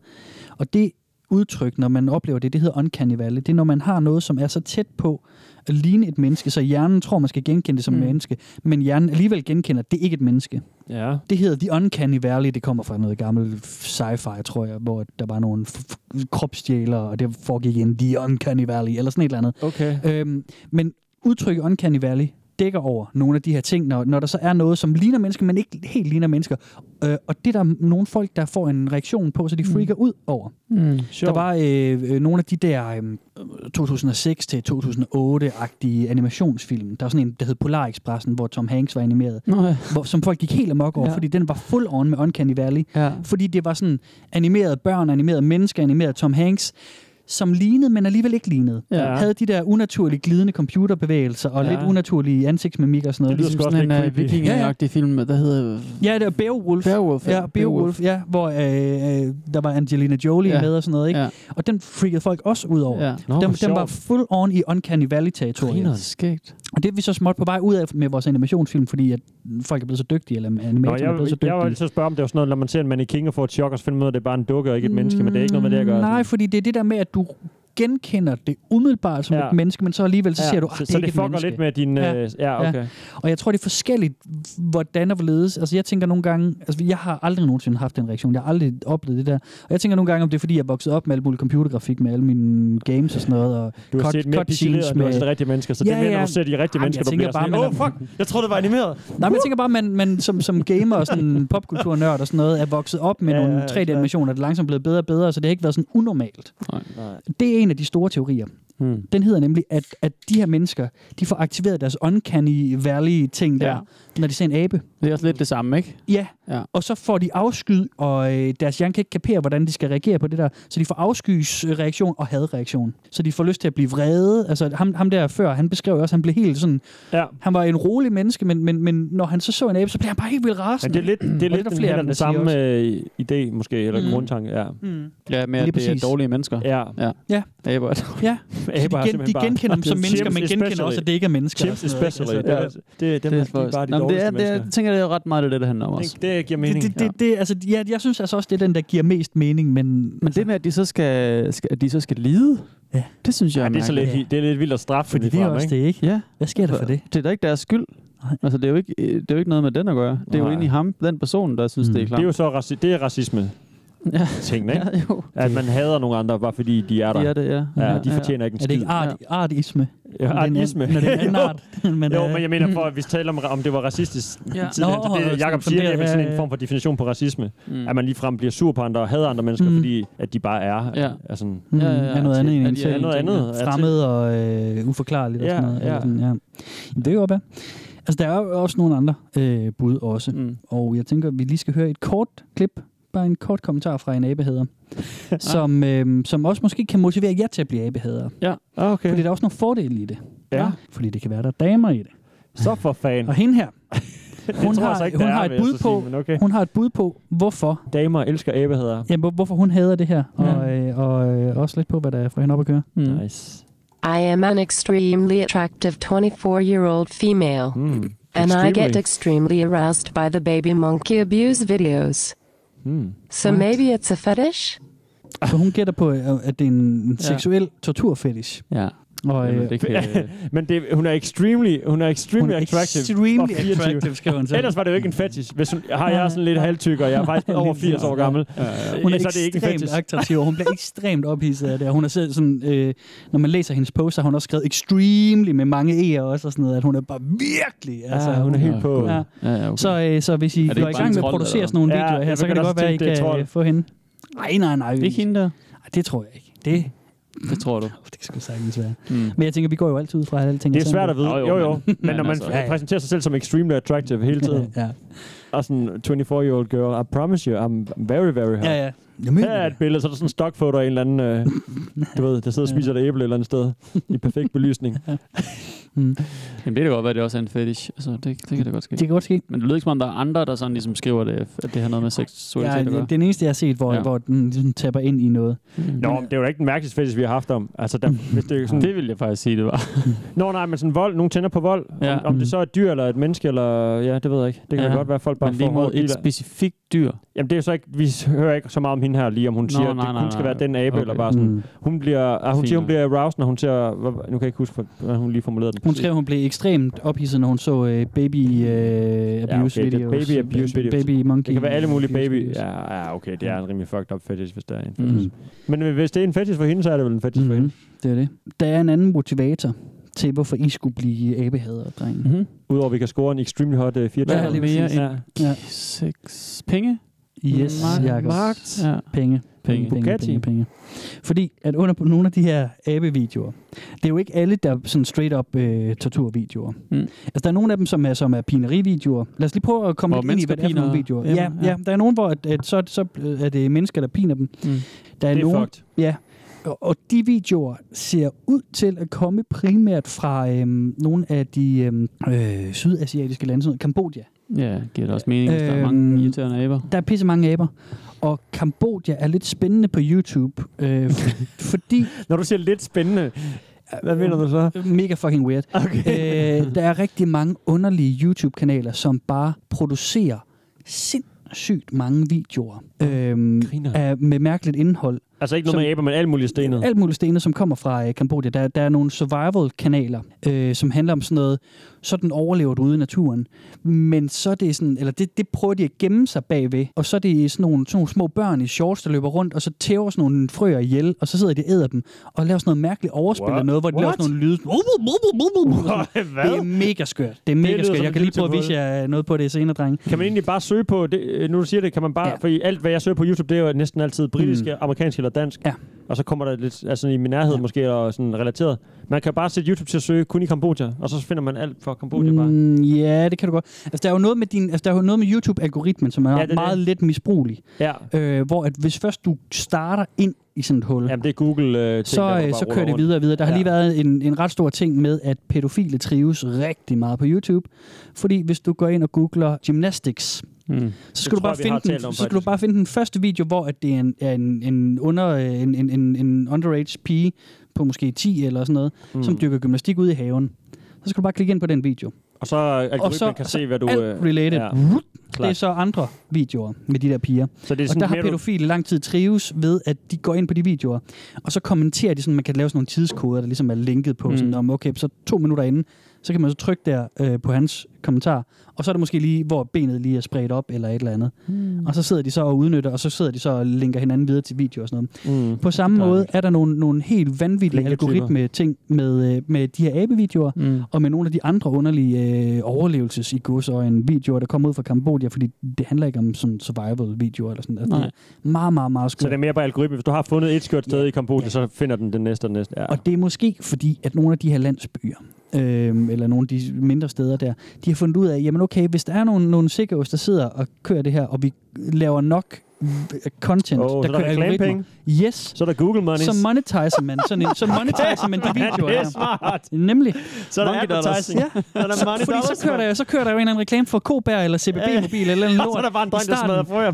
[SPEAKER 3] Og det udtryk, når man oplever det, det hedder uncanny valley. Det er, når man har noget, som er så tæt på at ligne et menneske, så hjernen tror, man skal genkende det som mm.
[SPEAKER 2] Mm.
[SPEAKER 3] menneske, men hjernen alligevel genkender, at det ikke er et menneske.
[SPEAKER 2] Ja.
[SPEAKER 3] Det hedder The Uncanny Valley. Det kommer fra noget gammel sci-fi, tror jeg, hvor der var nogle f- f- kropsdjælere, og det foregik i en The Uncanny Valley, eller sådan et eller andet.
[SPEAKER 2] Okay.
[SPEAKER 3] Øhm, men udtrykket Uncanny Valley dækker over nogle af de her ting, når, når der så er noget, som ligner mennesker, men ikke helt ligner mennesker. Øh, og det er der nogle folk, der får en reaktion på, så de freaker ud over.
[SPEAKER 2] Hmm,
[SPEAKER 4] Mm.
[SPEAKER 3] Der var øh, øh, nogle af de der øh, 2006-2008-agtige animationsfilm. Der var sådan en, der hed Polar Expressen, hvor Tom Hanks var animeret.
[SPEAKER 4] Nå, ja.
[SPEAKER 3] Hvor, som folk gik helt amok over,
[SPEAKER 4] Ja.
[SPEAKER 3] ja. fordi den var full on med Uncanny Valley.
[SPEAKER 4] Ja.
[SPEAKER 3] Fordi det var sådan animerede børn, animerede mennesker, animerede Tom Hanks som lignede, men alligevel ikke lignede.
[SPEAKER 4] Ja.
[SPEAKER 3] Havde de der unaturligt glidende computerbevægelser og ja.
[SPEAKER 4] Ja.
[SPEAKER 3] lidt unaturlige ansigtsmimik og sådan noget.
[SPEAKER 4] Ligesom sådan en øh, vikingeagtig film, der hedder...
[SPEAKER 3] Ja, det var Beowulf.
[SPEAKER 4] Beowulf.
[SPEAKER 3] Ja, Beowulf, ja, hvor øh, øh, der var Angelina Jolie
[SPEAKER 4] Ja.
[SPEAKER 3] med og sådan noget, ikke?
[SPEAKER 4] Ja.
[SPEAKER 3] Og den freakede folk også ud over.
[SPEAKER 4] Ja.
[SPEAKER 2] Nå, hvor
[SPEAKER 3] den, den var
[SPEAKER 2] sjovt.
[SPEAKER 3] full on i Uncanny Valley-territoriet.
[SPEAKER 4] Griner skægt.
[SPEAKER 3] Og det er vi så småt på vej ud af med vores animationsfilm, fordi at folk er blevet så dygtige, eller
[SPEAKER 2] Nå,
[SPEAKER 3] animatorer er
[SPEAKER 2] jeg,
[SPEAKER 3] blevet så
[SPEAKER 2] jeg, jeg var
[SPEAKER 3] dygtige.
[SPEAKER 2] lige så spørge, om det var sådan noget, når man ser en mannequin og får et chok, og så finder man ud af, at det er bare en dukke og ikke et menneske, men det er ikke noget med det, jeg gør.
[SPEAKER 3] Mm, Nej, fordi det er det der med, at du genkender det umiddelbart som ja.
[SPEAKER 2] Ja.
[SPEAKER 3] et menneske, men så alligevel så
[SPEAKER 2] Ja,
[SPEAKER 3] ja. siger du, at
[SPEAKER 2] så-
[SPEAKER 3] det
[SPEAKER 2] så
[SPEAKER 3] er ikke
[SPEAKER 2] det
[SPEAKER 3] et
[SPEAKER 2] fucker
[SPEAKER 3] menneske.
[SPEAKER 2] lidt med din, øh, ja, okay.
[SPEAKER 3] Og jeg tror, det er forskelligt, hvordan og hvorledes. Altså jeg tænker nogle gange, altså jeg har aldrig nogensinde haft den reaktion, jeg har aldrig oplevet det der. Og jeg tænker nogle gange, om det er fordi, jeg er vokset op med alt muligt computergrafik, med alle mine games og sådan noget. Og
[SPEAKER 2] Du har set mere pixeleret, end du har set rigtige mennesker, så det er mere, når du ser de
[SPEAKER 3] Jamen,
[SPEAKER 2] rigtige mennesker,
[SPEAKER 3] jeg
[SPEAKER 2] der
[SPEAKER 3] tænker
[SPEAKER 2] bliver sådan,
[SPEAKER 3] bare,
[SPEAKER 2] åh,
[SPEAKER 3] man er-
[SPEAKER 2] fuck, jeg troede, det var animeret.
[SPEAKER 3] Nej, men jeg tænker bare, at man, man som, som gamer og sådan popkulturnørd og sådan noget, er vokset op med ja,
[SPEAKER 2] Ja, ja,
[SPEAKER 3] nogle
[SPEAKER 2] ja,
[SPEAKER 3] 3D-animationer, der langsomt er blevet bedre og bedre, så det har ikke været sådan unormalt.
[SPEAKER 4] Nej.
[SPEAKER 3] Det er det er en af de store teorier.
[SPEAKER 4] Hmm.
[SPEAKER 3] Mm. Den hedder nemlig, at, at de her mennesker, de får aktiveret deres uncanny valley-ting der, ja. når de ser en abe.
[SPEAKER 4] Det er også lidt det samme, ikke?
[SPEAKER 3] Ja, ja. og så får de afsky, og øh, deres hjerne kan ikke kapere, hvordan de skal reagere på det der. Så de får afskysreaktion og hadreaktion. Så de får lyst til at blive vrede. Altså ham, ham der før, han beskrev jo også, han blev helt sådan...
[SPEAKER 2] Ja.
[SPEAKER 3] Han var en rolig menneske, men, men, men når han så så en abe, så blev han bare helt vildt
[SPEAKER 2] Men
[SPEAKER 3] rasende.
[SPEAKER 2] det er lidt, det er
[SPEAKER 3] Og
[SPEAKER 2] lidt
[SPEAKER 3] der
[SPEAKER 2] den,
[SPEAKER 3] flere af
[SPEAKER 2] flere
[SPEAKER 3] dem,
[SPEAKER 2] den
[SPEAKER 3] der siger også.
[SPEAKER 2] samme øh, idé, måske, eller
[SPEAKER 3] Mm.
[SPEAKER 2] mm. grundtanke. Ja.
[SPEAKER 3] Mm.
[SPEAKER 4] Ja, med
[SPEAKER 2] Lige
[SPEAKER 4] at det
[SPEAKER 2] præcis.
[SPEAKER 4] er dårlige mennesker.
[SPEAKER 2] Ja.
[SPEAKER 4] ja.
[SPEAKER 3] Ja.
[SPEAKER 4] Aber er dårlige.
[SPEAKER 3] Ja, så de,
[SPEAKER 2] Aber er
[SPEAKER 3] gen,
[SPEAKER 2] simpelthen
[SPEAKER 3] de
[SPEAKER 2] bare-
[SPEAKER 3] genkender dem som
[SPEAKER 2] Chimps
[SPEAKER 3] mennesker, men genkender
[SPEAKER 2] especially.
[SPEAKER 3] også, at det ikke er mennesker.
[SPEAKER 2] Chimps
[SPEAKER 3] og sådan noget,
[SPEAKER 2] especially.
[SPEAKER 3] ikke? Altså,
[SPEAKER 2] Det er- det er dem,
[SPEAKER 4] er
[SPEAKER 2] her, de er
[SPEAKER 4] faktisk-
[SPEAKER 2] bare de
[SPEAKER 4] Nå, men det er,
[SPEAKER 2] dårligste
[SPEAKER 4] det er,
[SPEAKER 2] mennesker.
[SPEAKER 4] jeg tænker, det er ret meget det, er det, det handler om også.
[SPEAKER 2] Det, det giver mening.
[SPEAKER 3] det, det, det, altså, ja, jeg synes altså også, det er den, der giver mest mening, men
[SPEAKER 4] Men det med, at de så skal, skal, at de så skal lide,
[SPEAKER 3] ja.
[SPEAKER 4] det synes jeg
[SPEAKER 2] Ja, det er, så
[SPEAKER 4] mærkeligt.
[SPEAKER 2] lidt, det er lidt vildt at straffe
[SPEAKER 4] Fordi
[SPEAKER 2] dem
[SPEAKER 4] det er
[SPEAKER 2] frem,
[SPEAKER 4] også
[SPEAKER 2] ikke?
[SPEAKER 3] det, ikke?
[SPEAKER 4] Ja.
[SPEAKER 3] Hvad sker der for det?
[SPEAKER 4] Det er da ikke deres skyld. Altså, det er, jo ikke, øh, det er jo ikke noget med den at gøre. Det er jo
[SPEAKER 2] Nej.
[SPEAKER 4] inde i ham, den person, der synes, mm. det er klart.
[SPEAKER 2] Det er jo så raci- det er racisme.
[SPEAKER 4] Ja.
[SPEAKER 2] Tingene, ikke? ja, jo. At man hader nogle andre, bare fordi de er der.
[SPEAKER 4] De er det, ja.
[SPEAKER 2] ja,
[SPEAKER 4] Ja,
[SPEAKER 2] de
[SPEAKER 4] ja.
[SPEAKER 2] fortjener ikke en
[SPEAKER 3] Er det ikke
[SPEAKER 2] skid.
[SPEAKER 3] art, artisme?
[SPEAKER 2] Ja,
[SPEAKER 3] Når det er en anden-
[SPEAKER 2] artisme.
[SPEAKER 3] Når det er en anden
[SPEAKER 2] Jo.
[SPEAKER 3] art. men,
[SPEAKER 2] jo,
[SPEAKER 3] øh,
[SPEAKER 2] men jeg mener, for at vi taler om, om det var racistisk
[SPEAKER 3] Ja.
[SPEAKER 2] ja. tidligere.
[SPEAKER 3] Nå,
[SPEAKER 2] Nå, det,
[SPEAKER 3] sådan-
[SPEAKER 2] det, Jacob
[SPEAKER 3] sådan
[SPEAKER 2] siger,
[SPEAKER 3] der,
[SPEAKER 2] det er vel sådan
[SPEAKER 3] ja, ja,
[SPEAKER 2] en
[SPEAKER 3] ja.
[SPEAKER 2] form for definition på racisme.
[SPEAKER 4] Mm.
[SPEAKER 2] Mm. At man ligefrem bliver sur på andre og hader andre mennesker,
[SPEAKER 3] Mm.
[SPEAKER 2] mm. fordi at de bare er.
[SPEAKER 4] Ja.
[SPEAKER 2] Altså,
[SPEAKER 3] Mm, ja, ja, ja. Er noget andet end
[SPEAKER 2] at
[SPEAKER 3] en
[SPEAKER 2] de er
[SPEAKER 3] selv.
[SPEAKER 2] noget andet. Er
[SPEAKER 3] Fremmed og øh, uforklarligt og
[SPEAKER 2] Ja,
[SPEAKER 3] sådan noget.
[SPEAKER 2] ja.
[SPEAKER 3] Eller Sådan, ja. Jamen, Det er jo op ad. Altså, der er jo også nogle andre øh, bud også.
[SPEAKER 4] Mm.
[SPEAKER 3] Og jeg tænker, at vi lige skal høre et kort klip. Bare en kort kommentar fra en abehader.
[SPEAKER 2] Ah.
[SPEAKER 3] som, øh, som også måske kan motivere jer til at blive abehader.
[SPEAKER 4] Ja,
[SPEAKER 2] Ah, okay.
[SPEAKER 3] Fordi der er også nogle fordele i det.
[SPEAKER 2] Ja.
[SPEAKER 3] Fordi det kan være, der er damer i det.
[SPEAKER 2] Så for fan.
[SPEAKER 3] Og hende her, hun,
[SPEAKER 2] tror jeg
[SPEAKER 3] har,
[SPEAKER 2] så ikke,
[SPEAKER 3] hun,
[SPEAKER 2] der er,
[SPEAKER 3] har
[SPEAKER 2] vil
[SPEAKER 3] et
[SPEAKER 2] jeg
[SPEAKER 3] bud
[SPEAKER 2] så
[SPEAKER 3] på,
[SPEAKER 2] sige, men okay.
[SPEAKER 3] hun har et bud på, hvorfor
[SPEAKER 2] Damer elsker æbeheder.
[SPEAKER 3] Ja, hvor- hvorfor hun hader det her, og, øh, og øh, også lidt på, hvad der er for hende op at køre.
[SPEAKER 4] Mm.
[SPEAKER 2] Nice.
[SPEAKER 12] I am an extremely attractive 24 year old female. And I get extremely aroused by the baby monkey abuse videos.
[SPEAKER 2] Mm.
[SPEAKER 12] So maybe it's a fetish?
[SPEAKER 3] Så hun gætter på, øh, at det er en
[SPEAKER 12] Ja.
[SPEAKER 3] seksuel torturfetish.
[SPEAKER 4] Ja.
[SPEAKER 3] Og, øh,
[SPEAKER 2] Jamen, det kan... men det, hun er extremely, hun er extremely
[SPEAKER 3] Hun er
[SPEAKER 2] attractive.
[SPEAKER 3] extremely
[SPEAKER 2] og 24.
[SPEAKER 3] attractive, skriver hun selv.
[SPEAKER 2] Ellers var det jo ikke en fetish. Hvis hun, har jeg er sådan lidt halvtyk, og jeg er faktisk over 80 år gammel. Øh,
[SPEAKER 3] Hun er,
[SPEAKER 2] så er det ikke en
[SPEAKER 3] ekstremt
[SPEAKER 2] fetish.
[SPEAKER 3] attraktiv, og hun bliver ekstremt ophidset af det. Og Hun er selv sådan, øh, når man læser hendes post, så har hun også skrevet extremely med mange E'er også, og sådan noget, at hun er bare virkelig... altså,
[SPEAKER 2] Ja, hun er helt på.
[SPEAKER 3] Ja.
[SPEAKER 4] Ja, ja, okay.
[SPEAKER 3] Så, øh, så hvis I
[SPEAKER 4] Er det
[SPEAKER 3] går
[SPEAKER 4] ikke
[SPEAKER 3] i
[SPEAKER 4] bare en
[SPEAKER 3] gang med at
[SPEAKER 4] trold,
[SPEAKER 3] producere
[SPEAKER 4] eller?
[SPEAKER 3] sådan nogle
[SPEAKER 4] Ja,
[SPEAKER 3] videoer her,
[SPEAKER 4] jeg
[SPEAKER 3] så kan
[SPEAKER 4] begynder
[SPEAKER 3] det godt
[SPEAKER 4] også at
[SPEAKER 3] være, at I
[SPEAKER 4] tænke, det
[SPEAKER 3] kan
[SPEAKER 4] er trold.
[SPEAKER 3] øh, få hende. Nej, nej, nej.
[SPEAKER 4] Det er ikke hende der.
[SPEAKER 3] Ej, det tror jeg ikke. Det,
[SPEAKER 4] det tror du. det
[SPEAKER 3] kan sgu sagtens være.
[SPEAKER 4] Mm.
[SPEAKER 3] Men jeg tænker, vi går jo altid ud fra, at alle ting
[SPEAKER 2] Det er svært at vide.
[SPEAKER 3] Nå,
[SPEAKER 2] Jo, jo. Men når man
[SPEAKER 3] altså- Ja, ja.
[SPEAKER 2] præsenterer sig selv som extremely attractive hele tiden.
[SPEAKER 3] ja.
[SPEAKER 2] Og sådan 24-year-old girl, I promise you, I'm very, very hot.
[SPEAKER 3] Ja, ja. Jeg
[SPEAKER 2] Her
[SPEAKER 3] mener
[SPEAKER 2] er et billede, så er der sådan en stockfoto af en eller anden, øh, du ved, der sidder og spiser et æble et eller andet sted i perfekt belysning.
[SPEAKER 4] Jamen, det kan godt være, at det også er en fetish. Altså, det, det kan da godt ske. Det
[SPEAKER 3] kan godt ske.
[SPEAKER 4] Men det lyder ikke som om, der er andre, der sådan ligesom skriver det, at det har noget med seksualitet
[SPEAKER 3] Ja,
[SPEAKER 4] at gøre.
[SPEAKER 3] det er den eneste, jeg har set, hvor, ja.
[SPEAKER 4] Ja.
[SPEAKER 3] hvor den ligesom tapper ind i noget.
[SPEAKER 2] Nå, men det er jo da ikke den mærkeligste fetish, vi har haft om. Altså, der, hvis det, er sådan,
[SPEAKER 4] Det vil jeg faktisk sige, det var.
[SPEAKER 2] Nå, nej, men sådan vold. Nogen tænder på vold. Ja. Om, om det så er et dyr eller et menneske, eller... Ja, det ved jeg ikke. Det kan
[SPEAKER 4] Ja.
[SPEAKER 2] ja. godt være, at folk bare
[SPEAKER 4] Men lige
[SPEAKER 2] får
[SPEAKER 4] mod
[SPEAKER 2] hårde
[SPEAKER 4] et
[SPEAKER 2] biler.
[SPEAKER 4] specifikt dyr.
[SPEAKER 2] Jamen, det er så ikke... Vi hører ikke så meget om hende her lige, om hun
[SPEAKER 4] Nå,
[SPEAKER 2] Nå, siger,
[SPEAKER 4] nej,
[SPEAKER 2] at det
[SPEAKER 4] nej,
[SPEAKER 2] kun skal
[SPEAKER 4] nej.
[SPEAKER 2] være den abe,
[SPEAKER 4] Okay.
[SPEAKER 2] okay. eller bare sådan...
[SPEAKER 4] Mm.
[SPEAKER 2] Hun bliver... Ah, hun
[SPEAKER 4] Fint
[SPEAKER 2] siger, hun
[SPEAKER 4] nok.
[SPEAKER 2] bliver aroused, når hun ser... hvad- Nu kan jeg ikke huske, hvordan hun lige formulerede den.
[SPEAKER 3] Hun skrev, hun blev ekstremt ophidset, når hun så øh, baby øh,
[SPEAKER 2] Ja,
[SPEAKER 3] abuse
[SPEAKER 2] okay, det er
[SPEAKER 3] videos.
[SPEAKER 2] baby abuse videos.
[SPEAKER 3] Baby monkey.
[SPEAKER 2] Det kan være alle mulige
[SPEAKER 3] abuse
[SPEAKER 2] baby...
[SPEAKER 3] videos.
[SPEAKER 2] Ja, ja, okay, det er en rimelig fucked up fetish, hvis der er en
[SPEAKER 3] Mm. Mhm.
[SPEAKER 2] fetish. Mm. Men hvis det er en fetish for hende, så er det vel en fetish mm. for hende.
[SPEAKER 3] Det er det. Der er en anden motivator til, hvorfor I skulle blive abehader,
[SPEAKER 2] Mhm.
[SPEAKER 3] drenge.
[SPEAKER 4] Mm-hmm.
[SPEAKER 2] Udover at vi kan score en extremely hot uh, 4
[SPEAKER 4] Hvad er det mere
[SPEAKER 2] Ja.
[SPEAKER 4] end ja. seks penge?
[SPEAKER 3] Yes,
[SPEAKER 4] Mark-
[SPEAKER 3] Jakob.
[SPEAKER 4] Markt? Ja.
[SPEAKER 3] Penge.
[SPEAKER 4] Penge.
[SPEAKER 3] Penge,
[SPEAKER 4] Bugatti.
[SPEAKER 3] penge, penge. Fordi at under på nogle af de her abe-videoer, det er jo ikke alle, der er sådan straight-up øh, torturvideoer.
[SPEAKER 4] Mm.
[SPEAKER 3] Altså, der er nogle af dem, som er, som er pinerivideoer. Lad os lige prøve at komme
[SPEAKER 4] Hvor
[SPEAKER 3] lidt ind i, hvad det er for
[SPEAKER 4] mennesker
[SPEAKER 3] nogle
[SPEAKER 4] piner
[SPEAKER 3] videoer. Ja, ja,
[SPEAKER 4] dem, ja.
[SPEAKER 3] ja, der er nogen, hvor at, at så, så øh, er det mennesker, der piner dem. Mm. Der er
[SPEAKER 2] Det er
[SPEAKER 3] nogen,
[SPEAKER 2] fucked.
[SPEAKER 3] Ja, og, og de videoer ser ud til at komme primært fra øhm, nogle af de øhm, øh, sydasiatiske lande, sådan noget, Kambodja.
[SPEAKER 4] Ja, giver det også mening, hvis der er
[SPEAKER 3] Øhm,
[SPEAKER 4] mange irriterende aber.
[SPEAKER 3] Der er pisse mange aber. Og Kambodja er lidt spændende på YouTube, øh, f- fordi...
[SPEAKER 2] Når du siger lidt spændende, hvad mener du så?
[SPEAKER 3] Mega fucking weird. Okay. Øh, der er rigtig mange underlige YouTube-kanaler, som bare producerer sindssygt mange videoer øh, af, med mærkeligt indhold.
[SPEAKER 2] Altså ikke noget
[SPEAKER 3] Som-
[SPEAKER 2] med æber, men alt muligt stenet.
[SPEAKER 3] Alt muligt stenet, som kommer fra øh, Kambodja. Der, der er nogle survival-kanaler, øh, som handler om sådan noget, sådan overlever du ude i naturen. Men så er det sådan, eller det, det prøver de at gemme sig bagved, og så er det sådan nogle, sådan nogle små børn i shorts, der løber rundt, og så tæver sådan nogle frøer ihjel, og så sidder de og æder dem, og laver sådan noget mærkeligt overspil
[SPEAKER 2] What?
[SPEAKER 3] af noget, hvor de laver
[SPEAKER 2] What?
[SPEAKER 3] sådan nogle lyde.
[SPEAKER 2] Hvad?
[SPEAKER 3] Det er mega skørt. Det er
[SPEAKER 2] lyder
[SPEAKER 3] mega
[SPEAKER 2] som
[SPEAKER 3] skørt.
[SPEAKER 2] et
[SPEAKER 3] Jeg kan lige
[SPEAKER 2] YouTube
[SPEAKER 3] prøve at vise
[SPEAKER 2] hul.
[SPEAKER 3] jer noget på det senere, drenge.
[SPEAKER 2] Kan man egentlig bare søge på, det, øh, nu du siger det, kan man bare, ja. fordi alt hvad jeg søger på YouTube, det er jo næsten altid britiske, mm. amerikansk eller dansk.
[SPEAKER 3] Ja.
[SPEAKER 2] og så kommer der lidt altså i min nærhed ja. måske, eller sådan relateret. Man kan bare sætte YouTube til at søge kun i Kambodja, og så finder man alt for Kambodja bare.
[SPEAKER 3] Mm, ja, det kan du godt. Altså, der er jo noget med, din, altså, der er jo noget med YouTube-algoritmen, som er
[SPEAKER 2] Ja,
[SPEAKER 3] ja,
[SPEAKER 2] det er
[SPEAKER 3] meget
[SPEAKER 2] det.
[SPEAKER 3] lidt misbrugelig.
[SPEAKER 2] Ja.
[SPEAKER 3] Øh, hvor at hvis først du starter ind i sådan et hul,
[SPEAKER 2] Jamen, det er Google øh, ting, der
[SPEAKER 3] så,
[SPEAKER 2] bare
[SPEAKER 3] øh, så
[SPEAKER 2] ruller
[SPEAKER 3] kører det
[SPEAKER 2] rundt.
[SPEAKER 3] videre og videre. Der har
[SPEAKER 2] Ja.
[SPEAKER 3] ja. lige været en, en ret stor ting med, at pædofile trives rigtig meget på YouTube. Fordi hvis du går ind og googler gymnastics,
[SPEAKER 2] Mm.
[SPEAKER 3] så skal, du
[SPEAKER 2] tror
[SPEAKER 3] bare,
[SPEAKER 2] jeg, vi har
[SPEAKER 3] finde den,
[SPEAKER 2] talt om,
[SPEAKER 3] så skal du bare finde den første video, hvor at det er en, er en, en, under, øh, en, en, en, en underage pige på måske 10 eller sådan noget,
[SPEAKER 2] Mm.
[SPEAKER 3] mm. som dyrker gymnastik ude i haven. Så skal du bare klikke ind på den video.
[SPEAKER 2] Og så algoritmen kan se, hvad du...
[SPEAKER 3] Alt
[SPEAKER 2] øh,
[SPEAKER 3] related.
[SPEAKER 2] ja.
[SPEAKER 3] Ja. Det er så andre videoer med de der piger.
[SPEAKER 2] Så det er sådan
[SPEAKER 3] og der har
[SPEAKER 2] mere, du-
[SPEAKER 3] pædofile lang tid trives ved, at de går ind på de videoer, og så kommenterer de sådan, man kan lave sådan nogle tidskoder, der ligesom er linket på,
[SPEAKER 2] Mm.
[SPEAKER 3] mm. sådan om, okay, så to minutter inden, så kan man så trykke der øh, på hans kommentar, og så er det måske lige, hvor benet lige er spredt op, eller et eller andet.
[SPEAKER 2] Mm.
[SPEAKER 3] Mm. Og så sidder de så og udnytter, og så sidder de så og linker hinanden videre til videoer og sådan noget.
[SPEAKER 2] Mm.
[SPEAKER 3] På samme måde er der nogle, nogle helt vanvittige
[SPEAKER 2] Linketyper.
[SPEAKER 3] algoritme-ting med, øh, med de her abevideoer,
[SPEAKER 2] Mm.
[SPEAKER 3] mm. og med nogle af de andre underlige øh, overlevelses i en videoer, der kommer ud fra Kambodja, fordi det handler ikke om sådan survival-videoer eller sådan noget.
[SPEAKER 2] Nej.
[SPEAKER 3] Altså, det er meget, meget, meget
[SPEAKER 2] Så
[SPEAKER 3] skørt.
[SPEAKER 2] det er mere bare algoritmen. Hvis du har fundet et skørt sted i Kambodja, så finder den den næste og den næste. Ja.
[SPEAKER 3] Og det er måske fordi, at nogle af de her landsbyer, øhm, eller nogle af de mindre steder der, de har fundet ud af, jamen okay, hvis der er nogle, nogle sikkerhus, der sidder og kører det her, og vi laver nok øh, content,
[SPEAKER 2] Åh, så
[SPEAKER 3] der
[SPEAKER 2] der er
[SPEAKER 3] kører algoritmer,
[SPEAKER 2] reklamepenge.
[SPEAKER 3] Yes.
[SPEAKER 2] Så er der Google Money.
[SPEAKER 3] så monetiser man sådan en, så monetiser man de videoer
[SPEAKER 2] det er
[SPEAKER 3] der.
[SPEAKER 2] smart.
[SPEAKER 3] Nemlig.
[SPEAKER 2] Så er der advertising.
[SPEAKER 3] Ja.
[SPEAKER 2] Så er der money
[SPEAKER 3] Så, fordi
[SPEAKER 2] dollars,
[SPEAKER 3] så kører, der jo, så kører der jo en eller anden reklame for Kobær eller
[SPEAKER 2] Ja.
[SPEAKER 3] CBB-mobil eller en lort.
[SPEAKER 2] Og så er der bare en
[SPEAKER 3] i
[SPEAKER 2] dreng,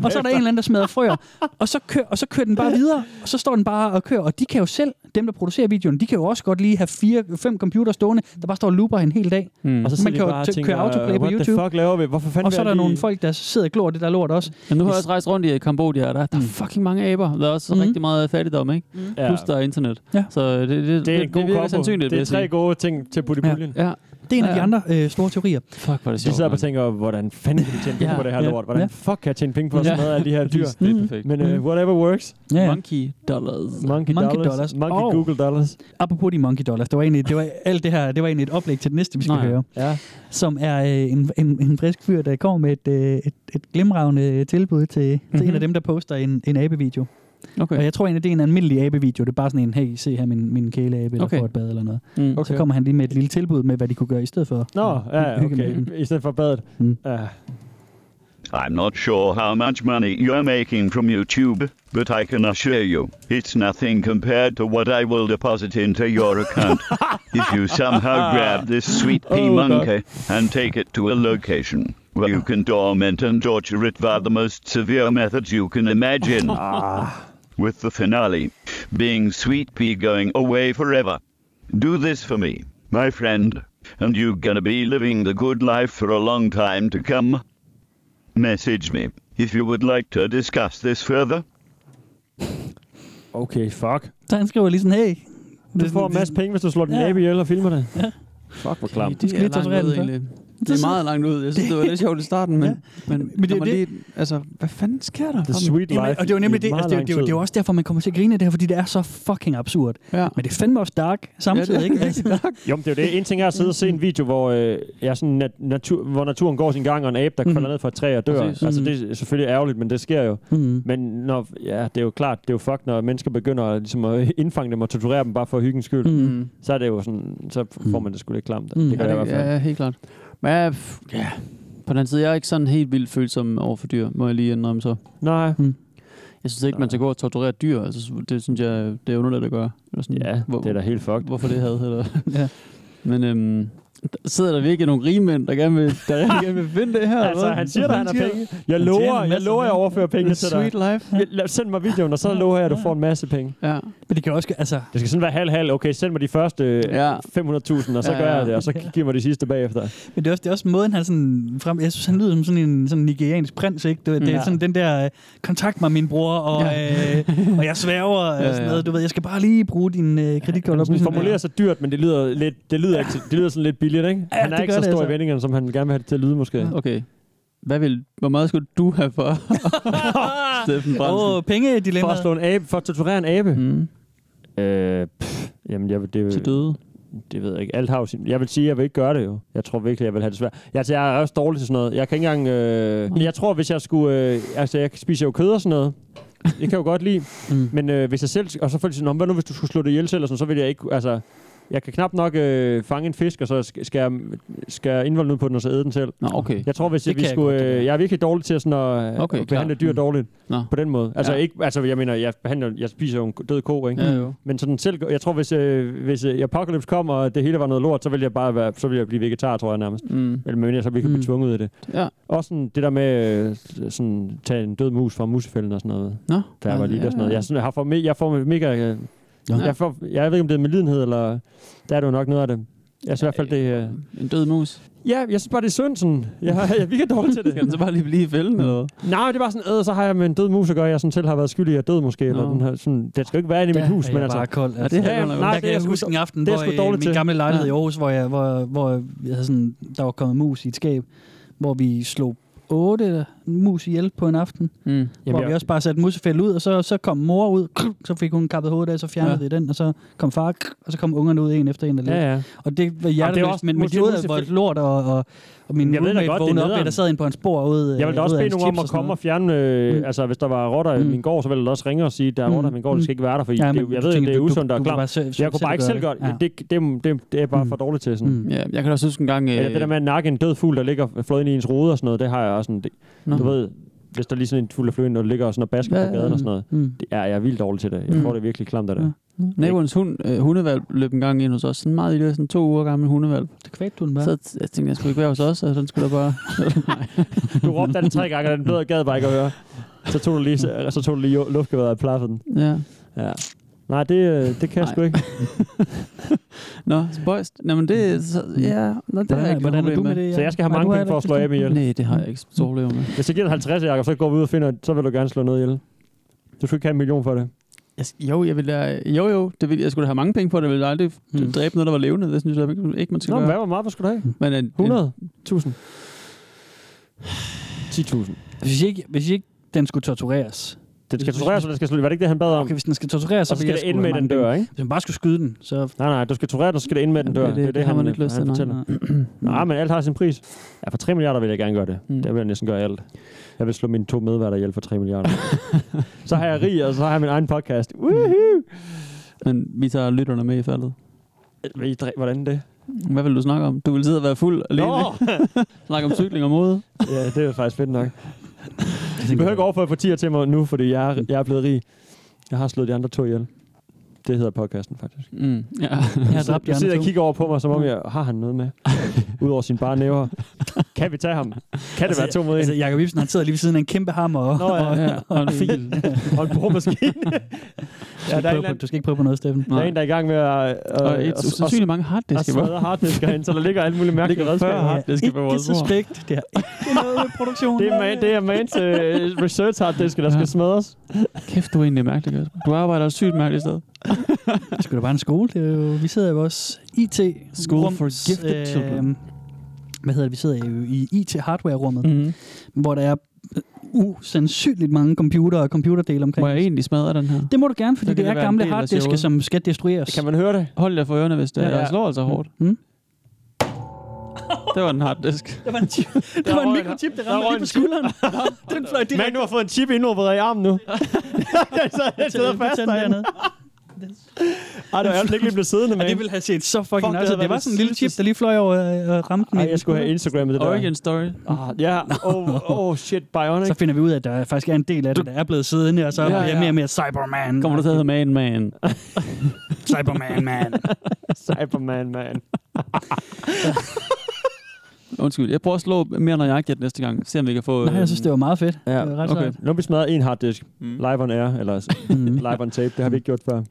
[SPEAKER 3] starten.
[SPEAKER 2] der smadrer frøer
[SPEAKER 3] Og så er der en
[SPEAKER 2] bagefter.
[SPEAKER 3] eller anden, der smadrer frøer. Og så, kører, og så kører den bare videre, og så står den bare og kører. Og de kan jo selv, dem der producerer videoen, de kan jo også godt lige have fire, fem computer stående, der bare står og looper en hel dag.
[SPEAKER 2] Mm. Og så sidder
[SPEAKER 3] Hmm. Man kan
[SPEAKER 2] de
[SPEAKER 3] jo
[SPEAKER 2] bare og
[SPEAKER 3] t-
[SPEAKER 2] tænker,
[SPEAKER 3] køre autoplay på
[SPEAKER 2] "What the
[SPEAKER 3] YouTube.
[SPEAKER 2] fuck laver vi? Hvorfor fanden
[SPEAKER 3] og så
[SPEAKER 2] vil
[SPEAKER 3] er der
[SPEAKER 2] jeg
[SPEAKER 3] nogle
[SPEAKER 2] lige-"
[SPEAKER 3] folk, der sidder og glor det der lort også. Mm.
[SPEAKER 4] Men nu har jeg også rejst rundt i Kambodja, og der, der er fucking mange aber. Der er også mm. rigtig meget fattigdom, ikke? Mm.
[SPEAKER 2] Ja.
[SPEAKER 4] Plus der er internet.
[SPEAKER 3] Ja.
[SPEAKER 4] Så det, det, det,
[SPEAKER 2] Det er
[SPEAKER 4] det,
[SPEAKER 2] en god
[SPEAKER 4] det virker
[SPEAKER 2] kombo.
[SPEAKER 4] sandsynligt,
[SPEAKER 2] Det
[SPEAKER 4] vil
[SPEAKER 2] er
[SPEAKER 4] jeg
[SPEAKER 2] tre
[SPEAKER 4] sige.
[SPEAKER 2] gode ting til putte i puljen.
[SPEAKER 4] Ja.
[SPEAKER 3] Det er en af de
[SPEAKER 4] Ja.
[SPEAKER 3] andre øh, store teorier.
[SPEAKER 4] Fuck, hvor er det
[SPEAKER 2] De
[SPEAKER 4] sjovt,
[SPEAKER 2] sidder og
[SPEAKER 4] mand.
[SPEAKER 2] tænker, hvordan fanden kan vi tjene penge
[SPEAKER 4] Ja.
[SPEAKER 2] på det her
[SPEAKER 4] Ja.
[SPEAKER 2] lort? Hvordan
[SPEAKER 4] Ja.
[SPEAKER 2] fuck kan jeg tjene penge på at
[SPEAKER 4] Ja.
[SPEAKER 2] smadre alle de her dyr?
[SPEAKER 4] Præcis, det er perfekt. Mm.
[SPEAKER 2] Men øh,
[SPEAKER 3] Mm.
[SPEAKER 2] whatever works.
[SPEAKER 3] Ja, ja.
[SPEAKER 4] Monkey dollars.
[SPEAKER 2] Monkey, dollars. Monkey
[SPEAKER 3] Og-
[SPEAKER 2] Google dollars.
[SPEAKER 3] Apropos de monkey dollars, det var egentlig, det var alt det her, det var egentlig et oplæg til det næste, vi skal
[SPEAKER 2] Nå ja.
[SPEAKER 3] høre.
[SPEAKER 2] Ja.
[SPEAKER 3] Som er øh, en, en, en frisk fyr, der kommer med et, øh, et, et glimragende tilbud til, mm-hmm. til en af dem, der poster en, en abevideo.
[SPEAKER 4] Okay.
[SPEAKER 3] Og jeg tror egentlig, det er en almindelig abevideo. Det er bare sådan en, hey, se her min, min kæleabe, eller
[SPEAKER 2] Okay.
[SPEAKER 3] får et bad eller noget.
[SPEAKER 4] Mm.
[SPEAKER 3] Okay.
[SPEAKER 2] Okay.
[SPEAKER 3] Så kommer han lige med et lille tilbud med, hvad de kunne gøre i stedet for.
[SPEAKER 2] Nå, ja, ja,
[SPEAKER 3] Hygge med Mm.
[SPEAKER 2] okay. I stedet for badet. Ja.
[SPEAKER 13] I'm not sure how much money you're making from YouTube, but I can assure you, it's nothing compared to what I will deposit into your account if you somehow grab this sweet pea
[SPEAKER 14] Oh, God.
[SPEAKER 13] monkey and take it to a location where you can torment and torture it by the most severe methods you can imagine.
[SPEAKER 14] Ah.
[SPEAKER 13] With the finale being Sweet Pea going away forever. Do this for me, my friend, and you're gonna be living the good life for a long time to come. Message me if you would like to discuss this further.
[SPEAKER 2] Okay, fuck.
[SPEAKER 3] Så han skriver lige sådan, hey.
[SPEAKER 2] Du får en masse penge, hvis du slår din
[SPEAKER 3] Ja.
[SPEAKER 2] abe ihjel og filmer det.
[SPEAKER 3] Ja.
[SPEAKER 2] Fuck, hvor klamt.
[SPEAKER 4] Det er langt ud, egentlig. Det er meget langt ud. Jeg synes, det var lidt sjovt i starten, men, men, men det, man lige, altså, hvad fanden sker der?
[SPEAKER 3] The sweet Jamen, life og det var nemlig i det- meget altså, det- lang det- det- tid. det var også derfor, man kommer til at grine af det her, fordi det er så fucking absurd. Ja. Men det er fandme også dark samtidig, ikke?
[SPEAKER 2] Jo, men det er jo det. En ting er at sidde og se en video, hvor, øh, jeg sådan nat- natur, hvor naturen går sin gang, og en abe, der
[SPEAKER 3] Mhm.
[SPEAKER 2] mm. falder ned fra et træ og dør.
[SPEAKER 3] Præcis.
[SPEAKER 2] Altså,
[SPEAKER 3] Mhm.
[SPEAKER 2] det er selvfølgelig ærgerligt, men det sker jo.
[SPEAKER 3] Mhm.
[SPEAKER 2] Men når, ja, det er jo klart, det er jo fuck, når mennesker begynder at, ligesom at indfange dem og torturere dem bare for hyggens skyld.
[SPEAKER 4] Mhm.
[SPEAKER 2] Så er det jo sådan, så
[SPEAKER 3] Mhm.
[SPEAKER 2] får man det sgu lidt klamt.
[SPEAKER 4] Mm.
[SPEAKER 2] Det gør jeg i hvert fald.
[SPEAKER 4] Ja, helt klart. Men jeg, ja, på den anden side, jeg er ikke sådan helt vildt følsom over for dyr, må jeg lige indrømme så.
[SPEAKER 2] Nej.
[SPEAKER 3] Mm.
[SPEAKER 4] Jeg synes ikke, man skal gå og torturere dyr. Altså, det synes jeg, det er underligt at gøre. Eller sådan,
[SPEAKER 2] Ja, det er da helt fucked.
[SPEAKER 4] Hvorfor det havde eller.
[SPEAKER 3] ja.
[SPEAKER 4] Men øhm, der sidder der virkelig nogle rige mænd, der gerne vil, der rigtig gerne vil finde det her. eller
[SPEAKER 2] altså,
[SPEAKER 4] hvad?
[SPEAKER 2] han siger, at han har
[SPEAKER 4] siger-
[SPEAKER 2] penge. Jeg
[SPEAKER 4] Han tjener
[SPEAKER 2] lover,
[SPEAKER 4] en
[SPEAKER 2] jeg
[SPEAKER 4] masse
[SPEAKER 2] lover, jeg
[SPEAKER 4] penge.
[SPEAKER 2] overfører penge til dig.
[SPEAKER 4] Sweet life.
[SPEAKER 2] Jeg- la- Send mig videoen, og så lover jeg, at du får en masse penge.
[SPEAKER 4] Ja.
[SPEAKER 3] Men det kan også, altså...
[SPEAKER 2] Det skal sådan være halv-halv. Okay, send mig de første øh, 500.000, og så
[SPEAKER 3] Ja,
[SPEAKER 2] gør
[SPEAKER 3] ja.
[SPEAKER 2] jeg det, og så giver mig de sidste bagefter.
[SPEAKER 3] Men det er, også, det er også måden, han sådan frem... Jeg synes, han lyder som sådan en sådan en nigeriansk prins, ikke? Det, det
[SPEAKER 2] Ja.
[SPEAKER 3] er sådan den der, øh, kontakt mig, min bror, og,
[SPEAKER 2] Ja.
[SPEAKER 3] ja. øh, og jeg sværger, og
[SPEAKER 2] Ja,
[SPEAKER 3] ja, sådan
[SPEAKER 2] ja.
[SPEAKER 3] noget. Du ved, jeg skal bare lige bruge din øh, kreditkort.
[SPEAKER 2] Han formulerer sig dyrt, men det lyder, lidt, det lyder, ikke, det lyder sådan lidt billigt, ikke?
[SPEAKER 3] Ja,
[SPEAKER 2] Han er
[SPEAKER 3] det
[SPEAKER 2] ikke
[SPEAKER 3] gør
[SPEAKER 2] så
[SPEAKER 3] det
[SPEAKER 2] stor i
[SPEAKER 3] altså.
[SPEAKER 2] vendingerne, som han gerne vil have det til at lyde, måske.
[SPEAKER 4] Mm. Okay. Hvad vil, hvor meget skulle du have for Steffen Brandsen?
[SPEAKER 3] Åh, pengedilemmaet.
[SPEAKER 2] For at slå en abe, for at torturere en abe.
[SPEAKER 4] Mm.
[SPEAKER 2] Øh, pff, jamen, jeg vil, det,
[SPEAKER 4] Til døde?
[SPEAKER 2] Det ved jeg ikke. Alt har jo sin... Jeg vil sige, jeg vil ikke gøre det jo. Jeg tror virkelig, jeg vil have det svært. Jeg, altså, jeg er også dårlig til sådan noget. Jeg kan ikke engang... Øh, jeg tror, hvis jeg skulle... Øh, altså, jeg spiser jo kød og sådan noget. Det kan jeg jo godt lide. mm. Men øh, hvis jeg selv... Og så får de sådan, "Nå, hvad nu, hvis du skulle slå det ihjel selv? Og sådan, så vil jeg ikke... Altså, jeg kan knap nok øh, fange en fisk, og så sk- skære, skære indvolden ud på den, og så æde den selv.
[SPEAKER 4] Nå, okay.
[SPEAKER 2] Jeg tror, hvis
[SPEAKER 4] Det
[SPEAKER 2] jeg, vi
[SPEAKER 4] kan jeg
[SPEAKER 2] skulle...
[SPEAKER 4] godt, det
[SPEAKER 2] øh, jeg er virkelig dårlig til at, sådan, at,
[SPEAKER 4] Okay,
[SPEAKER 2] okay, at behandle
[SPEAKER 4] klart.
[SPEAKER 2] dyr
[SPEAKER 4] Mm.
[SPEAKER 2] dårligt.
[SPEAKER 4] Nå.
[SPEAKER 2] På den måde. Altså,
[SPEAKER 4] Ja.
[SPEAKER 2] ja. ikke, altså, jeg mener, jeg, behandler, jeg spiser jo en død ko, ikke?
[SPEAKER 4] Ja, jo.
[SPEAKER 2] Men sådan selv, jeg tror, hvis, øh, hvis øh, apocalypse kom, og det hele var noget lort, så ville jeg bare være, så ville jeg blive vegetar, tror jeg nærmest.
[SPEAKER 4] Mm.
[SPEAKER 2] Eller men jeg så virkelig mm. blive tvunget ud af det.
[SPEAKER 4] Ja.
[SPEAKER 2] Også sådan, det der med øh, sådan, tage en død mus fra musefælden og sådan noget.
[SPEAKER 4] Nå.
[SPEAKER 2] Der var lige
[SPEAKER 4] Ja.
[SPEAKER 2] der sådan noget. Jeg, sådan, jeg, har for, me- jeg får mega... Øh, jeg, får, jeg ved ikke, om det er med lidenhed, eller der er det jo nok noget af det. Jeg synes i hvert fald, det øh, er...
[SPEAKER 4] En død mus?
[SPEAKER 2] Ja, jeg synes bare, det er synd sådan. Jeg, har- jeg er virkelig dårlig til det. Mm.
[SPEAKER 4] Skal den så bare lige blive i fælden, eller hvad?
[SPEAKER 2] Nej, det var sådan, øh, så har jeg med en død mus at gøre, jeg sådan selv har været skyldig, jeg er død måske, eller
[SPEAKER 4] Nå.
[SPEAKER 2] den her, sådan, det skal jo ikke være inde i mit
[SPEAKER 3] Der
[SPEAKER 2] hus,
[SPEAKER 3] er
[SPEAKER 2] men
[SPEAKER 3] jeg
[SPEAKER 2] altså...
[SPEAKER 3] bare kold.
[SPEAKER 2] Ja,
[SPEAKER 3] Altså.
[SPEAKER 2] det, ja, nej,
[SPEAKER 3] der kan
[SPEAKER 2] det
[SPEAKER 3] jeg
[SPEAKER 2] er sgu-
[SPEAKER 3] huske en aften,
[SPEAKER 2] det er
[SPEAKER 3] hvor
[SPEAKER 2] sgu
[SPEAKER 3] i
[SPEAKER 2] dårligt
[SPEAKER 3] min
[SPEAKER 2] til.
[SPEAKER 3] gamle lejlighed i Aarhus, hvor, jeg, hvor, hvor jeg havde sådan, der var kommet mus i et skab, hvor vi slog otte mus ihjel på en aften.
[SPEAKER 4] Mm.
[SPEAKER 3] Jamen, hvor
[SPEAKER 2] jeg-
[SPEAKER 3] vi også bare satte musefælde ud, og så, så kom mor ud, så fik hun kappet hovedet af, så fjernede
[SPEAKER 2] Ja.
[SPEAKER 3] ja. det den, og så kom far, og så kom ungerne ud en efter en. Der
[SPEAKER 2] Ja,
[SPEAKER 3] led.
[SPEAKER 2] ja.
[SPEAKER 3] Og det var
[SPEAKER 2] er
[SPEAKER 3] hjerteløst,
[SPEAKER 2] også-
[SPEAKER 3] men, men
[SPEAKER 2] måske
[SPEAKER 3] det var
[SPEAKER 2] musefælde-
[SPEAKER 3] hvor lort, og, og, og min
[SPEAKER 2] Jeg ved da
[SPEAKER 3] roommate
[SPEAKER 2] godt, det er
[SPEAKER 3] vågnede op, ved,
[SPEAKER 2] nederen.
[SPEAKER 3] der sad inde på en spor ud.
[SPEAKER 2] Jeg vil da også
[SPEAKER 3] ud af
[SPEAKER 2] bede
[SPEAKER 3] hans
[SPEAKER 2] nogen om
[SPEAKER 3] chips og
[SPEAKER 2] at
[SPEAKER 3] sådan
[SPEAKER 2] komme
[SPEAKER 3] noget.
[SPEAKER 2] og fjerne... Øh, Altså, hvis der var rotter i
[SPEAKER 3] Mm.
[SPEAKER 2] min gård, så ville jeg da også ringe og sige, der er rotter i min gård, det skal ikke være der, for
[SPEAKER 3] Ja,
[SPEAKER 2] ja,
[SPEAKER 3] men
[SPEAKER 2] det, jeg
[SPEAKER 3] du
[SPEAKER 2] ved,
[SPEAKER 3] tænker,
[SPEAKER 2] det er
[SPEAKER 3] du- du-
[SPEAKER 2] usundt og
[SPEAKER 3] du kan bare selv-
[SPEAKER 2] klamt. Jeg kunne
[SPEAKER 3] selv
[SPEAKER 2] bare ikke
[SPEAKER 3] gøre
[SPEAKER 2] selv
[SPEAKER 3] det. Mm.
[SPEAKER 2] gøre det. Det, det, det, det er bare for dårligt til. Sådan.
[SPEAKER 4] Mm, Ja, jeg kan også huske en gang... øh,
[SPEAKER 2] Eller det der med at nakke en død fugl, der ligger fløjet ind i ens rude og sådan noget, det har jeg også sådan... Det,
[SPEAKER 4] Nå.
[SPEAKER 2] du ved, hvis der lige sådan en fugl, der flyver ind, og ligger og sådan og basker
[SPEAKER 4] Ja,
[SPEAKER 2] på gaden og sådan noget,
[SPEAKER 4] mm.
[SPEAKER 2] det er jeg er vildt dårlig til det. Jeg
[SPEAKER 4] Mm.
[SPEAKER 2] tror, det er virkelig klamt af det.
[SPEAKER 4] Naboens hund, øh, hundevalg løb en gang ind hos os. Sådan en meget lille, sådan to uger gammel hundevalg.
[SPEAKER 3] Det kvægte du den bare.
[SPEAKER 4] Så t- jeg tænkte, jeg skulle ikke være hos os, og den skulle da bare...
[SPEAKER 2] Du råbte af den tre gange, og den bedre gad bare ikke at høre. Så tog du lige, så, så tog du lige luftgeværet og plaffede den.
[SPEAKER 4] ja.
[SPEAKER 2] Ja. Nej, det, øh, det kan jeg sgu ikke.
[SPEAKER 4] Nå, spøjst. Nå, men det... Så, ja, nå,
[SPEAKER 2] Hvordan
[SPEAKER 4] det har
[SPEAKER 2] er-
[SPEAKER 4] jeg ikke
[SPEAKER 2] hvordan er
[SPEAKER 4] noget
[SPEAKER 2] du
[SPEAKER 4] problem
[SPEAKER 2] med det, Så jeg skal have Nej, mange du har penge heller for at ikke slå det. Abby ihjel.
[SPEAKER 4] Nej, det har jeg ikke så problemer med.
[SPEAKER 2] Hvis jeg giver dig 50, Jacob, så går vi ud og finder, så vil du gerne slå noget ihjel. Du skal ikke have en million for det.
[SPEAKER 4] Jeg, jo, jeg ville da, jo, jo, det ville, jeg skulle da have mange penge på det. Jeg ville aldrig mm. dræbe noget, der var levende. Det synes jeg ikke, ikke man skal
[SPEAKER 2] Nå, men
[SPEAKER 4] gøre.
[SPEAKER 2] hvad, hvor meget skulle du have?
[SPEAKER 4] Men øh, en,
[SPEAKER 2] 100? 1000? 10.000.
[SPEAKER 3] Hvis ikke, hvis ikke den skulle tortureres.
[SPEAKER 2] Den skal tortureres, og den skal slutte. Var det ikke det, han bad om?
[SPEAKER 3] Okay, hvis den skal tortureres,
[SPEAKER 2] Så,
[SPEAKER 3] vil
[SPEAKER 2] så skal
[SPEAKER 3] jeg
[SPEAKER 2] det
[SPEAKER 3] sgu
[SPEAKER 2] ende med,
[SPEAKER 3] have
[SPEAKER 2] at den
[SPEAKER 3] mange
[SPEAKER 2] dør,
[SPEAKER 3] penge.
[SPEAKER 2] ikke?
[SPEAKER 3] Hvis man bare skulle skyde den, så...
[SPEAKER 2] Nej, nej, du skal torturere den, så skal det ende med, at den dør.
[SPEAKER 4] Jamen,
[SPEAKER 2] Det,
[SPEAKER 4] det-
[SPEAKER 2] er det,
[SPEAKER 4] det har
[SPEAKER 2] han, øh,
[SPEAKER 4] man ikke lyst
[SPEAKER 2] han
[SPEAKER 4] til, nej.
[SPEAKER 2] fortæller. nej, men alt har sin pris. Ja, for 3 milliarder vil jeg gerne gøre det. Mm. Der vil jeg næsten gøre alt. Jeg vil slå mine to medværter ihjel for 3 milliarder. så har jeg rig, og så har jeg min egen podcast. Woohoo!
[SPEAKER 4] Mm. Men vi tager lytterne med i faldet.
[SPEAKER 2] Vil I dræ- Øh, Hvordan det?
[SPEAKER 4] Hvad vil du snakke om? Du vil sidde og være fuld alene. ikke? snakke om cykling og mode.
[SPEAKER 2] ja, det er faktisk fedt nok. Du behøver ikke overføre partier til mig nu, fordi jeg er, jeg er blevet rig. Jeg har slået de andre to ihjel. Det hedder podcasten, faktisk.
[SPEAKER 4] Mm, ja.
[SPEAKER 2] Jeg har dræbt de andre og kigger over på mig, som om jeg har han noget med. Udover sine bare næver. Kan vi tage ham? Kan det være to mod en?
[SPEAKER 3] Altså, Jacob Ibsen, han sidder lige ved siden af en kæmpe hammer og,
[SPEAKER 2] Nå, ja, ja.
[SPEAKER 3] og, en fil.
[SPEAKER 2] og en boremaskine.
[SPEAKER 3] ja,
[SPEAKER 2] der er en
[SPEAKER 3] der
[SPEAKER 2] eller
[SPEAKER 3] på,
[SPEAKER 2] anden-
[SPEAKER 3] du skal ikke prøve på noget, Steffen.
[SPEAKER 2] Der er en, der er i gang med at...
[SPEAKER 4] Og et usandsynligt mange harddiske,
[SPEAKER 2] Og
[SPEAKER 4] hva'?
[SPEAKER 2] smadre harddisker ind, så der ligger alle mulige mærkelige redskaber.
[SPEAKER 4] harddiske på vores bord.
[SPEAKER 3] det er ikke noget med produktion.
[SPEAKER 2] Det er, man, det er man til research harddiske, der skal smadres.
[SPEAKER 4] Kæft, du er egentlig mærkelig, Kasper. Du arbejder også sygt mærkeligt sted.
[SPEAKER 3] Det skulle da bare en skole. Det er jo, vi sidder i vores IT.
[SPEAKER 4] School
[SPEAKER 3] rums, øh,
[SPEAKER 4] for gifted children.
[SPEAKER 3] Hvad hedder det? Vi sidder jo i IT-hardware-rummet,
[SPEAKER 4] Mhm.
[SPEAKER 3] hvor der er øh, usandsynligt mange computer og computerdele omkring.
[SPEAKER 4] Må jeg egentlig smadre den her?
[SPEAKER 3] Det må du gerne, fordi
[SPEAKER 4] Så kan
[SPEAKER 3] det,
[SPEAKER 4] det
[SPEAKER 3] er
[SPEAKER 4] være en
[SPEAKER 3] gamle
[SPEAKER 4] del af
[SPEAKER 3] harddiske,
[SPEAKER 4] showet.
[SPEAKER 3] som skal destrueres.
[SPEAKER 2] Kan man høre det?
[SPEAKER 4] Hold jer for ørerne, hvis det er.
[SPEAKER 3] Ja, ja.
[SPEAKER 4] Jeg slår altså hårdt.
[SPEAKER 3] Mm.
[SPEAKER 4] Det var en harddisk.
[SPEAKER 3] Det var en, det var en mikrochip, der ramte lige på skulderen. den fløj direkte.
[SPEAKER 2] Men du har fået en chip indopereret i armen nu. så jeg sidder fast derinde. Ej, det var ærligt, ikke lige blev siddende med.
[SPEAKER 3] Og det ville have set så
[SPEAKER 2] Fuck,
[SPEAKER 3] fucking
[SPEAKER 2] det
[SPEAKER 3] nice. ud.
[SPEAKER 2] havde
[SPEAKER 3] Det var
[SPEAKER 2] været
[SPEAKER 3] sådan en lille chip, der lige fløj over øh, og ramte mig.
[SPEAKER 2] Ej, jeg skulle have Instagrammet det der.
[SPEAKER 4] Origin story.
[SPEAKER 2] Ah, ja. Oh, oh shit, Bionic.
[SPEAKER 3] Så finder vi ud af, at der faktisk er en del af det, der er blevet siddende, og så
[SPEAKER 4] Ja,
[SPEAKER 3] ja, bliver
[SPEAKER 4] ja.
[SPEAKER 3] mere og mere Cyberman.
[SPEAKER 4] Kommer du til at hedde Man Man?
[SPEAKER 3] Cyberman, man.
[SPEAKER 2] Cyberman, man.
[SPEAKER 4] Undskyld, jeg prøver at slå mere nøjagtigt næste gang. Se om vi kan få...
[SPEAKER 3] Nej, jeg synes, det var meget fedt.
[SPEAKER 2] Ja,
[SPEAKER 3] Det var ret
[SPEAKER 2] okay.
[SPEAKER 3] sejt. Mm.
[SPEAKER 2] Nu har vi smadret en harddisk. Mm. Live on air, eller s- live on tape. Det har vi ikke gjort før.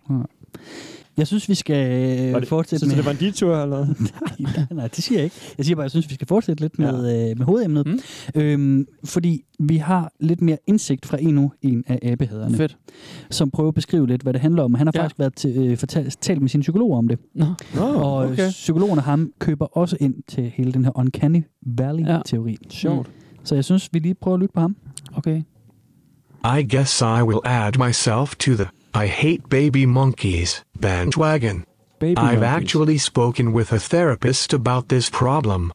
[SPEAKER 3] Jeg synes, vi skal
[SPEAKER 2] Var
[SPEAKER 3] øh,
[SPEAKER 2] det-
[SPEAKER 3] fortsætte
[SPEAKER 2] synes du,
[SPEAKER 3] med...
[SPEAKER 2] det var en detur, eller hvad?
[SPEAKER 3] nej, nej, det siger jeg ikke. Jeg siger bare, at jeg synes, vi skal fortsætte lidt med, øh, med hovedemnet. Mm. Øhm, fordi vi har lidt mere indsigt fra endnu en af abehaderne.
[SPEAKER 4] Fedt.
[SPEAKER 3] Som prøver at beskrive lidt, hvad det handler om. Han har ja. faktisk været til, øh, fortalt, talt med sine psykologer om det.
[SPEAKER 4] Nå.
[SPEAKER 3] Og øh,
[SPEAKER 4] okay.
[SPEAKER 3] psykologerne ham køber også ind til hele den her Uncanny Valley-teori. Ja.
[SPEAKER 4] Sjovt.
[SPEAKER 3] Så jeg synes, vi lige prøver at lytte på ham.
[SPEAKER 4] Okay.
[SPEAKER 14] I guess I will add myself to the I hate baby monkeys bandwagon.
[SPEAKER 4] Baby
[SPEAKER 14] I've
[SPEAKER 4] monkeys.
[SPEAKER 14] actually spoken with a therapist about this problem.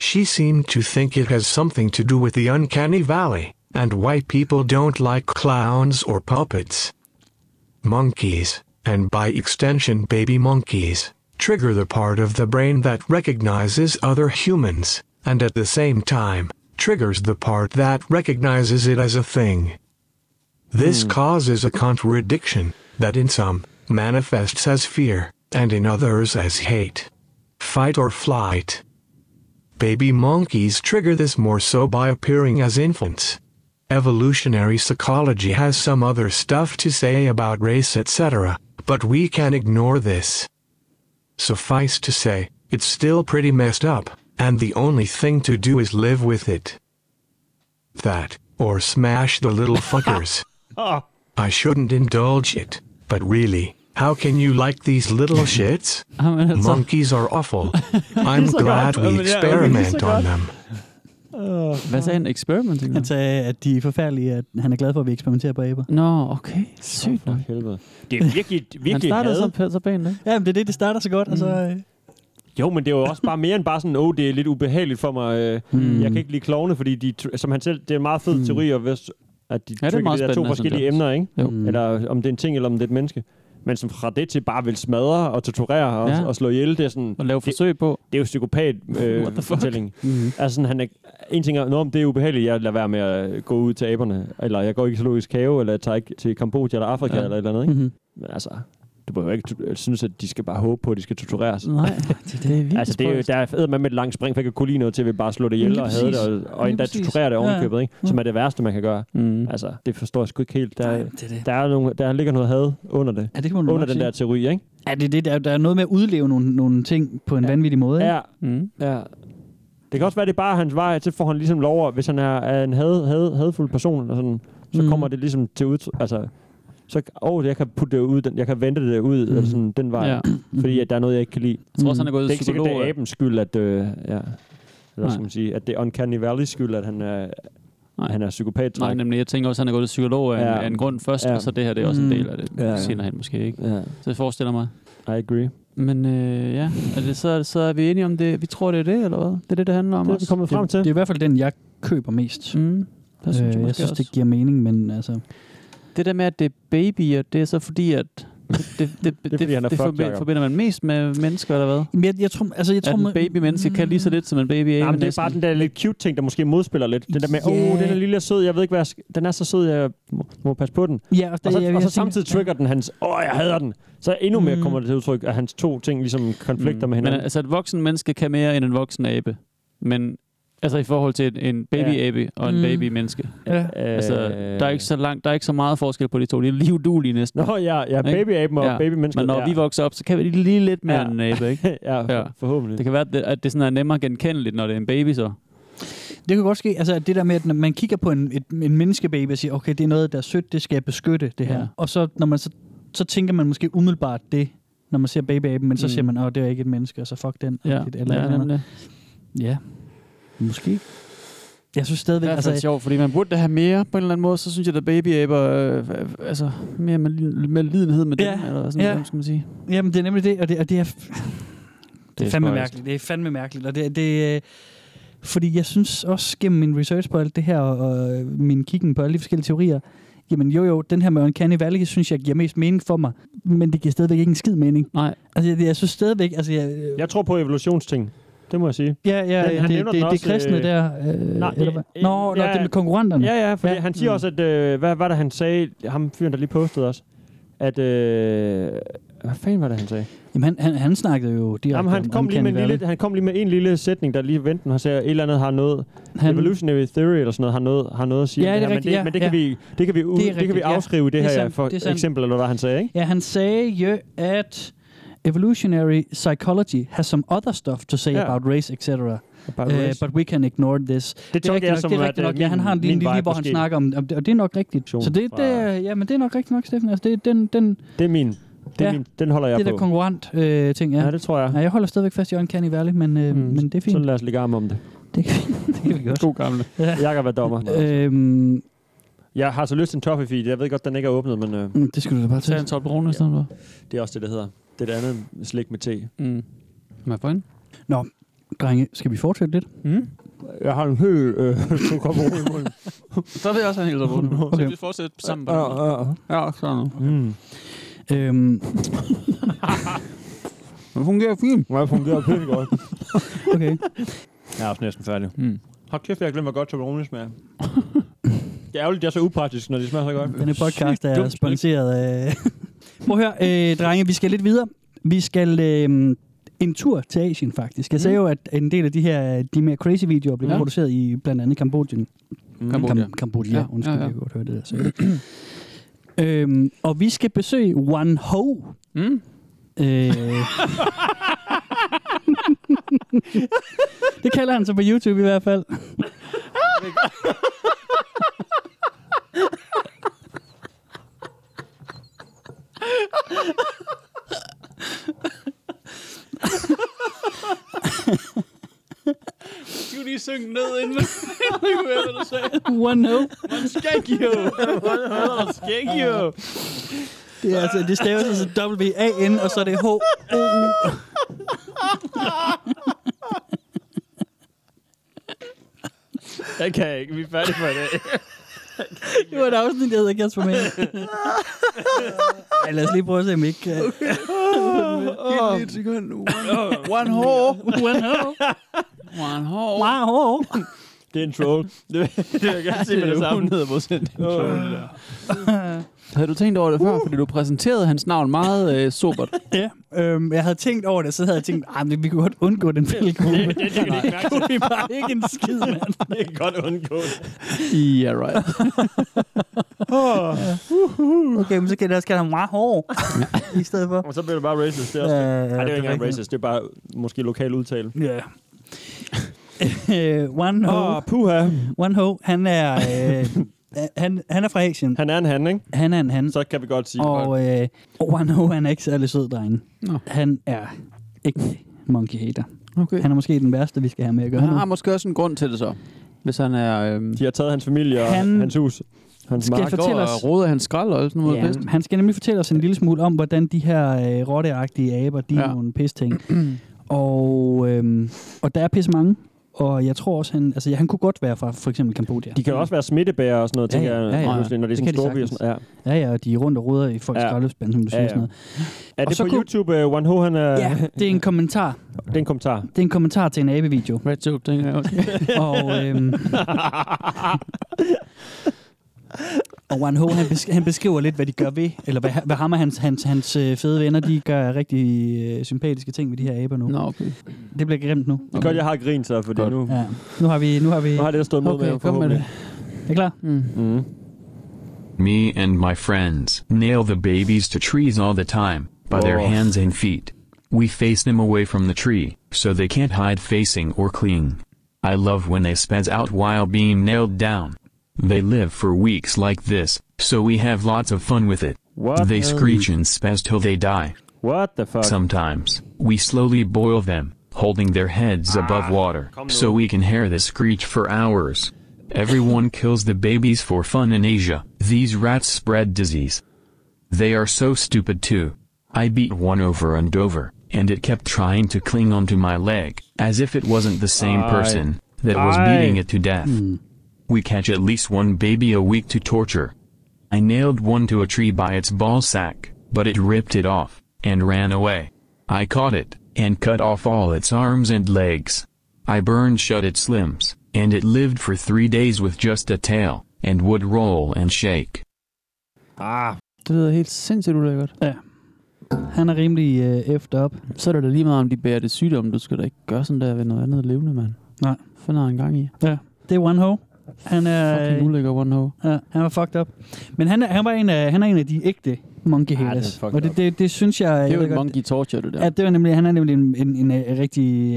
[SPEAKER 14] She seemed to think it has something to do with the uncanny valley, and white people don't like clowns or puppets. Monkeys, and by extension baby monkeys, trigger the part of the brain that recognizes other humans, and at the same time, triggers the part that recognizes it as a thing. This causes a contradiction that in some manifests as fear, and in others as hate. Fight or flight. Baby monkeys trigger this more so by appearing as infants. Evolutionary psychology has some other stuff to say about race, etc., but we can ignore this. Suffice to say, it's still pretty messed up, and the only thing to do is live with it. That, or smash the little fuckers. I shouldn't indulge it, but really, how can you like these little shits? Monkeys are awful. I'm
[SPEAKER 4] så
[SPEAKER 14] glad
[SPEAKER 4] godt.
[SPEAKER 14] we
[SPEAKER 4] Jamen, ja, okay, det er så
[SPEAKER 14] experiment on
[SPEAKER 4] godt.
[SPEAKER 14] them.
[SPEAKER 4] Hvad sagde han? Experimenting?
[SPEAKER 3] Han sagde, at de er forfærdelige, at han er glad for, at vi eksperimenterer på aber.
[SPEAKER 4] Nå, okay. Sygt nok.
[SPEAKER 2] Helvede. Det er virkelig, virkelig
[SPEAKER 4] Han startede
[SPEAKER 2] had.
[SPEAKER 4] så, så pænt, ikke?
[SPEAKER 3] Ja, men det er det, det starter så godt, og så...
[SPEAKER 4] Mm.
[SPEAKER 3] øh,
[SPEAKER 2] Jo, men det er jo også bare mere end bare sådan, åh, oh, det er lidt ubehageligt for mig. øh,
[SPEAKER 4] Mm.
[SPEAKER 2] Jeg kan ikke lide klovne, fordi de, tr- som han selv, det er en meget fed
[SPEAKER 4] Mm.
[SPEAKER 2] teori, og hvis, at de
[SPEAKER 4] Ja, det er
[SPEAKER 2] trigger
[SPEAKER 4] meget
[SPEAKER 2] de der to
[SPEAKER 4] spændende,
[SPEAKER 2] forskellige
[SPEAKER 4] synes jeg
[SPEAKER 2] emner,
[SPEAKER 4] også.
[SPEAKER 2] ikke?
[SPEAKER 3] Mm.
[SPEAKER 4] Jo.
[SPEAKER 2] Eller om det er en ting, eller om det er et menneske. Men som fra det til bare vil smadre og torturere og,
[SPEAKER 4] Ja.
[SPEAKER 2] ja. og slå ihjel, det er sådan... Og lave forsøg
[SPEAKER 4] på.
[SPEAKER 2] Det er jo psykopat øh,
[SPEAKER 4] What the fuck?
[SPEAKER 2] fortælling.
[SPEAKER 4] Mhm.
[SPEAKER 2] Altså sådan, han er, en ting er, Nå, men det er ubehageligt, jeg lader være med at gå ud til aberne, eller jeg går ikke i zoologisk have, eller jeg tager ikke til Kambodja eller Afrika
[SPEAKER 4] Ja.
[SPEAKER 2] ja. eller et eller andet, ikke?
[SPEAKER 4] Mhm.
[SPEAKER 2] Men altså, du behøver ikke tu- synes, at de skal bare håbe på, at de skal tortureres.
[SPEAKER 4] Nej, det, det er virkelig
[SPEAKER 2] Altså, det er jo,
[SPEAKER 4] spøjst.
[SPEAKER 2] der er fed med et langt spring, for jeg kan kunne lide noget til, at vi bare slå det
[SPEAKER 4] Lige
[SPEAKER 2] ihjel og havde det,
[SPEAKER 4] præcis.
[SPEAKER 2] og, og
[SPEAKER 4] Lige
[SPEAKER 2] endda
[SPEAKER 4] præcis.
[SPEAKER 2] torturere det
[SPEAKER 4] Ja, ja.
[SPEAKER 2] ovenkøbet, ikke? som er det værste, man kan gøre.
[SPEAKER 4] Mm.
[SPEAKER 2] Altså, det forstår jeg sgu ikke helt. Der,
[SPEAKER 3] Nej,
[SPEAKER 2] Nej,
[SPEAKER 3] det er det.
[SPEAKER 2] der, er nogle, der ligger noget had under det.
[SPEAKER 3] Ja, det kan man
[SPEAKER 2] under
[SPEAKER 3] nok
[SPEAKER 2] den
[SPEAKER 3] sige.
[SPEAKER 2] der teori, ikke?
[SPEAKER 3] Ja, det er det. Der, der er noget med at udleve nogle, nogle ting på en ja. vanvittig måde. Ikke?
[SPEAKER 2] Ja. Mm. ja. Det kan også være, det er bare hans vej, til får han ligesom lov, at- hvis han er, er en had, had, hadfuld person, og sådan, så
[SPEAKER 3] Mm.
[SPEAKER 2] mm. kommer det ligesom til ud, altså, så, åh, jeg kan putte det ud, den, jeg kan vente det ud, mm. eller sådan, den vej,
[SPEAKER 4] Ja.
[SPEAKER 2] ja. fordi at der er noget, jeg ikke kan lide.
[SPEAKER 4] Jeg tror også, han er gået
[SPEAKER 2] Det er ikke sikkert,
[SPEAKER 4] psykolog,
[SPEAKER 2] det er
[SPEAKER 4] eller-
[SPEAKER 2] abens skyld, at, øh, ja, eller
[SPEAKER 4] Nej.
[SPEAKER 2] skal man sige, at det er Uncanny Valley skyld, at han er, han er psykopat.
[SPEAKER 4] Nej, nemlig. Jeg tænker også, at han er gået til psykolog af, ja.
[SPEAKER 2] Ja.
[SPEAKER 4] en, af en grund først, ja.
[SPEAKER 2] Ja.
[SPEAKER 4] og så det her det er også en
[SPEAKER 2] Mm.
[SPEAKER 4] del af det,
[SPEAKER 2] Ja,
[SPEAKER 4] ja,
[SPEAKER 2] ja.
[SPEAKER 4] senere hen måske, ikke?
[SPEAKER 2] Ja.
[SPEAKER 4] Så jeg forestiller mig.
[SPEAKER 2] I agree.
[SPEAKER 4] Men øh, ja, er det, så, så er vi enige om det. Vi tror, det er det, eller hvad? Det er det, det handler om
[SPEAKER 2] Det er
[SPEAKER 4] også.
[SPEAKER 2] vi kommet frem til.
[SPEAKER 3] Det er i hvert fald den, jeg køber mest. Øh,
[SPEAKER 4] Mm. Der synes jeg
[SPEAKER 3] jeg
[SPEAKER 4] måske
[SPEAKER 3] synes,
[SPEAKER 4] også.
[SPEAKER 3] det giver mening, men altså...
[SPEAKER 4] Det der med, at det er babyer, det er så fordi, at det, det, det, det,
[SPEAKER 3] fordi, han er
[SPEAKER 4] det
[SPEAKER 3] fucked,
[SPEAKER 4] forbi-
[SPEAKER 3] Jacob.
[SPEAKER 4] forbinder man mest med mennesker, eller hvad?
[SPEAKER 3] Jamen, jeg, jeg tror, altså, jeg tror,
[SPEAKER 4] at
[SPEAKER 3] man- Mm.
[SPEAKER 4] en baby-menneske kan lige så lidt som en baby abe
[SPEAKER 2] Jamen, det er
[SPEAKER 4] næsten.
[SPEAKER 2] bare den der lidt cute ting, der måske modspiller lidt. Den der med, åh,
[SPEAKER 4] Ja.
[SPEAKER 2] yeah. oh, den er lille og sød, jeg ved ikke, hvad jeg skal... Den er så sød, jeg må, må passe på den.
[SPEAKER 3] Ja, og det-
[SPEAKER 2] og så,
[SPEAKER 3] jeg- jeg
[SPEAKER 2] og så
[SPEAKER 3] tænker-
[SPEAKER 2] samtidig trigger den hans, åh, oh, jeg hader den. Så endnu mere
[SPEAKER 4] Mm.
[SPEAKER 2] mm. kommer det til udtryk, at hans to ting ligesom konflikter mm. med hinanden.
[SPEAKER 4] Men altså, et voksen menneske kan mere end en voksen abe. Men altså i forhold til en- en babyabe og en
[SPEAKER 2] Mm.
[SPEAKER 4] babymenneske.
[SPEAKER 2] Ja.
[SPEAKER 4] Altså, der er ikke så langt, der er ikke så meget forskel på de to. De er liv næsten.
[SPEAKER 2] Nå, ja, ja,
[SPEAKER 4] Ikke?
[SPEAKER 2] babyaben og babymennesket,
[SPEAKER 4] Men når
[SPEAKER 2] ja.
[SPEAKER 4] vi vokser op, så kan vi lige lidt mere
[SPEAKER 2] Ja.
[SPEAKER 4] end en abe, ikke?
[SPEAKER 2] ja, for, forhåbentlig.
[SPEAKER 4] Det kan være, at det, at det sådan er nemmere genkendeligt, når det er en baby, så.
[SPEAKER 3] Det kan godt ske, altså at det der med, at når man kigger på en, et, en menneskebaby og siger, okay, det er noget, der er sødt, det skal jeg beskytte, det her.
[SPEAKER 4] Ja.
[SPEAKER 3] Ja. Og så, når man så, så tænker man måske umiddelbart det, når man ser babyaben, men så
[SPEAKER 4] Mm.
[SPEAKER 3] mm. siger man, åh, det er ikke et menneske, og så fuck den.
[SPEAKER 4] Ja,
[SPEAKER 3] og det- eller
[SPEAKER 4] ja,
[SPEAKER 3] et andet.
[SPEAKER 4] nemlig.
[SPEAKER 3] Ja, måske. Jeg synes stadigvæk...
[SPEAKER 4] Det er altså, sjovt, fordi man burde da have mere på en eller anden måde. Så synes jeg, at babyaber, øh, altså mere med, med lidenhed med
[SPEAKER 3] Ja,
[SPEAKER 4] dem, eller sådan
[SPEAKER 3] ja.
[SPEAKER 4] noget, skal man sige.
[SPEAKER 3] Jamen, det er nemlig det, og det, og det er... Det er
[SPEAKER 4] er
[SPEAKER 3] fandme
[SPEAKER 4] spøjst.
[SPEAKER 3] mærkeligt. Det er fandme mærkeligt. Og det, det, øh, fordi jeg synes også gennem min research på alt det her, og, og min kiggen på alle de forskellige teorier, jamen jo jo, den her med Uncanny Valley, synes jeg giver mest mening for mig, men det giver stadigvæk ikke en skid mening.
[SPEAKER 4] Nej.
[SPEAKER 3] Altså, jeg, jeg synes stadigvæk, altså, jeg,
[SPEAKER 2] Jeg tror på evolutionsting. Det må jeg sige.
[SPEAKER 3] Ja, ja,
[SPEAKER 2] han
[SPEAKER 3] det-
[SPEAKER 2] nævner
[SPEAKER 3] det-
[SPEAKER 2] den
[SPEAKER 3] det er kristne der, øh, eller hvad? Nå, nå, det er med konkurrenterne.
[SPEAKER 2] Ja, ja, for
[SPEAKER 3] Ja.
[SPEAKER 2] ja. han siger
[SPEAKER 3] Mm.
[SPEAKER 2] også, at... Øh, hvad var det, han sagde? Ham fyren, der lige postede os. At... Øh, hvad fanden var det, han sagde?
[SPEAKER 3] Jamen, han, han, han snakkede jo direkte
[SPEAKER 2] Jamen, han,
[SPEAKER 3] om
[SPEAKER 2] kom lige med
[SPEAKER 3] Uncanny
[SPEAKER 2] en lille,
[SPEAKER 3] Valley.
[SPEAKER 2] han kom lige med en lille sætning, der lige venten og sagde, at et eller andet har noget...
[SPEAKER 3] Han-
[SPEAKER 2] Han, evolutionary theory eller sådan noget har noget, har noget at sige.
[SPEAKER 3] Ja,
[SPEAKER 2] om
[SPEAKER 3] det er
[SPEAKER 2] her,
[SPEAKER 3] rigtigt,
[SPEAKER 2] men det,
[SPEAKER 3] ja,
[SPEAKER 2] men det kan,
[SPEAKER 3] ja.
[SPEAKER 2] vi, det kan vi,
[SPEAKER 3] Det
[SPEAKER 2] ude,
[SPEAKER 3] er
[SPEAKER 2] det kan vi
[SPEAKER 3] rigtigt, ja.
[SPEAKER 2] afskrive i det,
[SPEAKER 3] Det er
[SPEAKER 2] her
[SPEAKER 3] sandt,
[SPEAKER 2] for
[SPEAKER 3] det er sandt.
[SPEAKER 2] eksempel, eller hvad han sagde, ikke?
[SPEAKER 3] Ja, han sagde jo, at evolutionary psychology has some other stuff to say
[SPEAKER 2] Ja.
[SPEAKER 3] about race, etc.
[SPEAKER 2] About
[SPEAKER 3] Uh,
[SPEAKER 2] race.
[SPEAKER 3] but we can ignore this. Det,
[SPEAKER 2] tolker
[SPEAKER 3] rigtigt
[SPEAKER 2] jeg
[SPEAKER 3] nok,
[SPEAKER 2] som,
[SPEAKER 3] det er
[SPEAKER 2] at,
[SPEAKER 3] rigtigt
[SPEAKER 2] øh,
[SPEAKER 3] nok. ja, han har en
[SPEAKER 2] min-
[SPEAKER 3] lille
[SPEAKER 2] min
[SPEAKER 3] linje,
[SPEAKER 2] vej
[SPEAKER 3] hvor han
[SPEAKER 2] måske.
[SPEAKER 3] snakker om, om det, og det er nok rigtigt. Så det, det, er, ja, men det er nok rigtigt nok, Steffen. Altså, det, den, den,
[SPEAKER 2] det er min. Det er
[SPEAKER 3] ja,
[SPEAKER 2] min. Den holder jeg
[SPEAKER 3] det
[SPEAKER 2] på.
[SPEAKER 3] der konkurrent øh, ting, ja.
[SPEAKER 2] Ja, det tror jeg.
[SPEAKER 3] Ja, jeg holder stadigvæk fast i Uncanny Valley, men, øh, mm. men det er fint.
[SPEAKER 2] Så lad os lægge arm om det.
[SPEAKER 3] Det kan vi godt.
[SPEAKER 4] God gamle.
[SPEAKER 3] Ja.
[SPEAKER 2] Jeg kan være dommer.
[SPEAKER 3] Øhm.
[SPEAKER 2] Jeg har så lyst til en toffee Jeg ved godt, den ikke er åbnet, men øh,
[SPEAKER 3] mm, Det skulle du da bare tage.
[SPEAKER 4] Tag en Toblerone i stedet for.
[SPEAKER 2] det er også det, det hedder. Det er det andet slik med te.
[SPEAKER 4] Mm. Må jeg få en?
[SPEAKER 3] Nå, drenge, skal vi fortsætte lidt?
[SPEAKER 4] Mm.
[SPEAKER 2] Jeg har en hel øh, kop i munden.
[SPEAKER 4] Så vil jeg også have en helt rundt. Okay. Så
[SPEAKER 2] Okay.
[SPEAKER 4] vi fortsætter sammen.
[SPEAKER 2] Ja, ja, ja.
[SPEAKER 4] ja sådan.
[SPEAKER 2] Mm.
[SPEAKER 3] Øhm.
[SPEAKER 4] det fungerer fint.
[SPEAKER 2] Ja, det fungerer pænt godt.
[SPEAKER 3] okay.
[SPEAKER 2] Jeg er også næsten færdig.
[SPEAKER 4] Mm.
[SPEAKER 2] Hold kæft, jeg glemmer godt Toblerone smager. det er ærgerligt, det er så upraktisk, når det smager så godt.
[SPEAKER 3] Denne podcast
[SPEAKER 2] Sygt
[SPEAKER 3] er
[SPEAKER 2] dumt.
[SPEAKER 3] sponsoreret af... Prøv at høre, øh, drenge, vi skal lidt videre. Vi skal øh, en tur til Asien, faktisk. Jeg sagde
[SPEAKER 4] Mm.
[SPEAKER 3] jo, at en del af de her de mere crazy videoer blev
[SPEAKER 4] Ja.
[SPEAKER 3] Mhm. ja. produceret i blandt andet Kambodjen.
[SPEAKER 4] Mm. Cambodia.
[SPEAKER 3] Kam- Kambodja,
[SPEAKER 4] Ja,
[SPEAKER 3] ja. undskyld,
[SPEAKER 4] ja,
[SPEAKER 3] ja, ja.
[SPEAKER 4] ja.
[SPEAKER 3] jeg kunne godt høre det der. Så. øhm, og vi skal besøge Wan Ho.
[SPEAKER 4] Mm.
[SPEAKER 3] Øh, det kalder han så på YouTube i hvert fald.
[SPEAKER 4] Skal du lige synge ned, inden man ikke hører, hvad du sagde?
[SPEAKER 3] One no.
[SPEAKER 4] One skæg, jo. One skæg, jo.
[SPEAKER 3] Det, er altså, det staves altså W-A-N, og så er det h o -U.
[SPEAKER 4] Jeg kan ikke. Vi er færdige for i dag.
[SPEAKER 3] Det var et afsnit, der hedder Kasper Mann. Ej, lad os lige prøve at se, om ikke... øh,
[SPEAKER 4] Giv lige et sekund. One hole.
[SPEAKER 3] One hole.
[SPEAKER 4] One hole.
[SPEAKER 3] One hole.
[SPEAKER 2] Det er en troll. Det, det vil jeg gerne se med det samme.
[SPEAKER 4] ned på sendt. Havde du tænkt over det før? Fordi du præsenterede hans navn meget øh, sobert.
[SPEAKER 3] Ja, øhm, jeg havde tænkt over det, så havde jeg tænkt, "Ej, men vi kunne godt undgå den fældegruppe.
[SPEAKER 4] Det- det- det- det- det-
[SPEAKER 3] kunne vi bare ikke en skid, mand.
[SPEAKER 2] Det kan godt undgå det.
[SPEAKER 4] Yeah, right.
[SPEAKER 3] okay, men så kan jeg skal have meget hår i stedet for.
[SPEAKER 2] Og så bliver det bare racist. Det er, også,
[SPEAKER 3] Ja, ja,
[SPEAKER 2] ja, ja, Ej, det er
[SPEAKER 3] det er
[SPEAKER 2] jo ikke engang
[SPEAKER 3] rigtigt.
[SPEAKER 2] racist. Det er bare måske lokal udtale.
[SPEAKER 3] Ja. Øh, One Ho.
[SPEAKER 2] Åh, puha.
[SPEAKER 3] One Ho, han er... Øh, han, han er fra Asien.
[SPEAKER 2] Han er en han, ikke?
[SPEAKER 3] Han er en han.
[SPEAKER 2] Så kan vi godt sige.
[SPEAKER 3] Og øh, One Ho, han er ikke særlig sød, drenge.
[SPEAKER 4] Nå.
[SPEAKER 3] Han er ikke monkey hater.
[SPEAKER 4] Okay.
[SPEAKER 3] Han er måske den værste, vi skal have med at gøre
[SPEAKER 4] Han
[SPEAKER 3] nu.
[SPEAKER 4] har måske også en grund til det så. Hvis han er... Øhm,
[SPEAKER 2] De har taget hans familie og
[SPEAKER 3] Han-
[SPEAKER 2] hans hus. Hans
[SPEAKER 3] Skal jeg
[SPEAKER 2] mark.
[SPEAKER 3] fortælle
[SPEAKER 4] og
[SPEAKER 3] os-
[SPEAKER 4] roder hans skrald og sådan noget.
[SPEAKER 3] Ja,
[SPEAKER 4] pis.
[SPEAKER 3] han skal nemlig fortælle os en lille smule om, hvordan de her øh, rotteagtige aber, de ja.
[SPEAKER 4] Ja.
[SPEAKER 3] er nogle pisting. og, øhm, og der er pisse mange. Og jeg tror også, han, altså, ja, han kunne godt være fra for eksempel Kambodja.
[SPEAKER 2] De kan også være smittebærer og sådan noget,
[SPEAKER 3] Ja,
[SPEAKER 2] tænker
[SPEAKER 3] ja,
[SPEAKER 2] jeg,
[SPEAKER 3] ja, ja.
[SPEAKER 2] pludselig, når det er
[SPEAKER 3] Det
[SPEAKER 2] sådan
[SPEAKER 3] kan de
[SPEAKER 2] store byer. og
[SPEAKER 3] sagtens.
[SPEAKER 2] Sådan, ja.
[SPEAKER 3] Ja, ja, og de er rundt og ruder i folks
[SPEAKER 2] Ja.
[SPEAKER 3] ja. skraldespande, som du
[SPEAKER 2] Ja,
[SPEAKER 3] siger.
[SPEAKER 2] ja.
[SPEAKER 3] Sådan noget.
[SPEAKER 2] Er
[SPEAKER 3] Og
[SPEAKER 2] det
[SPEAKER 3] så
[SPEAKER 2] på
[SPEAKER 3] kunne-
[SPEAKER 2] YouTube, uh, One Ho, han er...
[SPEAKER 3] Ja, det er en kommentar.
[SPEAKER 2] Det er en kommentar.
[SPEAKER 3] Det er en kommentar til en abevideo.
[SPEAKER 4] Red joke, tænker jeg også.
[SPEAKER 2] Oh,
[SPEAKER 3] og, øhm, og Wan Ho, han, besk- han beskriver lidt, hvad de gør ved, eller hvad, hvad ham og hans, hans, hans øh, fede venner, de gør rigtig øh, sympatiske ting ved de her aber nu.
[SPEAKER 4] Nå, okay.
[SPEAKER 3] Det bliver grimt nu.
[SPEAKER 2] Det er godt, jeg har grin så, fordi nu...
[SPEAKER 3] Ja. Nu har vi... Nu har, vi...
[SPEAKER 2] Nu har det stået mod
[SPEAKER 3] Okay,
[SPEAKER 2] med,
[SPEAKER 3] kom med
[SPEAKER 2] forhåbentlig.
[SPEAKER 3] Er I klar?
[SPEAKER 4] Mm.
[SPEAKER 2] Mm.
[SPEAKER 5] Me and my friends nail the babies to trees all the time, by their
[SPEAKER 2] Oh.
[SPEAKER 5] hands and feet. We face them away from the tree, so they can't hide facing or cling. I love when they spaz out while being nailed down. They live for weeks like this, so we have lots of fun with it.
[SPEAKER 2] What
[SPEAKER 5] They
[SPEAKER 2] the-
[SPEAKER 5] screech and spaz till they die.
[SPEAKER 2] What the fuck?
[SPEAKER 5] Sometimes, we slowly boil them, holding their heads above water, so we can hear the screech for hours. Everyone kills the babies for fun in Asia. These rats spread disease. They are so stupid too. I beat one over and over, and it kept trying to cling onto my leg, as if it wasn't the same
[SPEAKER 2] Aye.
[SPEAKER 5] person that was
[SPEAKER 2] Aye.
[SPEAKER 5] beating it to death.
[SPEAKER 2] Mm.
[SPEAKER 5] We catch at least one baby a week to torture. I nailed one to a tree by its ball sack, but it ripped it off and ran away. I caught it and cut off all its arms and legs. I burned shut its limbs, and it lived for three days with just a tail, and would roll and shake.
[SPEAKER 2] Ah.
[SPEAKER 4] Det lyder helt sindssygt ulækkert.
[SPEAKER 3] Ja. Han er rimelig øh, efter op.
[SPEAKER 4] Så er det da lige meget, om de bærer det sygdom. Du skal da ikke gøre sådan der ved noget andet levende, mand.
[SPEAKER 3] Nej.
[SPEAKER 4] Fanden har han gang i.
[SPEAKER 3] Ja. Det er One Ho. Han er... øh,
[SPEAKER 4] Fucking ulækker one hoe.
[SPEAKER 3] Ja, han var fucked up. Men han er, han var en af, han er en af de ægte monkey
[SPEAKER 4] Ah,
[SPEAKER 3] haters.
[SPEAKER 4] det er fucked
[SPEAKER 3] og det, det, det, synes jeg...
[SPEAKER 4] Det er
[SPEAKER 3] jeg
[SPEAKER 4] jo
[SPEAKER 3] ved
[SPEAKER 4] en
[SPEAKER 3] godt-
[SPEAKER 4] monkey torture, det der.
[SPEAKER 3] Ja, det var nemlig, han er nemlig en, en, en, øh, rigtig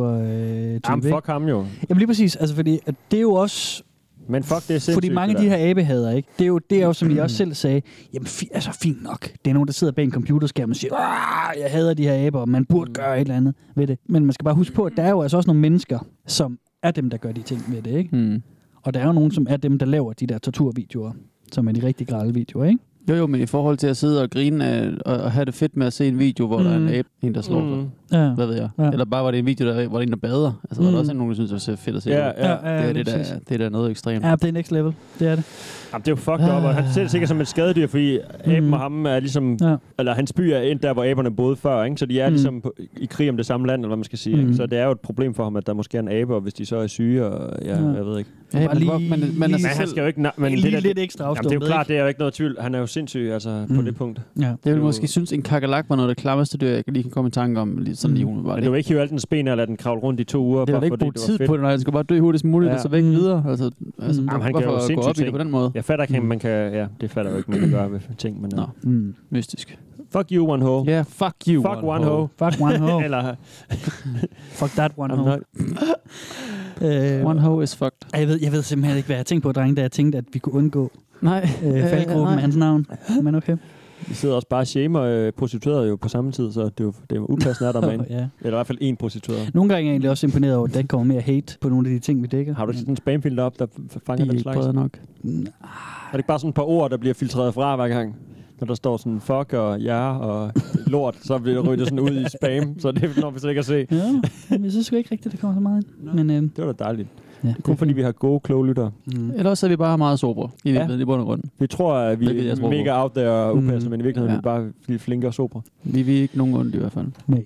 [SPEAKER 3] abe-tortur-type.
[SPEAKER 2] Jamen, fuck ham jo.
[SPEAKER 3] Jamen lige præcis, altså fordi at det er jo også...
[SPEAKER 2] Men fuck, det er sindssygt.
[SPEAKER 3] Fordi mange af
[SPEAKER 2] det
[SPEAKER 3] de
[SPEAKER 2] der. Mm.
[SPEAKER 3] her abehader, ikke? Det er jo, det er jo som I også selv sagde, jamen fi, altså fint nok. Det er nogen, der sidder bag en computerskærm og siger, "Ah, jeg hader de her aber, og man
[SPEAKER 2] Mm.
[SPEAKER 3] burde gøre et eller andet ved det. Men man skal bare huske på, at der er jo altså også nogle mennesker, som er dem, der gør de ting ved det, ikke?
[SPEAKER 4] Mm.
[SPEAKER 3] Og der er jo nogen, som er dem, der laver de der torturvideoer, som er de rigtig grælde videoer, ikke?
[SPEAKER 4] Jo, jo, men i forhold til at sidde og grine af, og, og have det fedt med at se en video, hvor mm. der er en
[SPEAKER 3] Mm.
[SPEAKER 4] abe, en der slår mm.
[SPEAKER 3] Mm.
[SPEAKER 4] sig.
[SPEAKER 3] Ja.
[SPEAKER 4] Hvad ved jeg?
[SPEAKER 3] Ja.
[SPEAKER 4] Ja. Eller bare var det en video, der, hvor der er en, der bader. Altså, mm. var
[SPEAKER 3] Mm.
[SPEAKER 4] der også nogen, der synes, det var så fedt at se.
[SPEAKER 2] Ja,
[SPEAKER 4] det.
[SPEAKER 2] ja. Ja,
[SPEAKER 3] ja,
[SPEAKER 4] det, er det,
[SPEAKER 3] lige
[SPEAKER 4] der,
[SPEAKER 3] præcis.
[SPEAKER 4] det er der noget
[SPEAKER 2] Mm.
[SPEAKER 4] ekstremt.
[SPEAKER 3] Ja, det er next level. Det er det.
[SPEAKER 2] Jamen, det er jo fucked up, og han ser det sikkert som et skadedyr, fordi aben
[SPEAKER 3] Mm.
[SPEAKER 2] og ham er ligesom...
[SPEAKER 3] Ja.
[SPEAKER 2] Eller hans by er ind der, hvor aberne boede før, ikke? så de er
[SPEAKER 3] Mm.
[SPEAKER 2] ligesom på, i krig om det samme land, eller hvad man skal sige.
[SPEAKER 3] Mm.
[SPEAKER 2] Ikke? Så det er jo et problem for ham, at der måske er en abe, og hvis de så er syge, og ja,
[SPEAKER 3] Ja.
[SPEAKER 2] jeg ved ikke.
[SPEAKER 4] Ja, men Bare lige- hvor- men- men
[SPEAKER 2] men
[SPEAKER 4] altså
[SPEAKER 2] han
[SPEAKER 4] selv-
[SPEAKER 2] skal jo ikke... na- Men
[SPEAKER 4] lige
[SPEAKER 2] det der,
[SPEAKER 4] lidt ekstra
[SPEAKER 2] jamen, det er jo
[SPEAKER 4] afstumpet,
[SPEAKER 2] klart, det er jo ikke noget tvivl. Han er jo sindssyg altså, mm. på det punkt.
[SPEAKER 3] Ja.
[SPEAKER 4] Jeg ville måske synes, en kakalak var noget af det klammeste dyr, jeg lige kan komme i tanke om. Lige sådan lige umiddelbart.
[SPEAKER 2] Men du kan jo ikke hive alt dens ben og lade den kravle rundt i to uger,
[SPEAKER 4] Det var
[SPEAKER 2] bare
[SPEAKER 4] da ikke
[SPEAKER 2] fordi
[SPEAKER 4] brugt
[SPEAKER 2] det var
[SPEAKER 4] tid
[SPEAKER 2] fedt.
[SPEAKER 4] på det, nej. Den skal bare dø hurtigst muligt,
[SPEAKER 2] Ja.
[SPEAKER 4] og så væk videre. Altså, altså
[SPEAKER 2] Mm. Jamen, han kan jo
[SPEAKER 4] hvorfor gå op
[SPEAKER 2] sindssygt
[SPEAKER 4] i det på den måde?
[SPEAKER 2] Jeg fatter ikke, mm. man kan... Ja, det fatter jeg jo ikke, man kan gøre med ting, men... Nå.
[SPEAKER 4] Mm. Mystisk.
[SPEAKER 2] Fuck you, one ho.
[SPEAKER 4] Ja, yeah, fuck you,
[SPEAKER 2] Fuck one, ho.
[SPEAKER 3] Fuck one ho.
[SPEAKER 2] Eller...
[SPEAKER 3] fuck that one
[SPEAKER 2] I'm
[SPEAKER 3] ho.
[SPEAKER 2] not-
[SPEAKER 3] Øh,
[SPEAKER 4] One ho is fucked.
[SPEAKER 3] Jeg ved, jeg ved simpelthen ikke, hvad jeg tænkte på, drenge, da jeg tænkte, at vi kunne undgå
[SPEAKER 4] Nej.
[SPEAKER 3] øh, faldgruppen med hans navn. Men okay.
[SPEAKER 2] Vi sidder også bare og shamer øh, prostituerede jo på samme tid, så det er jo det er jo upassende, at der er en.
[SPEAKER 3] Ja.
[SPEAKER 2] Eller i hvert fald én prostitueret.
[SPEAKER 3] Nogle gange er jeg egentlig også imponeret over, at der ikke kommer mere hate på nogle af de ting, vi dækker.
[SPEAKER 2] Har du sådan en spamfilter op, der f- fanger
[SPEAKER 3] De er
[SPEAKER 2] den
[SPEAKER 3] ikke
[SPEAKER 2] slags?
[SPEAKER 3] brede
[SPEAKER 4] nok.
[SPEAKER 2] Er det ikke bare sådan et par ord, der bliver filtreret fra hver gang? Når der står sådan fuck og ja og lort, så bliver det ryddet sådan ud i spam, så det når vi slet ikke at se.
[SPEAKER 3] Ja, men jeg synes sgu ikke rigtigt, det kommer så meget ind. Men, øh,
[SPEAKER 2] Det var da dejligt.
[SPEAKER 3] Ja, Mm.
[SPEAKER 2] det er kun fordi, vi har gode, kloge lytter.
[SPEAKER 4] Eller også Mm. er vi bare meget sobre i
[SPEAKER 2] Mm. Ja.
[SPEAKER 4] virkeligheden, i bund og grund.
[SPEAKER 2] Vi tror, at vi
[SPEAKER 4] Hvilket jeg tror
[SPEAKER 2] er
[SPEAKER 4] på.
[SPEAKER 2] mega out there og upassende,
[SPEAKER 4] Mm.
[SPEAKER 2] men i virkeligheden ja.
[SPEAKER 4] Ja.
[SPEAKER 2] er vi bare lidt flinke og sobre.
[SPEAKER 4] Vi, vi er ikke nogen ondt i hvert fald.
[SPEAKER 3] Nej.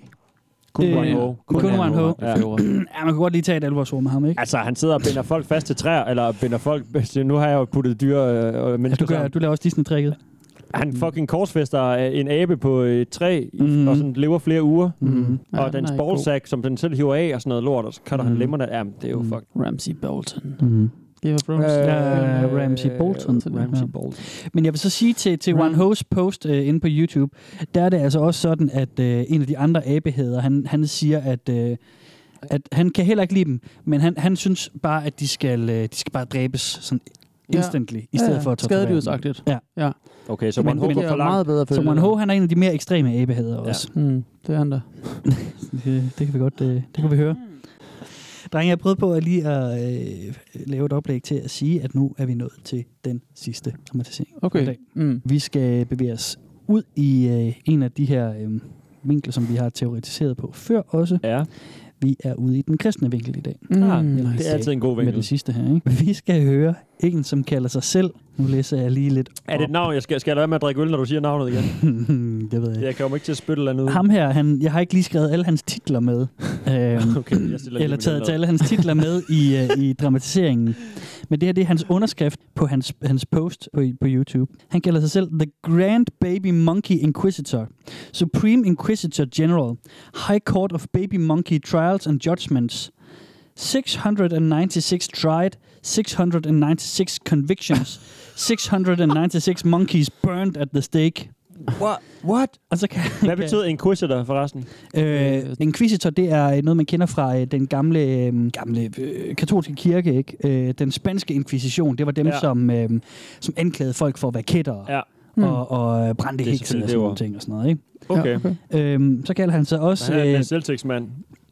[SPEAKER 2] Kun
[SPEAKER 3] Øh,
[SPEAKER 2] one ho.
[SPEAKER 3] Kun one ho.
[SPEAKER 2] Ja.
[SPEAKER 3] Ja, man kunne godt lige tage et alvorsord med ham, ikke?
[SPEAKER 2] Altså, han sidder og binder folk fast til træer, eller binder folk... Nu har jeg jo puttet dyr øh, og
[SPEAKER 3] Ja,
[SPEAKER 2] mennesker
[SPEAKER 3] du, gør,
[SPEAKER 2] sammen.
[SPEAKER 3] du laver også Disney-trækket.
[SPEAKER 2] Han fucking korsfester øh, en abe på øh, et træ,
[SPEAKER 3] Mhm.
[SPEAKER 2] mm-hmm. og sådan lever flere uger.
[SPEAKER 3] Mm-hmm.
[SPEAKER 2] Ja, og dens ballsack, som den selv hiver af og sådan noget lort, og så cutter mm.
[SPEAKER 3] Mhm.
[SPEAKER 2] han lemmerne. Jamen, det er jo fuck.
[SPEAKER 4] Ramsey Bolton.
[SPEAKER 3] Mm.
[SPEAKER 4] Game of Thrones.
[SPEAKER 3] Øh, Ramsey Bolton.
[SPEAKER 4] Ramsey
[SPEAKER 3] Ja.
[SPEAKER 4] Bolton. Mm.
[SPEAKER 3] Men jeg vil så sige til, til One Ho's post øh, inde på YouTube, der er det altså også sådan, at øh, en af de andre abeheder, han, han siger, at, øh, at han kan heller ikke lide dem, men han, han synes bare, at de skal, øh, de skal bare dræbes sådan
[SPEAKER 4] Ja.
[SPEAKER 3] instantly, i stedet
[SPEAKER 4] Ja,
[SPEAKER 3] for at torturere dem.
[SPEAKER 4] skadedyrsagtigt.
[SPEAKER 3] Ja.
[SPEAKER 4] ja.
[SPEAKER 2] Okay, så
[SPEAKER 3] Men-
[SPEAKER 2] man
[SPEAKER 3] men-
[SPEAKER 2] håber
[SPEAKER 3] det er
[SPEAKER 2] for langt.
[SPEAKER 4] meget bedre
[SPEAKER 3] Så
[SPEAKER 4] følge.
[SPEAKER 3] One Ho, han er en af de mere ekstreme abeheder også.
[SPEAKER 4] Mm, det er han da.
[SPEAKER 3] det, det kan vi godt, øh, det kan vi høre. Drenge, jeg prøvede på at lige at øh, lave et oplæg til at sige, at nu er vi nået til den sidste dramatisering.
[SPEAKER 4] Okay.
[SPEAKER 3] for i dag.
[SPEAKER 4] Mm.
[SPEAKER 3] Vi skal bevæge os ud i øh, en af de her øh, vinkler, som vi har teoretiseret på før også.
[SPEAKER 2] Ja.
[SPEAKER 3] Vi er ude i den kristne vinkel i dag.
[SPEAKER 4] Mm,
[SPEAKER 2] Ah,
[SPEAKER 3] Eller
[SPEAKER 2] det er altid en god
[SPEAKER 3] Med
[SPEAKER 2] vinkel.
[SPEAKER 3] det sidste her, ikke? Vi skal høre en, som kalder sig selv. Nu læser jeg lige lidt
[SPEAKER 2] Er det et navn? Jeg skal, skal jeg lade være med at drikke øl, når du siger navnet igen?
[SPEAKER 3] Mm, det ved jeg
[SPEAKER 2] Jeg kommer ikke til at spytte eller noget.
[SPEAKER 3] Ham her, han, jeg har ikke lige skrevet alle hans titler med. Øhm,
[SPEAKER 2] Okay, jeg stiller lige
[SPEAKER 3] eller
[SPEAKER 2] min øl
[SPEAKER 3] taget
[SPEAKER 2] op.
[SPEAKER 3] til alle hans titler med i, øh, i dramatiseringen. Men det her, det er hans underskrift på hans, hans post på, på YouTube. Han kalder sig selv The Grand Baby Monkey Inquisitor, Supreme Inquisitor General, High Court of Baby Monkey Trials and Judgments, 696 tried, 696 convictions, 696 monkeys burned at the stake.
[SPEAKER 2] What?
[SPEAKER 3] What? Og så kan,
[SPEAKER 2] Hvad betyder inquisitor forresten?
[SPEAKER 3] Øh, Inquisitor, det er noget, man kender fra øh, den gamle, øh, gamle øh, katolske kirke, ikke? Øh, den spanske inkvisition. Det var dem,
[SPEAKER 2] Ja.
[SPEAKER 3] ja. som, øh, som anklagede folk for at være kættere
[SPEAKER 2] ja.
[SPEAKER 3] mm. og, og øh, brændte
[SPEAKER 2] Det er
[SPEAKER 3] hekser og sådan
[SPEAKER 2] selvfølgelig det
[SPEAKER 3] nogle
[SPEAKER 2] ord.
[SPEAKER 3] ting og sådan noget. Ikke?
[SPEAKER 2] Okay.
[SPEAKER 3] Øhm, så kalder han sig også...
[SPEAKER 2] Han er
[SPEAKER 3] øh,
[SPEAKER 2] en selvtægtsmand.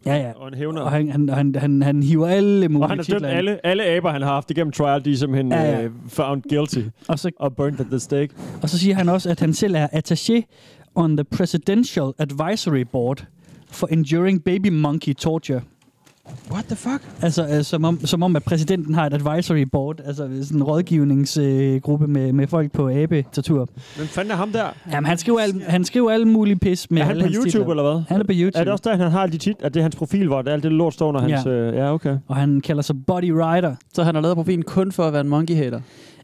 [SPEAKER 3] ja, ja.
[SPEAKER 2] Og en hævner.
[SPEAKER 3] Og han, han, han, han, han hiver alle mulige
[SPEAKER 2] Og han har dømt
[SPEAKER 3] titler ind.
[SPEAKER 2] alle, alle aber, han har haft igennem trial, de er simpelthen
[SPEAKER 3] Ja,
[SPEAKER 2] ja,
[SPEAKER 3] ja.
[SPEAKER 2] ja. Uh, found guilty
[SPEAKER 3] og, så,
[SPEAKER 2] og burnt at the stake.
[SPEAKER 3] Og så siger han også, at han selv er attaché on the Presidential Advisory Board for Enduring Baby Monkey Torture.
[SPEAKER 2] What the fuck?
[SPEAKER 3] Altså, øh, som, om, som om, at præsidenten har et advisory board, altså sådan en rådgivningsgruppe øh, gruppe med, med folk på abe-tortur.
[SPEAKER 2] Hvem fanden er ham der?
[SPEAKER 3] Jamen, han skriver, al, han skriver alle mulige pis med
[SPEAKER 2] er han
[SPEAKER 3] alle
[SPEAKER 2] på
[SPEAKER 3] hans
[SPEAKER 2] YouTube
[SPEAKER 3] titler.
[SPEAKER 2] eller hvad?
[SPEAKER 3] Han er på YouTube.
[SPEAKER 2] Er det også der, han har alle de tit, at det er hans profil, hvor det alt det lort står under hans...
[SPEAKER 3] Ja.
[SPEAKER 2] Øh, ja, okay.
[SPEAKER 3] Og han kalder sig Body Rider.
[SPEAKER 4] Så han har lavet profilen kun for at være en monkey hater.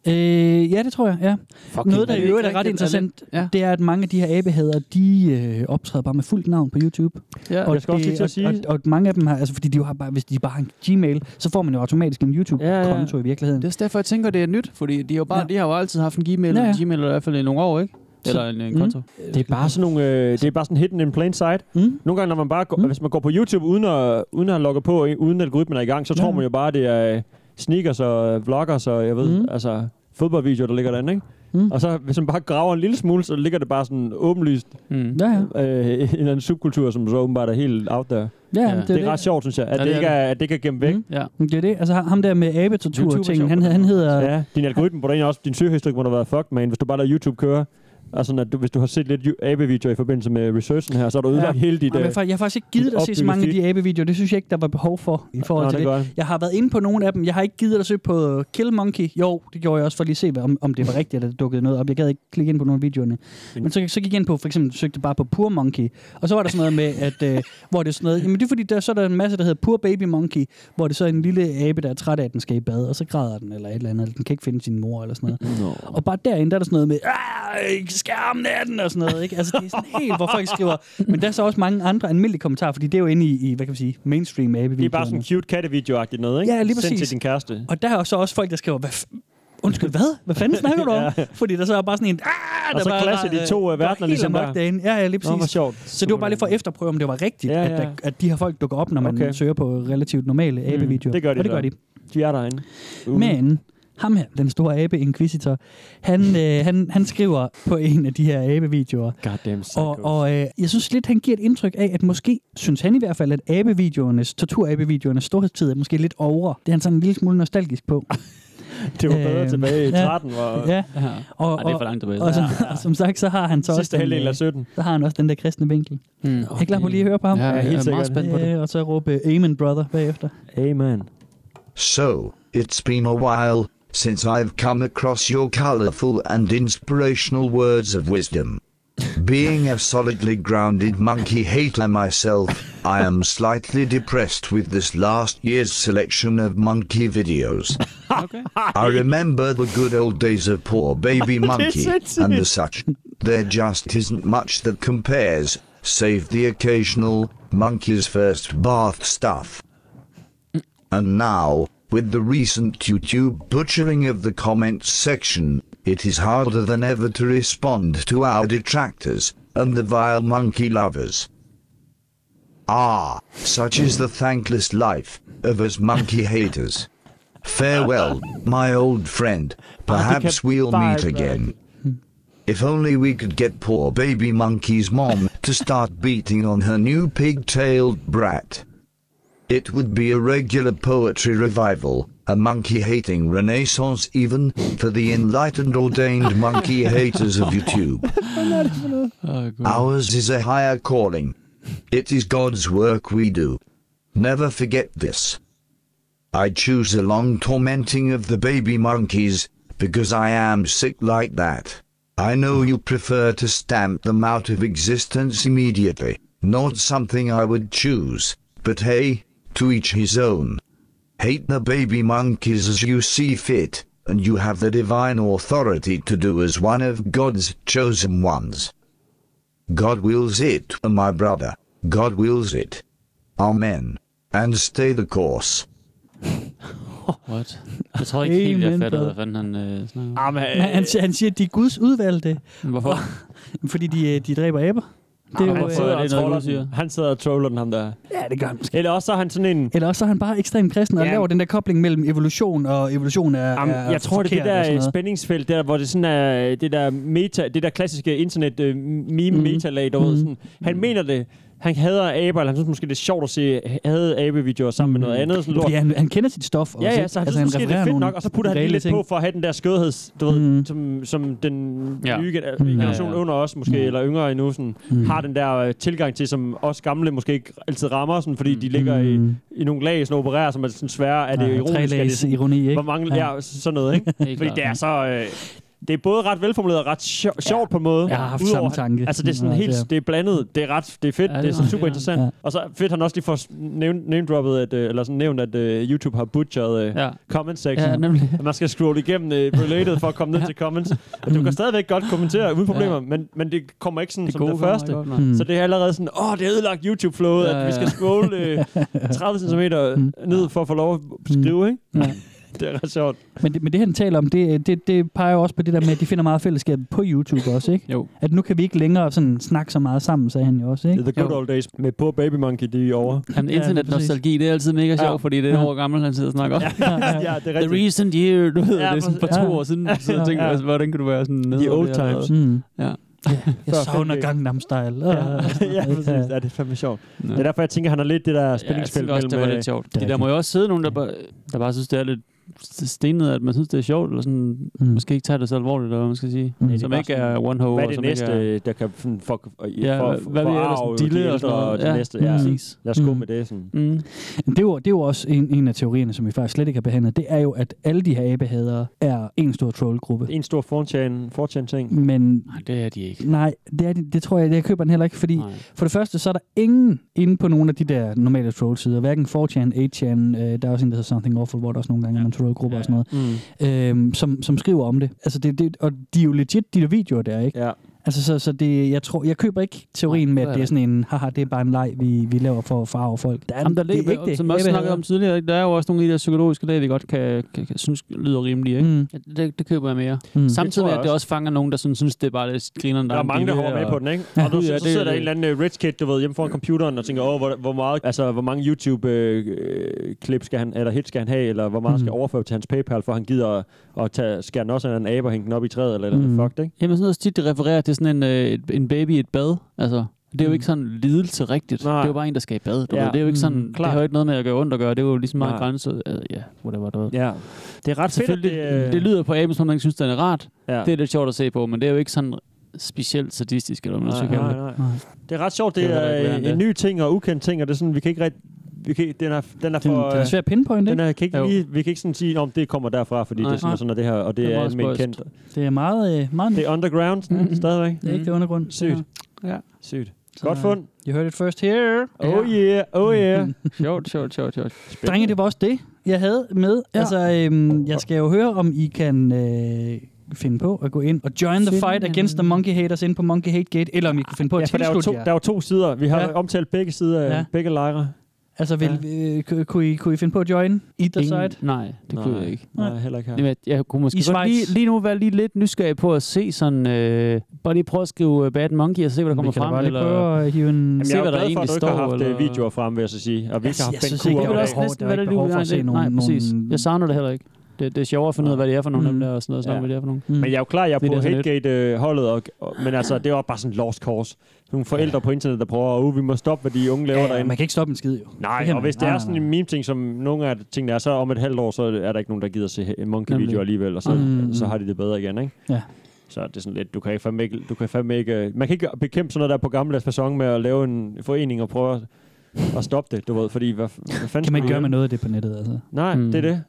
[SPEAKER 3] Øh, ja, det tror jeg, ja.
[SPEAKER 4] Fucking
[SPEAKER 3] Noget, der i
[SPEAKER 4] vildt.
[SPEAKER 3] øvrigt er ret
[SPEAKER 4] Rigtig
[SPEAKER 3] interessant, ja. det er, at mange af de her abehader, de øh, optræder bare med fuldt navn på YouTube.
[SPEAKER 4] Ja.
[SPEAKER 3] og
[SPEAKER 4] Jeg skal også lige til at
[SPEAKER 3] og,
[SPEAKER 4] sige-
[SPEAKER 3] Og, og, mange af dem har, altså fordi de jo har bare, hvis de bare har en Gmail, så får man jo automatisk en YouTube-konto ja, ja. i virkeligheden.
[SPEAKER 4] Det er også derfor, jeg tænker, det er nyt, fordi de, er jo bare, ja. de har jo altid haft en Gmail,
[SPEAKER 3] Ja,
[SPEAKER 4] ja,
[SPEAKER 3] Mm.
[SPEAKER 4] ja.
[SPEAKER 3] ja.
[SPEAKER 4] en Gmail eller i hvert fald i nogle år, ikke? Eller en, en konto.
[SPEAKER 2] Det er bare sådan nogle, øh, det er bare sådan hidden in plain sight.
[SPEAKER 3] Mm.
[SPEAKER 2] Nogle gange, når man bare går, mm. hvis man går på YouTube uden at, uden at logge på, øh, uden algoritmen er i gang, så tror
[SPEAKER 3] Ja.
[SPEAKER 2] man jo bare, det er øh, sneakers og øh, vloggers og jeg ved, mm. altså fodboldvideoer, der ligger derinde, ikke?
[SPEAKER 3] Mm.
[SPEAKER 2] Og så hvis man bare graver en lille smule, så ligger det bare sådan åbenlyst øh,
[SPEAKER 4] mm.
[SPEAKER 3] ja,
[SPEAKER 2] ja. Øh, en eller anden subkultur, som så åbenbart er helt out der.
[SPEAKER 3] Ja, men det er
[SPEAKER 2] det er
[SPEAKER 3] det.
[SPEAKER 2] ret sjovt, synes jeg, at,
[SPEAKER 3] Ja,
[SPEAKER 2] ja,
[SPEAKER 3] det
[SPEAKER 2] det,
[SPEAKER 3] er
[SPEAKER 2] ikke er, at det ikke er gemt væk. Mm.
[SPEAKER 4] Ja.
[SPEAKER 3] Men Det er det. Altså ham der med abetortur-tingen, han, han hedder...
[SPEAKER 2] Ja, din algoritme, på den også, din søgehistorik må da være fucked, man, hvis du bare lader YouTube køre. Og sådan, at du, hvis du har set lidt ju- abevideoer i forbindelse med researchen her, så har du ødelagt ja. hele dit...
[SPEAKER 3] Jamen,
[SPEAKER 2] øh,
[SPEAKER 3] jeg, har- jeg har faktisk ikke gidet
[SPEAKER 2] dit
[SPEAKER 3] at se så
[SPEAKER 2] opbyggede
[SPEAKER 3] mange af
[SPEAKER 2] feed.
[SPEAKER 3] de abevideoer. Det synes jeg ikke, der var behov for i forhold
[SPEAKER 2] Nå,
[SPEAKER 3] til
[SPEAKER 2] det
[SPEAKER 3] det.
[SPEAKER 2] gør
[SPEAKER 3] Jeg har været inde på nogle af dem. Jeg har ikke gidet at søge på øh, Kill Monkey. Jo, det gjorde jeg også for lige at se, hvad- om, om det var rigtigt, at der dukkede noget op. Jeg gad ikke klikke ind på nogle af videoerne. Men så, så gik jeg ind på, for eksempel søgte bare på Poor Monkey. Og så var der sådan noget med, at, øh, hvor det er sådan noget... Jamen det er fordi, der, så er der en masse, der hedder Poor Baby Monkey, hvor det så er en lille abe, der er træt af, at den skal i bad, og så græder den eller et eller andet. eller Den kan ikke finde sin mor eller sådan noget.
[SPEAKER 4] No.
[SPEAKER 3] Og bare derinde, der er der sådan noget med, "Ah, skærmen er den, og sådan noget. Ikke? Altså, det er sådan helt, hvor folk skriver. Men der er så også mange andre almindelige kommentarer, fordi det er jo inde i, i hvad kan man sige, mainstream abe
[SPEAKER 2] Det er bare sådan cute kattevideo-agtigt noget, ikke?
[SPEAKER 3] Ja, lige
[SPEAKER 2] Send
[SPEAKER 3] præcis.
[SPEAKER 2] til din kæreste.
[SPEAKER 3] Og der er også, også folk, der skriver, hvad f- Undskyld, hvad? Hvad fanden snakker du om?
[SPEAKER 2] Ja.
[SPEAKER 3] Fordi der så er bare sådan en... Ah,
[SPEAKER 2] Og så clasher de to, øh, verdener ligesom der.
[SPEAKER 3] der. Derinde. Ja, ja, lige præcis.
[SPEAKER 2] Nå, hvor sjovt.
[SPEAKER 3] Så det var bare lige for at efterprøve, om det var rigtigt,
[SPEAKER 2] Ja,
[SPEAKER 3] ja, ja.
[SPEAKER 2] ja.
[SPEAKER 3] At, der, at de her folk dukker op, når man
[SPEAKER 2] Okay. Mm,
[SPEAKER 3] okay. søger på relativt normale abevideoer.
[SPEAKER 2] det gør de
[SPEAKER 3] Og det gør
[SPEAKER 2] så.
[SPEAKER 3] de.
[SPEAKER 2] De er derinde.
[SPEAKER 3] Uh.
[SPEAKER 2] Mm-hmm.
[SPEAKER 3] Men ham her, den store abe-inquisitor, han, øh, han, han skriver på en af de her abe-videoer.
[SPEAKER 2] Goddamn
[SPEAKER 3] Og, og øh, jeg synes lidt, han giver et indtryk af, at måske, synes han i hvert fald, at abevideoernes, torturabevideoernes storhedstid er måske lidt over. Det er han sådan en lille smule nostalgisk på. Øhm,
[SPEAKER 2] Det var bedre tilbage i 13, hvor-
[SPEAKER 3] Ja.
[SPEAKER 2] Ja.
[SPEAKER 3] Og,
[SPEAKER 2] Ej, det er for langt tilbage.
[SPEAKER 3] Og, og, som,
[SPEAKER 2] Ja,
[SPEAKER 3] og som sagt, så har han så
[SPEAKER 2] Sidste
[SPEAKER 3] også... den,
[SPEAKER 2] halvdel af Hmm.
[SPEAKER 3] øh,
[SPEAKER 2] 17.
[SPEAKER 3] Så har han også den der kristne vinkel.
[SPEAKER 4] Mm.
[SPEAKER 3] Er I klar på lige at høre på ham?
[SPEAKER 4] Ja, jeg er helt Jeg er meget sikkert. spændt på det.
[SPEAKER 3] Øh, Og så råbe Amen, brother, bagefter.
[SPEAKER 2] Amen.
[SPEAKER 10] So, it's been a while since I've come across your colorful and inspirational words of wisdom. Being a solidly grounded monkey hater myself, I am slightly depressed with this last year's selection of monkey videos. I remember the good old days of poor baby
[SPEAKER 15] That's
[SPEAKER 10] monkey
[SPEAKER 15] it.
[SPEAKER 10] and the such. There just isn't much that compares, save the occasional monkey's first bath stuff. And now, with the recent YouTube butchering of the comments section, it is harder than ever to respond to our detractors and the vile monkey lovers. Ah, such is the thankless life of us monkey haters. Farewell, my old friend. Perhaps we'll meet again. If only we could get poor baby monkey's mom to start beating on her new pigtailed brat. It would be a regular poetry revival, a monkey hating renaissance, even for the enlightened ordained monkey haters of YouTube. Ours is a higher calling. It is God's work we do. Never forget this. I choose a long tormenting of the baby monkeys because I am sick like that. I know you prefer to stamp them out of existence immediately, not something I would choose, but hey, to each his own. Hate the baby monkeys as you see fit, and you have the divine authority to do as one of God's chosen ones. God wills it, my brother. God wills it. Amen. And stay the course.
[SPEAKER 4] What? Jeg tror ikke helt, jeg
[SPEAKER 3] Amen,
[SPEAKER 4] fattede,
[SPEAKER 3] brother.
[SPEAKER 4] hvad fanden han øh, snakker om.
[SPEAKER 2] Ah,
[SPEAKER 3] Men han, siger- han siger, at de er Guds udvalgte.
[SPEAKER 4] Hvorfor?
[SPEAKER 3] Fordi de, øh, de dræber aber. Det er jo,
[SPEAKER 2] han,
[SPEAKER 3] øh,
[SPEAKER 2] sidder
[SPEAKER 3] det er
[SPEAKER 2] og
[SPEAKER 3] noget,
[SPEAKER 2] troller
[SPEAKER 3] du siger.
[SPEAKER 2] den. han sidder og troller den, ham der.
[SPEAKER 3] Ja, det gør han måske.
[SPEAKER 2] Eller også så er han sådan en...
[SPEAKER 3] Eller også så er han bare ekstremt kristen og
[SPEAKER 2] Ja.
[SPEAKER 3] laver den der kobling mellem evolution og evolution er,
[SPEAKER 2] Jamen,
[SPEAKER 3] er
[SPEAKER 2] jeg tror, det er
[SPEAKER 3] forkert og sådan
[SPEAKER 2] det der øh,
[SPEAKER 3] noget.
[SPEAKER 2] spændingsfelt, der, hvor det sådan er øh, det der, meta, det der klassiske internet øh, meme
[SPEAKER 3] Mhm.
[SPEAKER 2] mm. metalag, der mm. sådan, han mener det, han hader aber, eller han synes måske, det er sjovt at se havde abevideoer sammen
[SPEAKER 3] Mhm.
[SPEAKER 2] mm. med noget andet. Sådan lort.
[SPEAKER 3] Fordi han, han kender sit stof. også,
[SPEAKER 2] Ja, ja,
[SPEAKER 3] ikke?
[SPEAKER 2] så han altså, synes måske, det er
[SPEAKER 3] refererer
[SPEAKER 2] fedt
[SPEAKER 3] nogle
[SPEAKER 2] nok, og så putter han lige
[SPEAKER 3] reelle
[SPEAKER 2] lidt
[SPEAKER 3] ting.
[SPEAKER 2] på for at have den der skødheds, du ved,
[SPEAKER 4] Mm.
[SPEAKER 2] som, som den
[SPEAKER 4] Ja.
[SPEAKER 2] nye gen-
[SPEAKER 4] Mm.
[SPEAKER 2] generation
[SPEAKER 4] Ja,
[SPEAKER 2] ja,
[SPEAKER 4] ja.
[SPEAKER 2] ja. under os, måske,
[SPEAKER 4] Mm.
[SPEAKER 2] eller yngre endnu, sådan,
[SPEAKER 4] Mm.
[SPEAKER 2] har den der øh, tilgang til, som os gamle måske ikke altid rammer, sådan, fordi de ligger i, i nogle lag, sådan opererer, som er sådan svære, er det
[SPEAKER 3] Mm. Ja,
[SPEAKER 2] ja, ironisk, er det
[SPEAKER 3] trelags ironi, ikke?
[SPEAKER 2] Hvor mange,
[SPEAKER 3] Ja.
[SPEAKER 2] ja. sådan noget, ikke?
[SPEAKER 3] Helt
[SPEAKER 2] fordi
[SPEAKER 3] klart.
[SPEAKER 2] det er så... Øh, det er både ret velformuleret og ret sjo- sjovt på en måde.
[SPEAKER 3] Jeg har haft
[SPEAKER 2] Udover-
[SPEAKER 3] samme tanke.
[SPEAKER 2] Altså, det er sådan
[SPEAKER 3] Ja,
[SPEAKER 2] helt,
[SPEAKER 3] det er-
[SPEAKER 2] det er blandet, det er ret, det er fedt,
[SPEAKER 3] Ja,
[SPEAKER 2] ja,
[SPEAKER 3] det
[SPEAKER 2] det, det
[SPEAKER 3] er
[SPEAKER 2] er sådan
[SPEAKER 3] meget
[SPEAKER 2] super
[SPEAKER 3] fedt.
[SPEAKER 2] interessant.
[SPEAKER 3] Ja.
[SPEAKER 2] Ja. Og så fedt, han også lige får s- name, name droppet, at, øh, eller sådan nævnt, at øh, YouTube har butcheret øh,
[SPEAKER 4] Ja.
[SPEAKER 2] ja. comment section.
[SPEAKER 4] Ja, nemlig.
[SPEAKER 2] At man skal scrolle igennem øh, related for at komme ned til comments. Og du kan stadigvæk godt kommentere uden problemer, ja. men, men det kommer ikke sådan det som
[SPEAKER 4] gode
[SPEAKER 2] det
[SPEAKER 4] kommer
[SPEAKER 2] første.
[SPEAKER 4] ikke op, nej. Mm.
[SPEAKER 2] så det er allerede sådan, åh, det er ødelagt YouTube-flowet,
[SPEAKER 4] Ja,
[SPEAKER 2] ja, at vi
[SPEAKER 4] ja.
[SPEAKER 2] skal scrolle øh, 30 cm ned for at få lov at skrive, ikke?
[SPEAKER 3] Ja.
[SPEAKER 2] det er ret sjovt.
[SPEAKER 3] Men det, men det, han taler om, det, øh, det, det peger jo også på det der med, at de finder meget fællesskab på YouTube også, ikke?
[SPEAKER 4] Jo.
[SPEAKER 3] At nu kan vi ikke længere sådan snakke så meget sammen, sagde han jo også, ikke?
[SPEAKER 2] The good old days med på Baby Monkey, de er over.
[SPEAKER 4] Jamen, internetnostalgi, det er altid mega sjovt,
[SPEAKER 2] Ja.
[SPEAKER 4] fordi det er
[SPEAKER 2] Ja.
[SPEAKER 4] ja. år gammel, han sidder og snakker om.
[SPEAKER 2] Ja, ja, ja, det er rigtigt.
[SPEAKER 4] The recent year, du ved,
[SPEAKER 2] Ja,
[SPEAKER 4] ja, det er sådan for
[SPEAKER 2] præcis.
[SPEAKER 4] to
[SPEAKER 2] Ja.
[SPEAKER 4] år siden, så
[SPEAKER 2] Ja.
[SPEAKER 4] tænker jeg,
[SPEAKER 2] Ja.
[SPEAKER 4] altså, hvordan kan du være sådan nede?
[SPEAKER 2] The
[SPEAKER 4] over
[SPEAKER 2] old
[SPEAKER 4] det her?
[SPEAKER 2] times. Mm.
[SPEAKER 4] Ja.
[SPEAKER 3] Jeg savner Gangnam Style.
[SPEAKER 2] Ja, ja, præcis. Ja, det er fandme sjovt. Det er derfor, jeg tænker, han har lidt det der spændingsfelt
[SPEAKER 4] også, det var
[SPEAKER 2] mellem,
[SPEAKER 4] lidt
[SPEAKER 2] øh,
[SPEAKER 4] sjovt. Det der må jo også sidde nogen, der bare, der bare synes, det er lidt stenet, at man synes, det er sjovt, eller sådan, mm. måske ikke tager det så alvorligt, eller hvad man skal sige.
[SPEAKER 2] Ja, det
[SPEAKER 4] Mm.
[SPEAKER 2] er
[SPEAKER 4] Som
[SPEAKER 2] bare
[SPEAKER 4] ikke
[SPEAKER 2] sådan,
[SPEAKER 4] er one ho.
[SPEAKER 2] Hvad er
[SPEAKER 4] og
[SPEAKER 2] det
[SPEAKER 4] som ikke
[SPEAKER 2] næste,
[SPEAKER 4] er-
[SPEAKER 2] der kan sådan fuck,
[SPEAKER 4] Ja,
[SPEAKER 2] for,
[SPEAKER 4] hvad- hvad vi ellers
[SPEAKER 2] forarve
[SPEAKER 4] dille
[SPEAKER 2] de
[SPEAKER 4] og
[SPEAKER 2] ældre
[SPEAKER 4] sådan noget.
[SPEAKER 2] og de
[SPEAKER 4] Ja,
[SPEAKER 2] næste? Ja,
[SPEAKER 4] præcis.
[SPEAKER 2] Lad os gå
[SPEAKER 3] Mm.
[SPEAKER 2] med det. Sådan.
[SPEAKER 4] Mm.
[SPEAKER 3] Det er jo, det er jo også en, en af teorierne, som vi faktisk slet ikke har behandlet. Det er jo, at alle de her abehadere er en stor trollgruppe.
[SPEAKER 2] En stor 4chan ting.
[SPEAKER 3] Men
[SPEAKER 4] Nej, det er de ikke.
[SPEAKER 3] Nej, det, er, det, det tror jeg, det jeg køber den heller ikke, fordi Nej. for det første, så er der ingen inde på nogle af de der normale troll-sider, hverken 4chan, 8chan, øh, der er også en, der hedder Something Awful, hvor der også nogle gange ja. er nogle troll-grupper ja. og sådan noget, mm. øh, som, som skriver om det. Altså, det, det, og de er jo legit, de der videoer der, ikke?
[SPEAKER 2] Ja.
[SPEAKER 3] Altså, så, så det, jeg, tror, jeg køber ikke teorien med, at det er sådan en, haha, det er bare en leg, vi, vi laver for at farve folk. Der er,
[SPEAKER 4] Jamen, der
[SPEAKER 3] det er
[SPEAKER 4] ligger,
[SPEAKER 3] ikke det.
[SPEAKER 4] Som jeg også
[SPEAKER 3] Abehadere.
[SPEAKER 4] snakkede om tidligere, ikke? der er jo også nogle af de der psykologiske lag, vi godt kan, kan, kan synes lyder rimelige. Ikke?
[SPEAKER 3] Mm.
[SPEAKER 4] Det, det, køber jeg mere.
[SPEAKER 3] Mm.
[SPEAKER 4] Mm.
[SPEAKER 2] Det tror
[SPEAKER 4] Samtidig med,
[SPEAKER 2] jeg
[SPEAKER 4] at det også fanger nogen, der sådan, synes, det er bare lidt grineren.
[SPEAKER 2] Der er mange, der hopper med på den, ikke? Ja. Og du, så, så sidder der en eller anden øh, rich kid, du ved, hjemme foran computeren og tænker, åh, hvor, hvor, meget, altså, hvor mange YouTube-klip skal han, eller hits skal han have, eller hvor meget
[SPEAKER 4] Mm.
[SPEAKER 2] skal jeg overføre til hans PayPal, for han gider at, at tage, skære den også af en abe og hænge den op i træet, eller, eller
[SPEAKER 4] Mm.
[SPEAKER 3] Mhm.
[SPEAKER 2] fuck det, ikke?
[SPEAKER 4] Jamen sådan noget tit, det refererer til sådan en, øh, et- en baby i et bad. Altså, det er
[SPEAKER 3] Mhm.
[SPEAKER 4] jo
[SPEAKER 2] Mm.
[SPEAKER 4] ikke sådan lidelse rigtigt. Nej. Det er jo bare en, der skal i bad. Du
[SPEAKER 2] Ja.
[SPEAKER 4] ja. ved, det er jo ikke sådan,
[SPEAKER 3] Mhm.
[SPEAKER 2] Mm,
[SPEAKER 4] det
[SPEAKER 2] klart.
[SPEAKER 4] har jo ikke noget med at gøre ondt at gøre. Det er jo ligesom meget
[SPEAKER 2] Nej.
[SPEAKER 4] grænset. Altså, ja, whatever, du ved.
[SPEAKER 2] Ja. Det er ret fedt, at
[SPEAKER 4] Selvfølgelig,
[SPEAKER 2] det, øh,
[SPEAKER 4] det, det lyder på aben, som om man ikke synes, den er rart.
[SPEAKER 2] Ja.
[SPEAKER 4] Ja. Det er lidt sjovt at se på, men det er jo ikke sådan specielt sadistisk, eller hvad man
[SPEAKER 2] Nej,
[SPEAKER 4] skal kalde
[SPEAKER 2] nej,
[SPEAKER 4] det.
[SPEAKER 2] nej. Det er ret sjovt, det,
[SPEAKER 4] Det er
[SPEAKER 2] det
[SPEAKER 4] heller
[SPEAKER 2] er
[SPEAKER 4] ikke
[SPEAKER 2] øh,
[SPEAKER 4] værre
[SPEAKER 2] en,
[SPEAKER 4] end
[SPEAKER 2] en
[SPEAKER 4] det.
[SPEAKER 2] ny ting og ukendt ting, og det er sådan, vi kan ikke rigtig... Vi kan, ikke- den er, den er
[SPEAKER 3] Den-
[SPEAKER 2] for...
[SPEAKER 3] den er svær at pinpointe,
[SPEAKER 2] den er,
[SPEAKER 3] ikke?
[SPEAKER 2] kan ikke
[SPEAKER 3] Jo.
[SPEAKER 2] lige, vi kan ikke sådan sige, om det kommer derfra, fordi Nej.
[SPEAKER 3] Nej.
[SPEAKER 2] det er sådan og sådan og det her, og det,
[SPEAKER 3] Det er
[SPEAKER 2] er, er
[SPEAKER 3] meget
[SPEAKER 2] almindeligt
[SPEAKER 3] spøjst.
[SPEAKER 2] kendt.
[SPEAKER 3] Det er meget... øh, meget
[SPEAKER 2] Det er underground mm-hmm. stadigvæk.
[SPEAKER 3] Det er ikke det undergrund.
[SPEAKER 2] Sygt.
[SPEAKER 4] Ja.
[SPEAKER 2] Sygt.
[SPEAKER 3] Så,
[SPEAKER 2] Godt
[SPEAKER 3] øh,
[SPEAKER 2] fund.
[SPEAKER 3] You heard it first here. Mm.
[SPEAKER 2] Oh yeah, oh yeah.
[SPEAKER 4] sjovt, sjovt, sjovt, sjovt.
[SPEAKER 3] Drenge, det var også det, jeg havde med. Ja. Altså, øhm, jeg skal jo høre, om I kan øh, finde på at gå ind og join the
[SPEAKER 2] Finde
[SPEAKER 3] fight against the monkey haters ind på Monkey Hate Gate, eller om I kan finde på at
[SPEAKER 2] Ja, for der er, jo
[SPEAKER 3] tilslutte
[SPEAKER 2] to,
[SPEAKER 3] jer.
[SPEAKER 2] der er jo to sider. Vi har
[SPEAKER 3] Ja.
[SPEAKER 2] ja. omtalt begge sider,
[SPEAKER 3] Ja.
[SPEAKER 2] ja. begge lejre.
[SPEAKER 3] Altså, vil, øh, ku- kunne, I, kunne I finde på at join either
[SPEAKER 4] Ingen-
[SPEAKER 3] side?
[SPEAKER 4] Nej, det kunne jeg ikke.
[SPEAKER 2] Nej, heller ikke her.
[SPEAKER 4] Jamen, jeg, jeg kunne måske
[SPEAKER 3] I
[SPEAKER 4] godt
[SPEAKER 3] Schweiz.
[SPEAKER 4] lige, lige nu være lige lidt nysgerrig på at se sådan... Øh, bare lige prøve at skrive øh, Bad Monkey og se, hvad der kommer
[SPEAKER 3] Vi kan da
[SPEAKER 4] frem.
[SPEAKER 3] bare lige prøve at hive en...
[SPEAKER 2] Jamen, jeg er jo glad for, at du ikke har haft øh, videoer frem, vil jeg så sige. Og vi ikke har haft Ben Kur.
[SPEAKER 4] Det er også næsten, hvad der lige vil se. Nej, præcis. Jeg savner det heller ikke. Det, det er sjovere at finde ud af, hvad det er for nogle af dem der, og sådan noget, sådan noget, hvad det er for
[SPEAKER 3] Mm.
[SPEAKER 4] nogle.
[SPEAKER 2] Men jeg er jo klar, jeg er
[SPEAKER 4] Det er
[SPEAKER 2] på
[SPEAKER 4] da sådan lidt-
[SPEAKER 2] Hategate-holdet, og, og, men altså, det var bare sådan en lost cause. Nogle forældre ja. på internet, der prøver, at oh, vi må stoppe, hvad de unge laver
[SPEAKER 3] Ja,
[SPEAKER 2] derinde.
[SPEAKER 3] man kan ikke stoppe en skid, jo. Det
[SPEAKER 2] Nej,
[SPEAKER 3] kan man-
[SPEAKER 2] og
[SPEAKER 3] Ah.
[SPEAKER 2] hvis det
[SPEAKER 3] nej,
[SPEAKER 2] er
[SPEAKER 3] nej,
[SPEAKER 2] sådan en meme-ting, som nogle af tingene er, så om et halvt år, så er der ikke nogen, der gider se en
[SPEAKER 3] Nemlig.
[SPEAKER 2] monkey-video alligevel, og så,
[SPEAKER 3] Mm.
[SPEAKER 2] så har de det bedre igen, ikke?
[SPEAKER 3] Ja.
[SPEAKER 2] Så det er sådan lidt, du kan ikke fandme ikke, du kan fandme ikke, man kan ikke bekæmpe sådan noget der på gammeldags person med at lave en forening og prøve at, at stoppe det, du ved, fordi hvad, hvad fanden
[SPEAKER 3] Kan
[SPEAKER 2] skulle
[SPEAKER 3] man ikke
[SPEAKER 2] vi
[SPEAKER 3] gøre med
[SPEAKER 2] gøre?
[SPEAKER 3] noget af det på nettet, altså?
[SPEAKER 2] Mm. Nej, mm. det er det.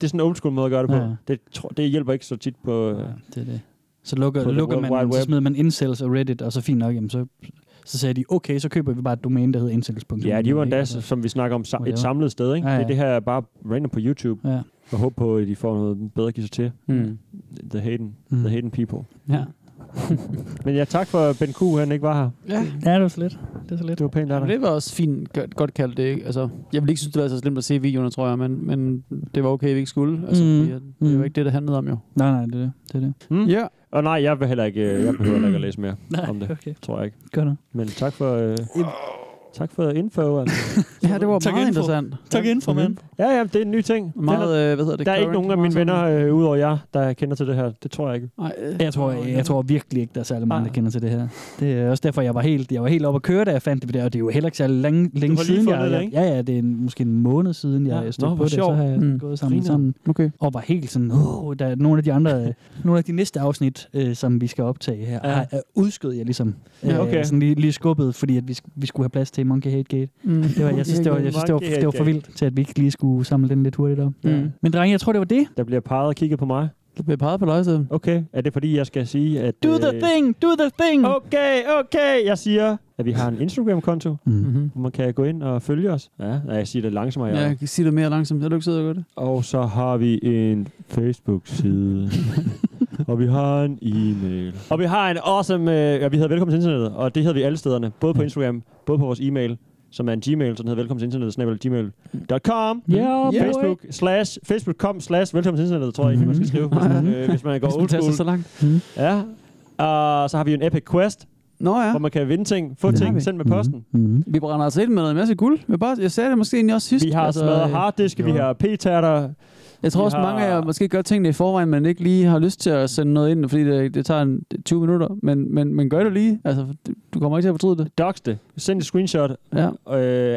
[SPEAKER 2] Det er sådan en old school måde at gøre det på.
[SPEAKER 3] Ja.
[SPEAKER 2] Ja. Det, tror, det hjælper ikke så tit på... Ja,
[SPEAKER 3] det er det. Så lukker,
[SPEAKER 2] På the
[SPEAKER 3] lukker
[SPEAKER 2] World Wide
[SPEAKER 3] man, så
[SPEAKER 2] Web.
[SPEAKER 3] smider man incels og Reddit, og så fint nok, jamen så, så sagde de, okay, så køber vi bare et domæne, der hedder incels.com.
[SPEAKER 2] Ja, de var endda,
[SPEAKER 3] Altså.
[SPEAKER 2] som vi snakker om, sa-
[SPEAKER 3] Whatever.
[SPEAKER 2] et samlet sted. Ikke?
[SPEAKER 3] Ja,
[SPEAKER 2] Ja,
[SPEAKER 3] ja.
[SPEAKER 2] ja. Det, det her er bare random på YouTube.
[SPEAKER 3] Ja.
[SPEAKER 2] Og håbe på, at de får noget bedre at give sig til.
[SPEAKER 4] Mm.
[SPEAKER 2] The, Hayden,
[SPEAKER 3] Mm.
[SPEAKER 2] the Hayden people.
[SPEAKER 4] Ja.
[SPEAKER 2] Men ja, tak for Ben Q, han ikke var her.
[SPEAKER 4] Ja.
[SPEAKER 3] Ja, det var så lidt. Det var så lidt.
[SPEAKER 2] Det var pænt af
[SPEAKER 4] Men
[SPEAKER 2] dig.
[SPEAKER 4] det var også fint, godt, godt kaldt det. ikke? Altså, jeg ville ikke synes, det var så slemt at se videoerne, tror jeg, men, men det var okay, vi ikke skulle. Altså,
[SPEAKER 3] Mm.
[SPEAKER 4] mm. det, det
[SPEAKER 3] Mm.
[SPEAKER 4] var ikke det, det handlede om jo.
[SPEAKER 3] Nej, nej, det er det. det, er det.
[SPEAKER 2] Mm?
[SPEAKER 4] Ja.
[SPEAKER 2] Og nej, jeg, vil heller ikke, øh, jeg behøver heller ikke at læse mere
[SPEAKER 3] Nej,
[SPEAKER 2] om det.
[SPEAKER 3] okay.
[SPEAKER 2] Tror jeg ikke.
[SPEAKER 3] Gør det.
[SPEAKER 2] Men tak for... Øh, tak for info, altså.
[SPEAKER 4] Ja, det var
[SPEAKER 2] Tak info.
[SPEAKER 4] meget interessant.
[SPEAKER 3] Tak info, mand.
[SPEAKER 2] Ja, ja, Mm-hmm. det er en ny ting. Den
[SPEAKER 4] Meget,
[SPEAKER 2] er-
[SPEAKER 4] øh, hvad hedder det,
[SPEAKER 2] Der er ikke
[SPEAKER 4] current,
[SPEAKER 2] nogen af mine
[SPEAKER 4] meget
[SPEAKER 2] venner, øh, udover jer, der kender til det her. Det tror jeg ikke. Ah.
[SPEAKER 4] Nej, øh,
[SPEAKER 3] Jeg tror, jeg, jeg tror virkelig ikke, der er særlig mange, der kender til det her. Det er også derfor, jeg var helt, jeg var helt oppe at køre, da jeg fandt det der, og det er jo heller ikke særlig længe, længe
[SPEAKER 2] har lige
[SPEAKER 3] siden. Jeg,
[SPEAKER 2] fundet det,
[SPEAKER 3] jeg,
[SPEAKER 2] ikke?
[SPEAKER 3] ja, ja, det er en, måske en måned siden, jeg
[SPEAKER 2] Ja.
[SPEAKER 3] ja.
[SPEAKER 2] Nå,
[SPEAKER 3] stod på
[SPEAKER 2] hvor
[SPEAKER 3] det, så
[SPEAKER 2] sjovt.
[SPEAKER 3] har jeg
[SPEAKER 2] Mm.
[SPEAKER 3] mm. gået sammen,
[SPEAKER 2] Griner.
[SPEAKER 3] sammen
[SPEAKER 4] okay.
[SPEAKER 3] og var helt sådan, åh, der er nogle af de andre, øh, nogle af de næste afsnit, øh, som vi skal optage her,
[SPEAKER 2] Ja.
[SPEAKER 3] ja. er, udskød jeg ligesom.
[SPEAKER 2] Ja, okay.
[SPEAKER 3] sådan lige, lige skubbet, fordi at vi, sk- vi skulle have plads til Monkey Hate Gate.
[SPEAKER 4] Mm.
[SPEAKER 3] Det var, jeg synes, det var, jeg synes, det var,
[SPEAKER 2] Monkey Hate
[SPEAKER 3] det var for
[SPEAKER 2] Gate.
[SPEAKER 3] vildt til, at vi ikke lige skulle samle den lidt hurtigt op.
[SPEAKER 2] Ja.
[SPEAKER 3] Mm. Men drenge, jeg tror, det var det.
[SPEAKER 2] Der bliver peget og kigget på mig.
[SPEAKER 4] Der bliver peget på dig, så.
[SPEAKER 2] Okay, er det fordi, jeg skal sige, at...
[SPEAKER 3] Do the
[SPEAKER 2] øh,
[SPEAKER 3] thing! Do the thing!
[SPEAKER 2] Okay, okay, jeg siger, at vi har en Instagram-konto,
[SPEAKER 3] mm-hmm.
[SPEAKER 2] hvor man kan gå ind og følge os. Ja, nej, jeg siger det langsommere.
[SPEAKER 4] Ja,
[SPEAKER 2] Ja.
[SPEAKER 4] jeg kan sige det mere langsomt. Er du ikke sidder og gør det?
[SPEAKER 2] Og så har vi en Facebook-side. og vi har en e-mail. Og vi har en awesome... Øh, ja, vi hedder Velkommen til Internettet, og det hedder vi alle stederne. Både på Instagram, både på vores e-mail, som er en Gmail, så den hedder velkommen til internettet, snabel gmail.com.
[SPEAKER 3] Yeah, boy.
[SPEAKER 2] Facebook, slash, facebook.com, slash, velkommen til internettet, tror jeg egentlig, man skal skrive, hvis man, øh, hvis man går
[SPEAKER 4] Hvis man
[SPEAKER 2] old
[SPEAKER 4] tager sig
[SPEAKER 2] school. Mm.
[SPEAKER 4] så langt.
[SPEAKER 2] Ja. Og så har vi jo en Epic Quest,
[SPEAKER 4] Nå ja.
[SPEAKER 2] hvor man kan vinde ting, få ting, send med posten.
[SPEAKER 3] Mm-hmm.
[SPEAKER 4] Vi brænder altså ind med noget masse guld. Jeg, bare, jeg sagde det måske egentlig også sidst.
[SPEAKER 2] Vi har altså, smadret harddiske, vi har p-tærter,
[SPEAKER 4] Jeg tror
[SPEAKER 2] Vi
[SPEAKER 4] også,
[SPEAKER 2] har-
[SPEAKER 4] mange af jer måske gør tingene i forvejen, men ikke lige har lyst til at sende noget ind, fordi det, det tager en 20 minutter. Men, men, men gør det lige. Altså, du kommer ikke til at fortryde det.
[SPEAKER 2] Dox det. Send et screenshot
[SPEAKER 4] ja.
[SPEAKER 2] øh,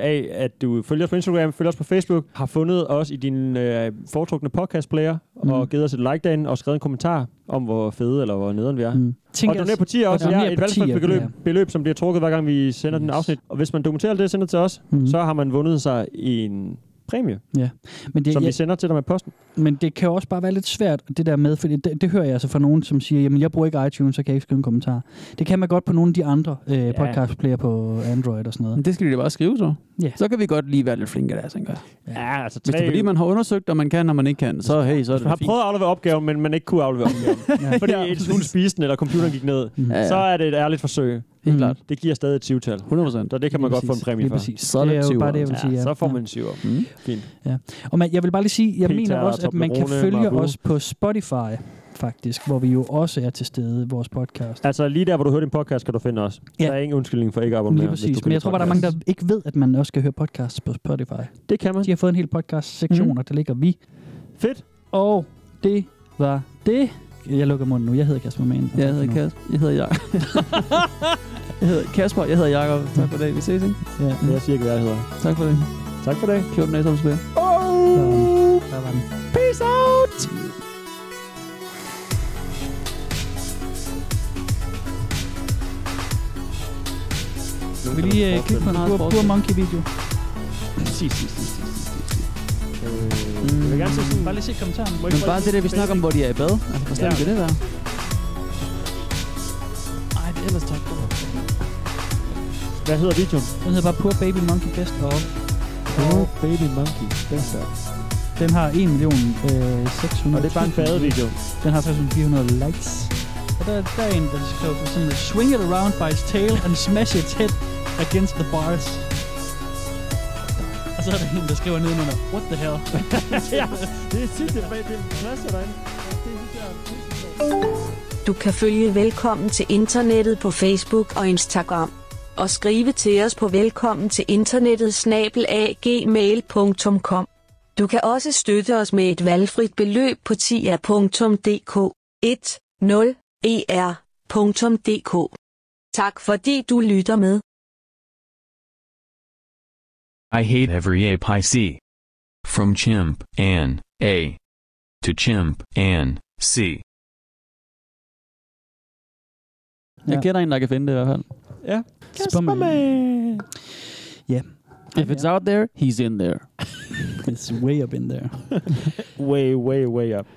[SPEAKER 2] af, at du følger os på Instagram, følger os på Facebook, har fundet os i din øh, foretrukne podcast-player, mm. og givet os et like derinde, og skrevet en kommentar om, hvor fede eller hvor nederen vi er. Mm.
[SPEAKER 3] Tænk
[SPEAKER 2] og doner
[SPEAKER 3] os-
[SPEAKER 2] på 10
[SPEAKER 3] og
[SPEAKER 2] også. Ja,
[SPEAKER 3] doner
[SPEAKER 2] et
[SPEAKER 3] på tier,
[SPEAKER 2] valgfrit beløb,
[SPEAKER 3] ja.
[SPEAKER 2] beløb, som bliver trukket, hver gang vi sender yes. den afsnit. Og hvis man dokumenterer alt det og sender det til os, mm. så har man vundet sig en præmie,
[SPEAKER 3] Ja. Men det,
[SPEAKER 2] som
[SPEAKER 3] jeg,
[SPEAKER 2] vi sender til dig med posten.
[SPEAKER 3] Men det kan jo også bare være lidt svært, det der med, fordi det, det hører jeg altså fra nogen, som siger, jamen jeg bruger ikke iTunes, så kan jeg ikke skrive en kommentar. Det kan man godt på nogle af de andre øh, podcastplayer på Android og sådan noget.
[SPEAKER 4] Men det skal de da bare skrive så.
[SPEAKER 3] Ja.
[SPEAKER 4] Så kan vi godt lige være lidt flinke der, tænker jeg.
[SPEAKER 2] Ja, altså
[SPEAKER 4] Hvis det er fordi, man har undersøgt, og man kan, og man ikke kan, så hey, så er
[SPEAKER 2] Hvis
[SPEAKER 4] det
[SPEAKER 2] man har
[SPEAKER 4] fint.
[SPEAKER 2] prøvet at aflevere opgaven, men man ikke kunne aflevere opgaven. ja. Fordi ja, hun spiste den, eller computeren gik ned.
[SPEAKER 4] ja.
[SPEAKER 2] Så er det et ærligt forsøg. Mm.
[SPEAKER 4] Helt klart.
[SPEAKER 2] Det giver stadig et 20-tal.
[SPEAKER 4] 100%.
[SPEAKER 2] Så det kan man
[SPEAKER 3] Lige
[SPEAKER 2] godt få en
[SPEAKER 3] præcis.
[SPEAKER 2] præmie
[SPEAKER 3] Lige
[SPEAKER 2] for.
[SPEAKER 3] præcis. Så er Det det er jo 20'er. bare det, jeg vil sige, ja.
[SPEAKER 2] Så får
[SPEAKER 3] Ja.
[SPEAKER 2] man en 7'er. Mm. Fint.
[SPEAKER 3] Ja. Og man, jeg vil bare lige sige, jeg
[SPEAKER 2] Peter,
[SPEAKER 3] mener også, at man kan
[SPEAKER 2] Toblerone,
[SPEAKER 3] følge
[SPEAKER 2] Marabou.
[SPEAKER 3] os på Spotify, faktisk, hvor vi jo også er til stede i vores podcast.
[SPEAKER 2] Altså lige der, hvor du hører din podcast, kan du finde os.
[SPEAKER 3] Ja.
[SPEAKER 2] Ja. Der er ingen undskyldning for ikke at abonnere.
[SPEAKER 3] Lige
[SPEAKER 2] hvis
[SPEAKER 3] præcis.
[SPEAKER 2] du
[SPEAKER 3] Men
[SPEAKER 2] kan
[SPEAKER 3] jeg tror bare, der er mange,
[SPEAKER 2] lide
[SPEAKER 3] der ikke ved, at man også skal høre podcasts på Spotify.
[SPEAKER 2] Det kan man.
[SPEAKER 3] De har fået en hel podcast-sektion,
[SPEAKER 2] Mhm.
[SPEAKER 3] og der ligger vi.
[SPEAKER 2] Fedt.
[SPEAKER 3] Og det var det. Jeg lukker munden nu. Jeg hedder Kasper Mann.
[SPEAKER 4] Jeg hedder Kasper. Jeg hedder jeg. jeg hedder Kasper, jeg hedder Jakob. Tak for i dag. Vi ses, ikke?
[SPEAKER 3] Ja.
[SPEAKER 2] podcast. Jeg siger ikke, hvad jeg hedder.
[SPEAKER 4] Tak for det.
[SPEAKER 2] Tak for det.
[SPEAKER 4] 14 dage som spiller.
[SPEAKER 2] Oh!
[SPEAKER 3] Der var den.
[SPEAKER 4] Peace out!
[SPEAKER 3] Skal vi lige øh, klikke på en Bur, Bur Monkey-video?
[SPEAKER 2] Præcis, præcis, præcis. Jeg vil gerne se sådan...
[SPEAKER 3] Mm. Bare lige se kommentaren. Må
[SPEAKER 4] Men
[SPEAKER 3] ikke
[SPEAKER 4] bare
[SPEAKER 3] folk-
[SPEAKER 4] det der, vi snakker om, hvor de er i bad. Altså, hvor slemt
[SPEAKER 3] Ja.
[SPEAKER 4] kan det være?
[SPEAKER 3] Ej, det er ellers tak.
[SPEAKER 2] Hvad hedder videoen?
[SPEAKER 3] Den hedder bare Poor Baby Monkey Best of.
[SPEAKER 2] Poor Baby Monkey Best of.
[SPEAKER 3] Den har 1 million øh, 600.
[SPEAKER 2] Og det er bare en badevideo.
[SPEAKER 3] Den har 3.400 likes. Og der, der er en, der skrev for sådan noget, Swing it around by its tail and smash its head against the bars. Og så er der en, der skriver nedenunder, What the hell?
[SPEAKER 2] ja, det er sygt, det er det er pladser derinde. Det synes jeg er pisse sjovt.
[SPEAKER 1] Du kan følge Velkommen til Internettet på Facebook og Instagram. Og skrive til os på velkommen til internettet snabelagmail.com. Du kan også støtte os med et valgfrit beløb på tia.dk E 10er.dk. Tak fordi du lytter med.
[SPEAKER 5] I hate every ape I see. From chimp an A to chimp an C.
[SPEAKER 4] Jeg kender en, der kan finde det i hvert fald.
[SPEAKER 2] Ja.
[SPEAKER 3] Kasper Man. Ja.
[SPEAKER 4] If it's out there, he's in there.
[SPEAKER 3] It's way up in there.
[SPEAKER 2] way, way, way up.